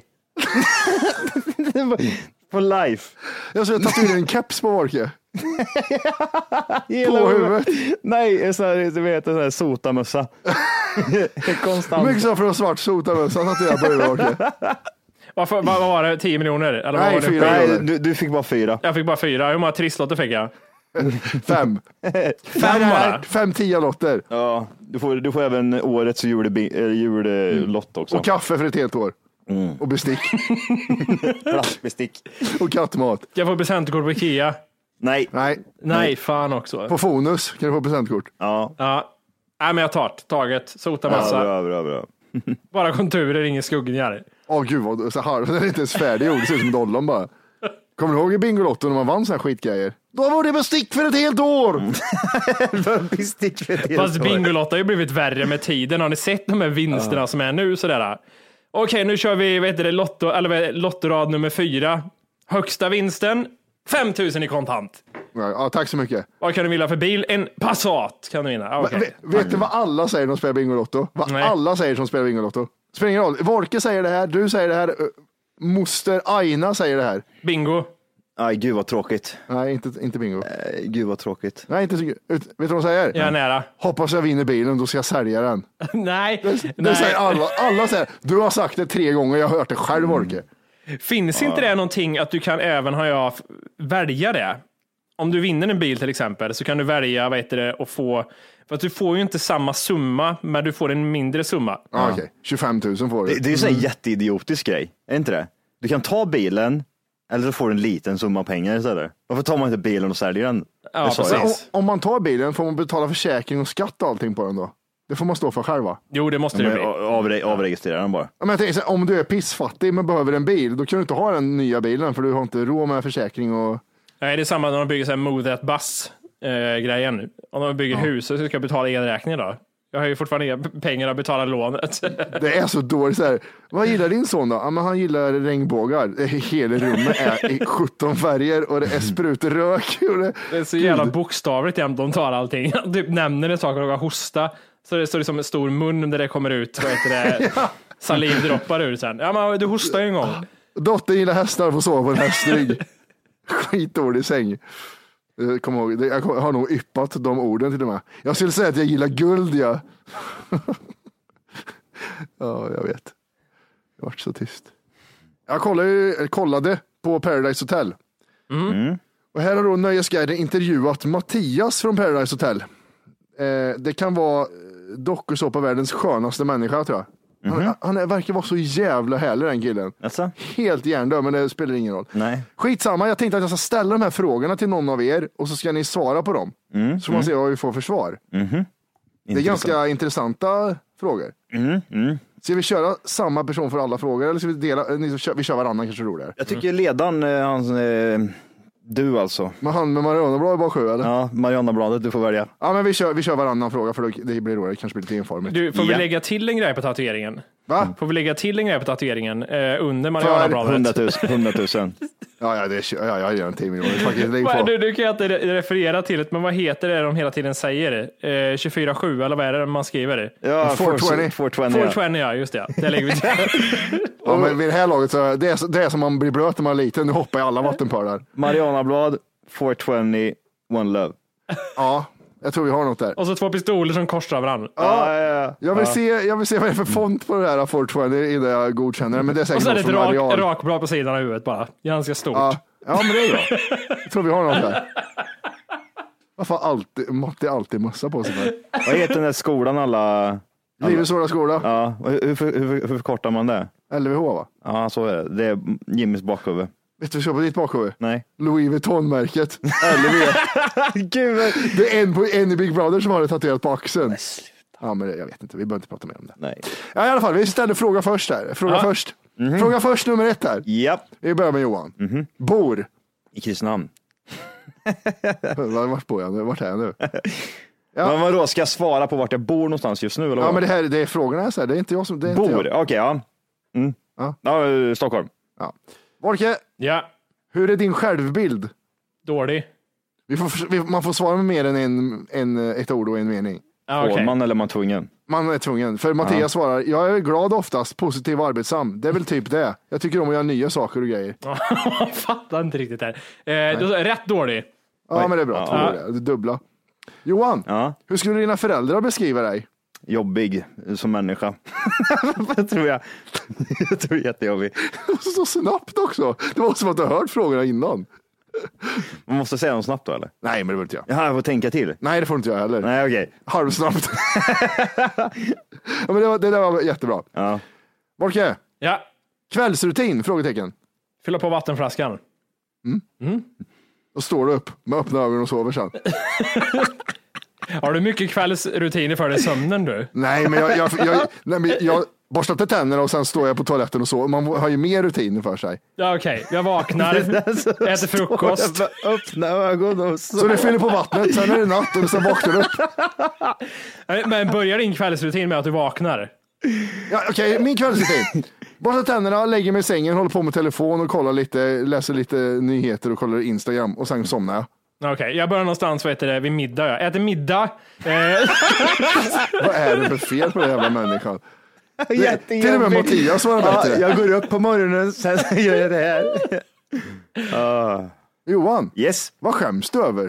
[SPEAKER 7] For life.
[SPEAKER 3] Jag skulle tatuera en keps på Volke.
[SPEAKER 7] Hela
[SPEAKER 3] huvudet.
[SPEAKER 7] Nej, en sån här, du vet, en sån här sotamössa. Konstant.
[SPEAKER 3] Mycket så för att svart sota med så han tatuerar på huvudet Volke.
[SPEAKER 4] Varför, vad var det? 10 miljoner? Eller vad
[SPEAKER 3] Nej,
[SPEAKER 4] var det?
[SPEAKER 3] fyra.
[SPEAKER 7] Nej, du, du fick bara fyra.
[SPEAKER 4] Jag fick bara fyra. Hur många trisslotter fick jag?
[SPEAKER 3] Fem.
[SPEAKER 4] Fem bara?
[SPEAKER 3] Fem tia lotter.
[SPEAKER 7] Ja, du får, du får även årets julbi- eh, jullott också.
[SPEAKER 3] Och kaffe för ett helt år.
[SPEAKER 7] Mm.
[SPEAKER 3] Och bestick.
[SPEAKER 7] plastbestick.
[SPEAKER 3] Och kattmat.
[SPEAKER 4] Jag får presentkort på Ikea.
[SPEAKER 7] Nej,
[SPEAKER 3] Nej,
[SPEAKER 4] Nej, fan också.
[SPEAKER 3] på Fonus kan du få presentkort.
[SPEAKER 7] ja.
[SPEAKER 4] Ja. Nej, men jag tar det. Taget. Sota
[SPEAKER 7] ja
[SPEAKER 4] massa.
[SPEAKER 7] bra, bra, bra.
[SPEAKER 4] Bara konturer, ingen skuggningar.
[SPEAKER 3] Åh gud, vad, så halv, den är inte ens färdiggjord, det ser ut som dollon bara. Kommer du ihåg i Bingolotto när man vann sådana här skitgrejer? Då var det bestick för ett helt år!
[SPEAKER 7] Mm. bestick för ett helt
[SPEAKER 4] Fast
[SPEAKER 7] år.
[SPEAKER 4] Bingolotto har ju blivit värre med tiden. Har ni sett de här vinsterna som är nu? Sådär. Okej, nu kör vi vad heter det, lotto, eller, vad- lottorad nummer fyra. Högsta vinsten, 5 000 i kontant.
[SPEAKER 3] Ja, tack så mycket.
[SPEAKER 4] Vad kan du vilja för bil? En Passat kan du vinna. Ja, okej.
[SPEAKER 3] Vet, vet du vad alla säger när de spelar Bingolotto? Vad
[SPEAKER 4] Nej.
[SPEAKER 3] alla säger som spelar Bingolotto? Spelar ingen roll. Volke säger det här, du säger det här, ö, moster Aina säger det här.
[SPEAKER 4] Bingo.
[SPEAKER 7] Aj, gud vad tråkigt.
[SPEAKER 3] Nej, inte, inte bingo.
[SPEAKER 7] Eh, Gud vad tråkigt.
[SPEAKER 3] Nej, inte så ut, Vet du vad de säger?
[SPEAKER 4] Jag är nära.
[SPEAKER 3] Hoppas jag vinner bilen, då ska jag sälja den.
[SPEAKER 4] Nej.
[SPEAKER 3] Det säger
[SPEAKER 4] Nej.
[SPEAKER 3] alla, alla säger Du har sagt det tre gånger, jag har hört det själv Volke.
[SPEAKER 4] Finns inte det någonting att du kan även ha jag f- välja det? Om du vinner en bil till exempel så kan du välja vad heter det och få för att du får ju inte samma summa, men du får en mindre summa.
[SPEAKER 3] Ja, Ah, Okej, 25 000 får
[SPEAKER 7] Det,
[SPEAKER 3] du.
[SPEAKER 7] det är ju en mm. jätteidiotisk grej, är inte det? Du kan ta bilen, eller så får du en liten summa pengar istället. Varför tar man inte bilen och säljer den?
[SPEAKER 4] Ja,
[SPEAKER 7] Det sa jag.
[SPEAKER 4] precis.
[SPEAKER 3] Om, om man tar bilen får man betala försäkring och skatt och allting på den då? Det får man stå för själv va?
[SPEAKER 4] Jo, det måste det
[SPEAKER 7] Men
[SPEAKER 4] bli.
[SPEAKER 7] a- avre- Avregistrera den bara.
[SPEAKER 3] Ja, Men jag tänker så här, om du är pissfattig men behöver en bil, då kan du inte ha den nya bilen för du har inte råd med försäkring och
[SPEAKER 4] Nej, det är samma när de bygger så här move that bus eh, grejen. Om de bygger hus så ska jag betala elräkningen då. Jag har ju fortfarande inga p- pengar att betala lånet.
[SPEAKER 3] det är så dåligt. Så här, vad gillar din son då? Ja, men han gillar regnbågar. Det är- Hela rummet är i 17 färger och det är sprutrök. Och det,
[SPEAKER 4] Det är så jävla bokstavligt jämt de tar allting. De typ nämner en sak och råkar hosta. Så det står liksom en stor mun där det kommer ut vad heter det, saliv droppar ur sen. Ja, men du hostar ju en gång.
[SPEAKER 3] dottern gillar hästar får sova på en hästrygg. Skitdålig säng. Eh, Kom ihåg, det- jag kom- har nog yppat de orden till och med. Jag skulle säga att jag gillar guld. Ja, ja jag vet. Det vart så tyst. Jag kollade, ju- eh, kollade på Paradise Hotel. Och här har då Nöjesguiden intervjuat Mattias från Paradise Hotel. Eh, det kan vara eh, dokusåpa-världens skönaste människa tror jag. Han, han är- verkar vara så jävla härlig den killen.
[SPEAKER 7] Alltså?
[SPEAKER 3] Helt hjärndöd, men det spelar ingen roll.
[SPEAKER 7] Nej.
[SPEAKER 3] Skitsamma, jag tänkte att jag ska ställa de här frågorna till någon av er och så ska ni svara på dem. så får man se vad vi får för svar. Det är ganska intressanta frågor. Ska vi köra samma person för alla frågor eller ska vi dela? eh, Ni, kör, vi kör varannan kanske är roligare.
[SPEAKER 7] Jag tycker ledaren, eh, han, eh, Du alltså.
[SPEAKER 3] Men han med Marianablad var sju eller? Ja.
[SPEAKER 7] Ja, Marianabladet, du får välja.
[SPEAKER 3] men vi kör, vi kör varannan fråga för då- det blir roligare, kanske blir lite informigt.
[SPEAKER 4] Du, får
[SPEAKER 7] Ja.
[SPEAKER 4] vi lägga till en grej på tatueringen?
[SPEAKER 3] Va?
[SPEAKER 4] Får vi lägga till en grej på tatueringen eh, under
[SPEAKER 7] 100
[SPEAKER 4] Marianabladet?
[SPEAKER 7] 000. 100 000.
[SPEAKER 3] Ja, ja, det är, ja, jag gör en timme i år. Fucking lägg
[SPEAKER 4] Vad-
[SPEAKER 3] på.
[SPEAKER 4] Nu, nu kan jag inte re- referera till det, men vad heter det de hela tiden säger? Eh, 24-7, eller vad är det man skriver?
[SPEAKER 7] Ja,
[SPEAKER 3] 420.
[SPEAKER 7] 420.
[SPEAKER 4] 420, ja just det. Det lägger vi till.
[SPEAKER 3] Ja, men vid det här laget så är det, är, så- det är som man blir blöt när man är liten. Nu hoppar jag alla vattenpölar.
[SPEAKER 7] Marianablad, 420, One Love.
[SPEAKER 3] Ja, jag tror vi har något där.
[SPEAKER 4] Och så två pistoler som korsar varandra.
[SPEAKER 7] Ja, ja, ja.
[SPEAKER 3] Jag vill, se, jag vill se vad det är för font på det här 420 innan jag godkänner det. Men det är
[SPEAKER 4] Och
[SPEAKER 3] säkert
[SPEAKER 4] så är det
[SPEAKER 3] något
[SPEAKER 4] ett
[SPEAKER 3] från
[SPEAKER 4] rak,
[SPEAKER 3] Arial.
[SPEAKER 4] rakblad på sidan av huvudet bara. Ganska stort.
[SPEAKER 3] Ja, ja, men det är bra. Jag tror vi har något där. Varför har alltid, Matti alltid mössa på sig? För?
[SPEAKER 7] Vad heter den där skolan alla...
[SPEAKER 3] Livets Hårda Skola,
[SPEAKER 7] Ja, och hur, hur, hur, hur förkortar man det?
[SPEAKER 3] LVH va?
[SPEAKER 7] Ja, så är det. Det är Jimmys bakhuvud.
[SPEAKER 3] Vet du vad vi kör på ditt bakhuvud?
[SPEAKER 7] Nej.
[SPEAKER 3] Louis Vuitton-märket. LV.
[SPEAKER 7] Gud,
[SPEAKER 3] Det är en, på, en i Big Brother som har det tatuerat på axeln. Ja, men det- jag vet inte, vi behöver inte prata mer om det.
[SPEAKER 7] Nej.
[SPEAKER 3] Ja, i alla fall, vi ställer fråga först här. Fråga först.
[SPEAKER 7] Mhm.
[SPEAKER 3] Fråga först nummer ett här.
[SPEAKER 7] Japp.
[SPEAKER 3] Vi börjar med Johan.
[SPEAKER 7] Mhm.
[SPEAKER 3] Bor.
[SPEAKER 7] I Kristinehamn.
[SPEAKER 3] Vart bor jag nu? Vart är jag nu?
[SPEAKER 7] Men vadå, ska jag svara på vart jag bor någonstans just nu? Eller
[SPEAKER 3] Ja,
[SPEAKER 7] vad?
[SPEAKER 3] men det här det är frågorna här, så här. Det är inte jag som... Det är
[SPEAKER 7] Bor?
[SPEAKER 3] Inte
[SPEAKER 7] Okej,
[SPEAKER 3] jag.
[SPEAKER 7] ja. Mm.
[SPEAKER 3] Ja.
[SPEAKER 7] ja. eh, Stockholm.
[SPEAKER 3] Ja. Volke,
[SPEAKER 4] Ja,
[SPEAKER 3] hur är din självbild?
[SPEAKER 4] dålig.
[SPEAKER 3] Vi får, förs- vi, man får svara med mer än en, en, eh, ett ord och en mening.
[SPEAKER 4] Ja,
[SPEAKER 7] Får
[SPEAKER 4] okej.
[SPEAKER 7] man eller är man tvungen?
[SPEAKER 3] Man är tvungen. För Mattias svarar, jag är glad oftast, positiv och arbetsam. Det är väl typ det. Jag tycker om att göra nya saker och grejer. Ja,
[SPEAKER 4] Jag fattar inte riktigt här. Eh, då- rätt dålig.
[SPEAKER 3] men det är bra. Två
[SPEAKER 4] Ja.
[SPEAKER 3] är det. Det dubbla. Johan,
[SPEAKER 7] Ja.
[SPEAKER 3] hur skulle dina föräldrar beskriva dig?
[SPEAKER 7] Jobbig som människa. Det tror jag. jag tror jag är jättejobbig.
[SPEAKER 3] Så, så snabbt också. Det var som att du har hört frågorna innan.
[SPEAKER 7] Man måste säga något snabbt då eller?
[SPEAKER 3] Nej, men det behöver inte jag.
[SPEAKER 7] Ja, jag får tänka till.
[SPEAKER 3] Nej, det får inte jag heller.
[SPEAKER 7] Nej, okej.
[SPEAKER 3] Halvsnabbt. ja, men det, var, det där var jättebra.
[SPEAKER 7] Ja.
[SPEAKER 3] Volke,
[SPEAKER 4] Ja,
[SPEAKER 3] kvällsrutin? Frågetecken.
[SPEAKER 4] fylla på vattenflaskan.
[SPEAKER 3] Då står du upp med öppna ögon och sover sen.
[SPEAKER 4] Har du mycket kvällsrutiner för dig i sömnen du?
[SPEAKER 3] Nej, men jag, jag, jag, nej, men jag borstar till tänderna och sen står jag på toaletten och sover. Man har ju mer rutiner för sig.
[SPEAKER 4] Ja, okej. Jag vaknar, äter frukost.
[SPEAKER 7] Står jag med Öppna ögon och så.
[SPEAKER 3] Så du fyller på vattnet, sen är det natt och sen vaknar du upp.
[SPEAKER 4] Nej, Eh, Men börjar din kvällsrutin med att du vaknar?
[SPEAKER 3] Ja, Okej, min kvällsrutin. Borstar tänderna, lägger mig i sängen, håller på med telefon och kollar lite, läser lite nyheter och kollar Instagram och sen somnar jag.
[SPEAKER 4] Okej, jag börjar någonstans vad heter det, vid middag. Jag äter middag. Eh,
[SPEAKER 3] Vad är det för fel på den jävla människan?
[SPEAKER 7] Jättejobbig.
[SPEAKER 3] Till och med Mattias var
[SPEAKER 7] Ja,
[SPEAKER 3] bättre.
[SPEAKER 7] jag går upp på morgonen, sen så gör jag det här.
[SPEAKER 3] Johan,
[SPEAKER 7] Yes.
[SPEAKER 3] vad skäms du över?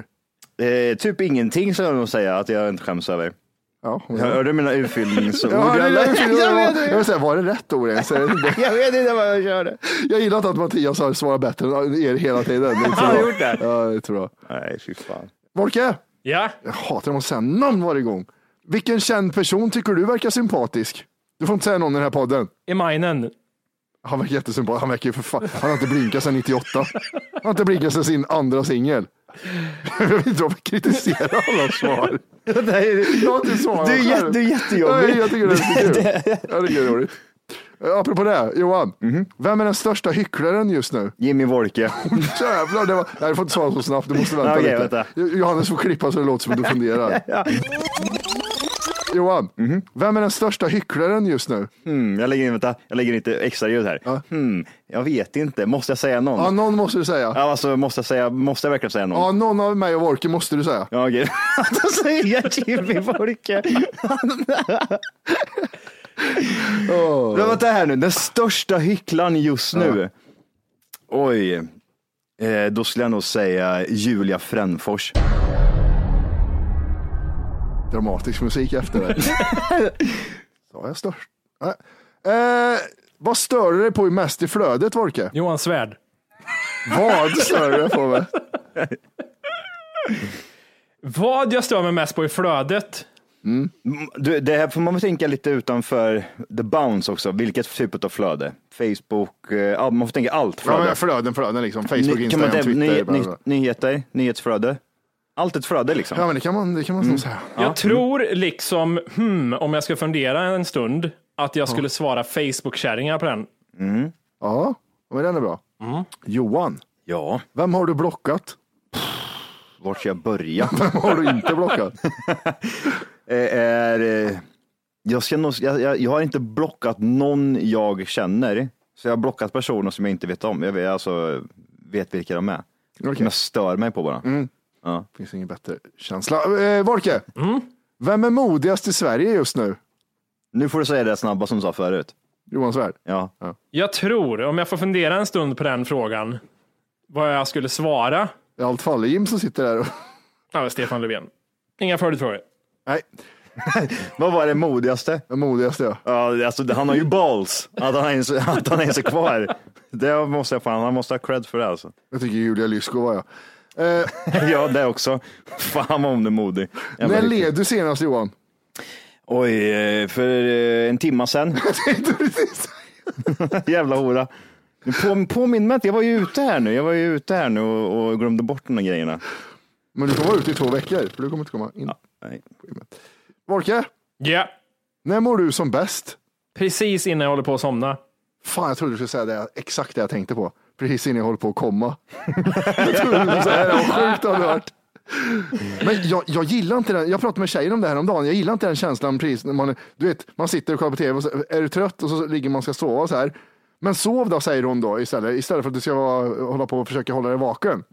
[SPEAKER 7] Eh, typ ingenting skulle jag nog säga att jag inte skäms över.
[SPEAKER 3] Ja,
[SPEAKER 7] Jag hörde mina urfyllningsord.
[SPEAKER 3] Ja, det,
[SPEAKER 7] eller?
[SPEAKER 3] jag, jag,
[SPEAKER 7] jag,
[SPEAKER 3] jag,
[SPEAKER 7] vet
[SPEAKER 3] jag,
[SPEAKER 7] inte.
[SPEAKER 3] vill säga, var det rätt ord? Jag, säger inte.
[SPEAKER 7] jag vet inte vad jag körde.
[SPEAKER 3] jag gillar inte att Mattias har svarat bättre än er hela tiden. Det är inte så
[SPEAKER 7] Har han
[SPEAKER 3] bra.
[SPEAKER 7] gjort det?
[SPEAKER 3] Ja, det tror jag.
[SPEAKER 7] Nej, fy fan.
[SPEAKER 3] Volke,
[SPEAKER 4] ja,
[SPEAKER 3] jag hatar när man säger namn varje gång. Vilken känd person tycker du verkar sympatisk? Du får inte säga någon i den här podden.
[SPEAKER 4] i minen.
[SPEAKER 3] Han verkar jättesympatisk. Han verkar ju för fan, han har inte blinkat sedan 98. Han har inte blinkat sedan sin andra singel. Jag vet inte om jag kritiserar alla svar. Jag har inte svarat
[SPEAKER 7] Du är
[SPEAKER 3] själv.
[SPEAKER 7] jätte- du är jättejobbig.
[SPEAKER 3] Nej, jag tycker det är lite kul. Jag tycker det är roligt. Eh, Apropå det, Johan. Vem är den största hycklaren just nu?
[SPEAKER 7] Jimmy Wolke.
[SPEAKER 3] Jävlar, det var... Nej, du får inte svara så snabbt. Du måste vänta
[SPEAKER 7] Okej,
[SPEAKER 3] lite.
[SPEAKER 7] vänta.
[SPEAKER 3] Johannes får klippa så det låter som att du funderar. Johan, vem är den största hycklaren just nu?
[SPEAKER 7] Mm, jag, lägger in, vänta, jag lägger in lite extra ljud här. Hmm, jag vet inte. Måste jag säga någon?
[SPEAKER 3] Ja, någon måste du säga.
[SPEAKER 7] Ja, Alltså, måste, jag säga, måste jag verkligen säga någon?
[SPEAKER 3] Ja, någon av mig och Wolke måste du säga.
[SPEAKER 7] Ja, okej. Då säger jag Jimmy Wolke. Men Vänta här nu, den största hycklaren just nu. Oj, eh, då skulle jag nog säga Julia Frändfors.
[SPEAKER 3] dramatisk musik efter det. Sa jag störst? Nej. Eh, vad stör du dig på mest i flödet, Volke?
[SPEAKER 4] Johan Svärd.
[SPEAKER 3] Vad stör du dig på? Med?
[SPEAKER 4] Vad jag stör mig mest på i flödet?
[SPEAKER 7] Du, det här får man väl tänka lite utanför the bounds också, vilket typ av flöde? Facebook, eh, ja, man får tänka allt
[SPEAKER 3] Ja,
[SPEAKER 7] flöde.
[SPEAKER 3] men flöden, flöden liksom.
[SPEAKER 7] Ny-
[SPEAKER 3] Facebook,
[SPEAKER 7] kan man
[SPEAKER 3] Instagram,
[SPEAKER 7] tänka-
[SPEAKER 3] Twitter.
[SPEAKER 7] nyhet-
[SPEAKER 3] Bla, bla,
[SPEAKER 7] ny-
[SPEAKER 3] bla.
[SPEAKER 7] Nyheter, nyhetsflöde. Allt ett flöde liksom.
[SPEAKER 3] Ja, men det kan man, det kan man nog säga.
[SPEAKER 4] Jag tror liksom, hmm, om jag ska fundera en stund, att jag skulle svara Facebook-kärringar på den.
[SPEAKER 3] Ja, men den är bra. Johan,
[SPEAKER 7] Ja,
[SPEAKER 3] Vem har du blockat?
[SPEAKER 7] vart ska jag börja?
[SPEAKER 3] Vem har du inte blockat?
[SPEAKER 7] Eh, är, eh, jag, ska nog, jag, jag, jag har inte blockat någon jag känner, så jag har blockat personer som jag inte vet om. Jag vet, alltså, vet vilka de är. Som jag stör mig på bara.
[SPEAKER 3] Finns ingen bättre känsla. Eh, Volke, vem är modigast i Sverige just nu?
[SPEAKER 7] Nu får du säga det snabba som du sa förut.
[SPEAKER 3] Johan Svärd.
[SPEAKER 7] Ja.
[SPEAKER 4] Jag tror, om jag får fundera en stund på den frågan, vad jag skulle svara.
[SPEAKER 3] I allt fall Jim som sitter där. Och...
[SPEAKER 4] Ja, det är Stefan Löfven. Inga följdfrågor.
[SPEAKER 3] Nej,
[SPEAKER 7] Vad var det modigaste?
[SPEAKER 3] den modigaste ja.
[SPEAKER 7] Ja, alltså, det- han har ju balls, att han ens, att han ens är kvar. Det måste jag fan, han måste ha cred för det alltså.
[SPEAKER 3] Jag tycker Julia Lysko var jag. Eh,
[SPEAKER 7] Ja, det också. Fan vad hon är modig. Jävla
[SPEAKER 3] när
[SPEAKER 7] riktigt.
[SPEAKER 3] led du senast Johan?
[SPEAKER 7] Oj, eh, för eh, en timma sedan. Jävla hora. Nu På, påminn mig inte, jag var ju ute här nu. Jag var ju ute här nu och, och glömde bort de där grejerna.
[SPEAKER 3] Men du kommer vara ute i två veckor, för du kommer inte komma in.
[SPEAKER 7] Nej.
[SPEAKER 3] Volke,
[SPEAKER 4] Ja,
[SPEAKER 3] när mår du som bäst?
[SPEAKER 4] precis innan jag håller på att somna.
[SPEAKER 3] Fan, jag trodde du skulle säga det, exakt det jag tänkte på. Precis innan jag håller på att komma. jag trodde du skulle säga det, vad sjukt det hade varit. Men jag, jag gillar inte den, jag pratade med tjejen om det här om dagen. jag gillar inte den känslan precis när man, du vet, man sitter och kollar på tv och så är du trött och så ligger man och ska sova och så här. Men sov då, säger hon då istället, istället för att du ska vara, hålla på och försöka hålla dig vaken.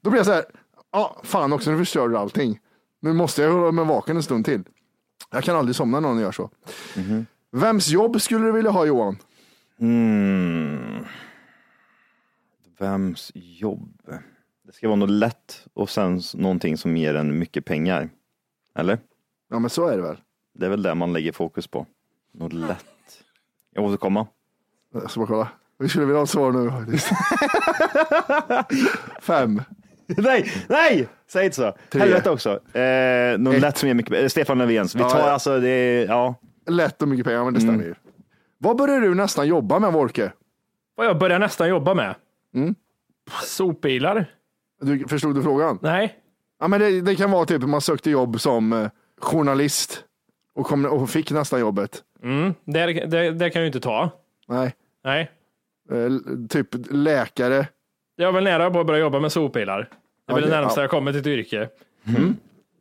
[SPEAKER 3] Då blir jag så här, ja, fan också, nu förstör du allting. Nu måste jag hålla mig vaken en stund till. Jag kan aldrig somna när någon gör så. Vems jobb skulle du vilja ha Johan?
[SPEAKER 7] Mm. Vems jobb? Det ska vara något lätt och sen s- någonting som ger en mycket pengar. Eller?
[SPEAKER 3] Ja, men så är det väl.
[SPEAKER 7] Det är väl det man lägger fokus på. Något lätt. Jag återkommer.
[SPEAKER 3] Jag ska bara kolla. Alltså, Vi skulle vilja ha ett svar nu faktiskt. Fem.
[SPEAKER 7] Nej, nej! Säg inte så.
[SPEAKER 3] Tre.
[SPEAKER 7] Helvete också. Eh, någon lätt som ger mycket eh, Stefan Löfvens. Vi
[SPEAKER 3] Ja,
[SPEAKER 7] tar
[SPEAKER 3] ja.
[SPEAKER 7] alltså, det är, ja.
[SPEAKER 3] Lätt och mycket pengar, men det stämmer ju. Vad börjar du nästan jobba med, Wolke?
[SPEAKER 4] Vad jag börjar nästan jobba med. Sopbilar?
[SPEAKER 3] Du, förstod du frågan?
[SPEAKER 4] Nej.
[SPEAKER 3] Ja, men det, det kan vara typ man sökte jobb som eh, journalist och, kom, och fick nästan jobbet.
[SPEAKER 4] Det, det, det kan jag ju inte ta.
[SPEAKER 3] Nej,
[SPEAKER 4] Nej.
[SPEAKER 3] eh, l- typ läkare.
[SPEAKER 4] Jag var väl nära på att börja jobba med sopbilar. Det är väl
[SPEAKER 3] Okej,
[SPEAKER 4] det närmaste
[SPEAKER 3] ja.
[SPEAKER 4] jag kommer till ett yrke.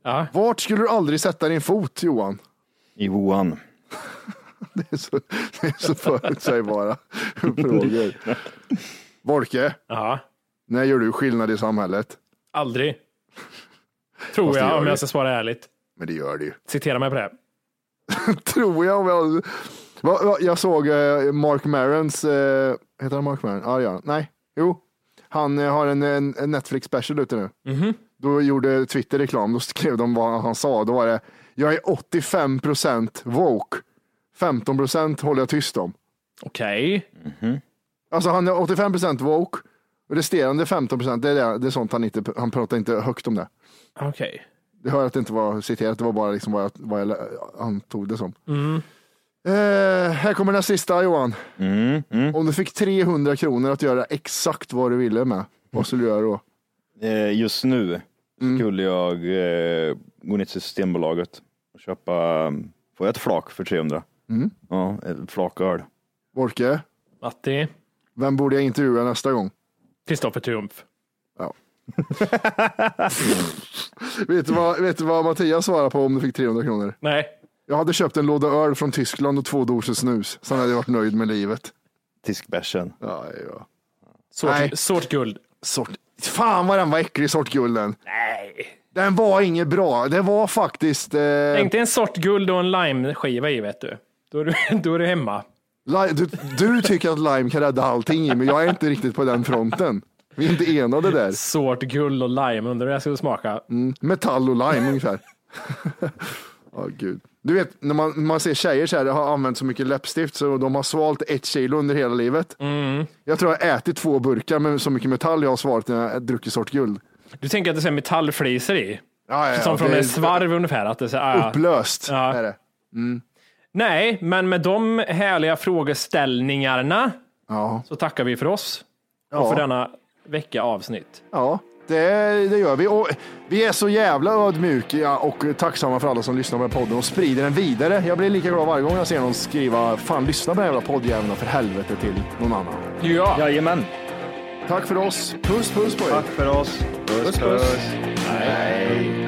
[SPEAKER 4] Ja.
[SPEAKER 3] Vart skulle du aldrig sätta din fot, Johan?
[SPEAKER 7] Johan.
[SPEAKER 3] Det är så, det är så förutsägbara frågor. Wolke,
[SPEAKER 4] ja.
[SPEAKER 3] när gör du skillnad i samhället?
[SPEAKER 4] Aldrig. Tror
[SPEAKER 3] Fast det
[SPEAKER 4] jag,
[SPEAKER 3] gör
[SPEAKER 4] om
[SPEAKER 3] du.
[SPEAKER 4] jag ska svara ärligt.
[SPEAKER 3] Men det gör det ju.
[SPEAKER 4] Citera mig på det.
[SPEAKER 3] tror jag. Om jag, Va- va- jag såg eh, Mark Marons, eh, heter han Mark Maron? Ja, det gör han. Nej, jo. Han eh, har en, en en Netflix special ute nu. Då gjorde Twitter reklam, då skrev de vad han sa. Då var det, jag är 85 procent woke, 15 procent håller jag tyst om.
[SPEAKER 4] Okej.
[SPEAKER 3] Alltså han är 85 procent woke, resterande 15 procent, det, är det- det är sånt han inte, han pratar inte högt om det.
[SPEAKER 4] Okej.
[SPEAKER 3] Det hör att det inte var citerat, det var bara liksom vad jag, vad jag lä- antog det som. Eh, här kommer den sista Johan.
[SPEAKER 7] Mm,
[SPEAKER 3] Om du fick 300 kronor att göra exakt vad du ville med, vad skulle du göra då?
[SPEAKER 7] Eh, just nu
[SPEAKER 3] Mm.
[SPEAKER 7] skulle jag eh, gå ner till Systembolaget och köpa, um, får jag ett flak för 300?
[SPEAKER 3] Mm.
[SPEAKER 7] Ja, ett flak öl.
[SPEAKER 3] Borke,
[SPEAKER 4] Matti.
[SPEAKER 3] vem borde jag intervjua nästa gång?
[SPEAKER 4] Kristoffer Triumf.
[SPEAKER 3] Vet du, vad, vet du vad Mattias svarar på om du fick 300 kronor?
[SPEAKER 4] Nej.
[SPEAKER 3] Jag hade köpt en låda öl från Tyskland och två doser snus. Sen hade jag varit nöjd med livet.
[SPEAKER 7] Tyskbärsen.
[SPEAKER 3] Ja, ja.
[SPEAKER 4] Sort,
[SPEAKER 3] Nej.
[SPEAKER 4] sort guld.
[SPEAKER 3] Sort... Fan vad den var äcklig, sortgulden.
[SPEAKER 4] Nej.
[SPEAKER 3] Den var inget bra. Det var faktiskt... Eh...
[SPEAKER 4] Tänk dig en sort guld och en limeskiva i, vet du. Då är du, då är du hemma.
[SPEAKER 3] Lime, du, du tycker att lime kan rädda allting, men jag är inte riktigt på den fronten. Vi är inte enade där.
[SPEAKER 4] Sort guld och lime, undrar hur jag skulle smaka.
[SPEAKER 3] Mm. Metall och lime ungefär. Ja, gud. Du vet, när man, man ser tjejer så här, har använt så mycket läppstift så de har svalt ett kilo under hela livet.
[SPEAKER 4] Mm.
[SPEAKER 3] Jag tror jag har ätit två burkar med så mycket metall jag har svalt när jag har druckit sort guld.
[SPEAKER 4] Du tänker att det är så här metallfliser i?
[SPEAKER 3] Ja, ja, ja,
[SPEAKER 4] Som från
[SPEAKER 3] det är Oh,
[SPEAKER 4] en svarv ungefär. Att det är så här, ah, ja.
[SPEAKER 3] Upplöst
[SPEAKER 4] Ja.
[SPEAKER 3] är det.
[SPEAKER 4] Nej, men med de härliga frågeställningarna
[SPEAKER 3] Ja,
[SPEAKER 4] så tackar vi för oss och
[SPEAKER 3] ja,
[SPEAKER 4] för denna vecka avsnitt.
[SPEAKER 3] ja det, det gör vi. Och vi är så jävla ödmjuka och tacksamma för alla som lyssnar på den här podden och sprider den vidare. Jag blir lika glad varje gång jag ser någon skriva, fan lyssna på den här jävla poddjäveln för helvete till någon annan.
[SPEAKER 4] Ja.
[SPEAKER 7] Jajamän.
[SPEAKER 3] Tack för oss. Puss puss på er.
[SPEAKER 6] Tack för oss.
[SPEAKER 3] Puss, puss.
[SPEAKER 6] Hej.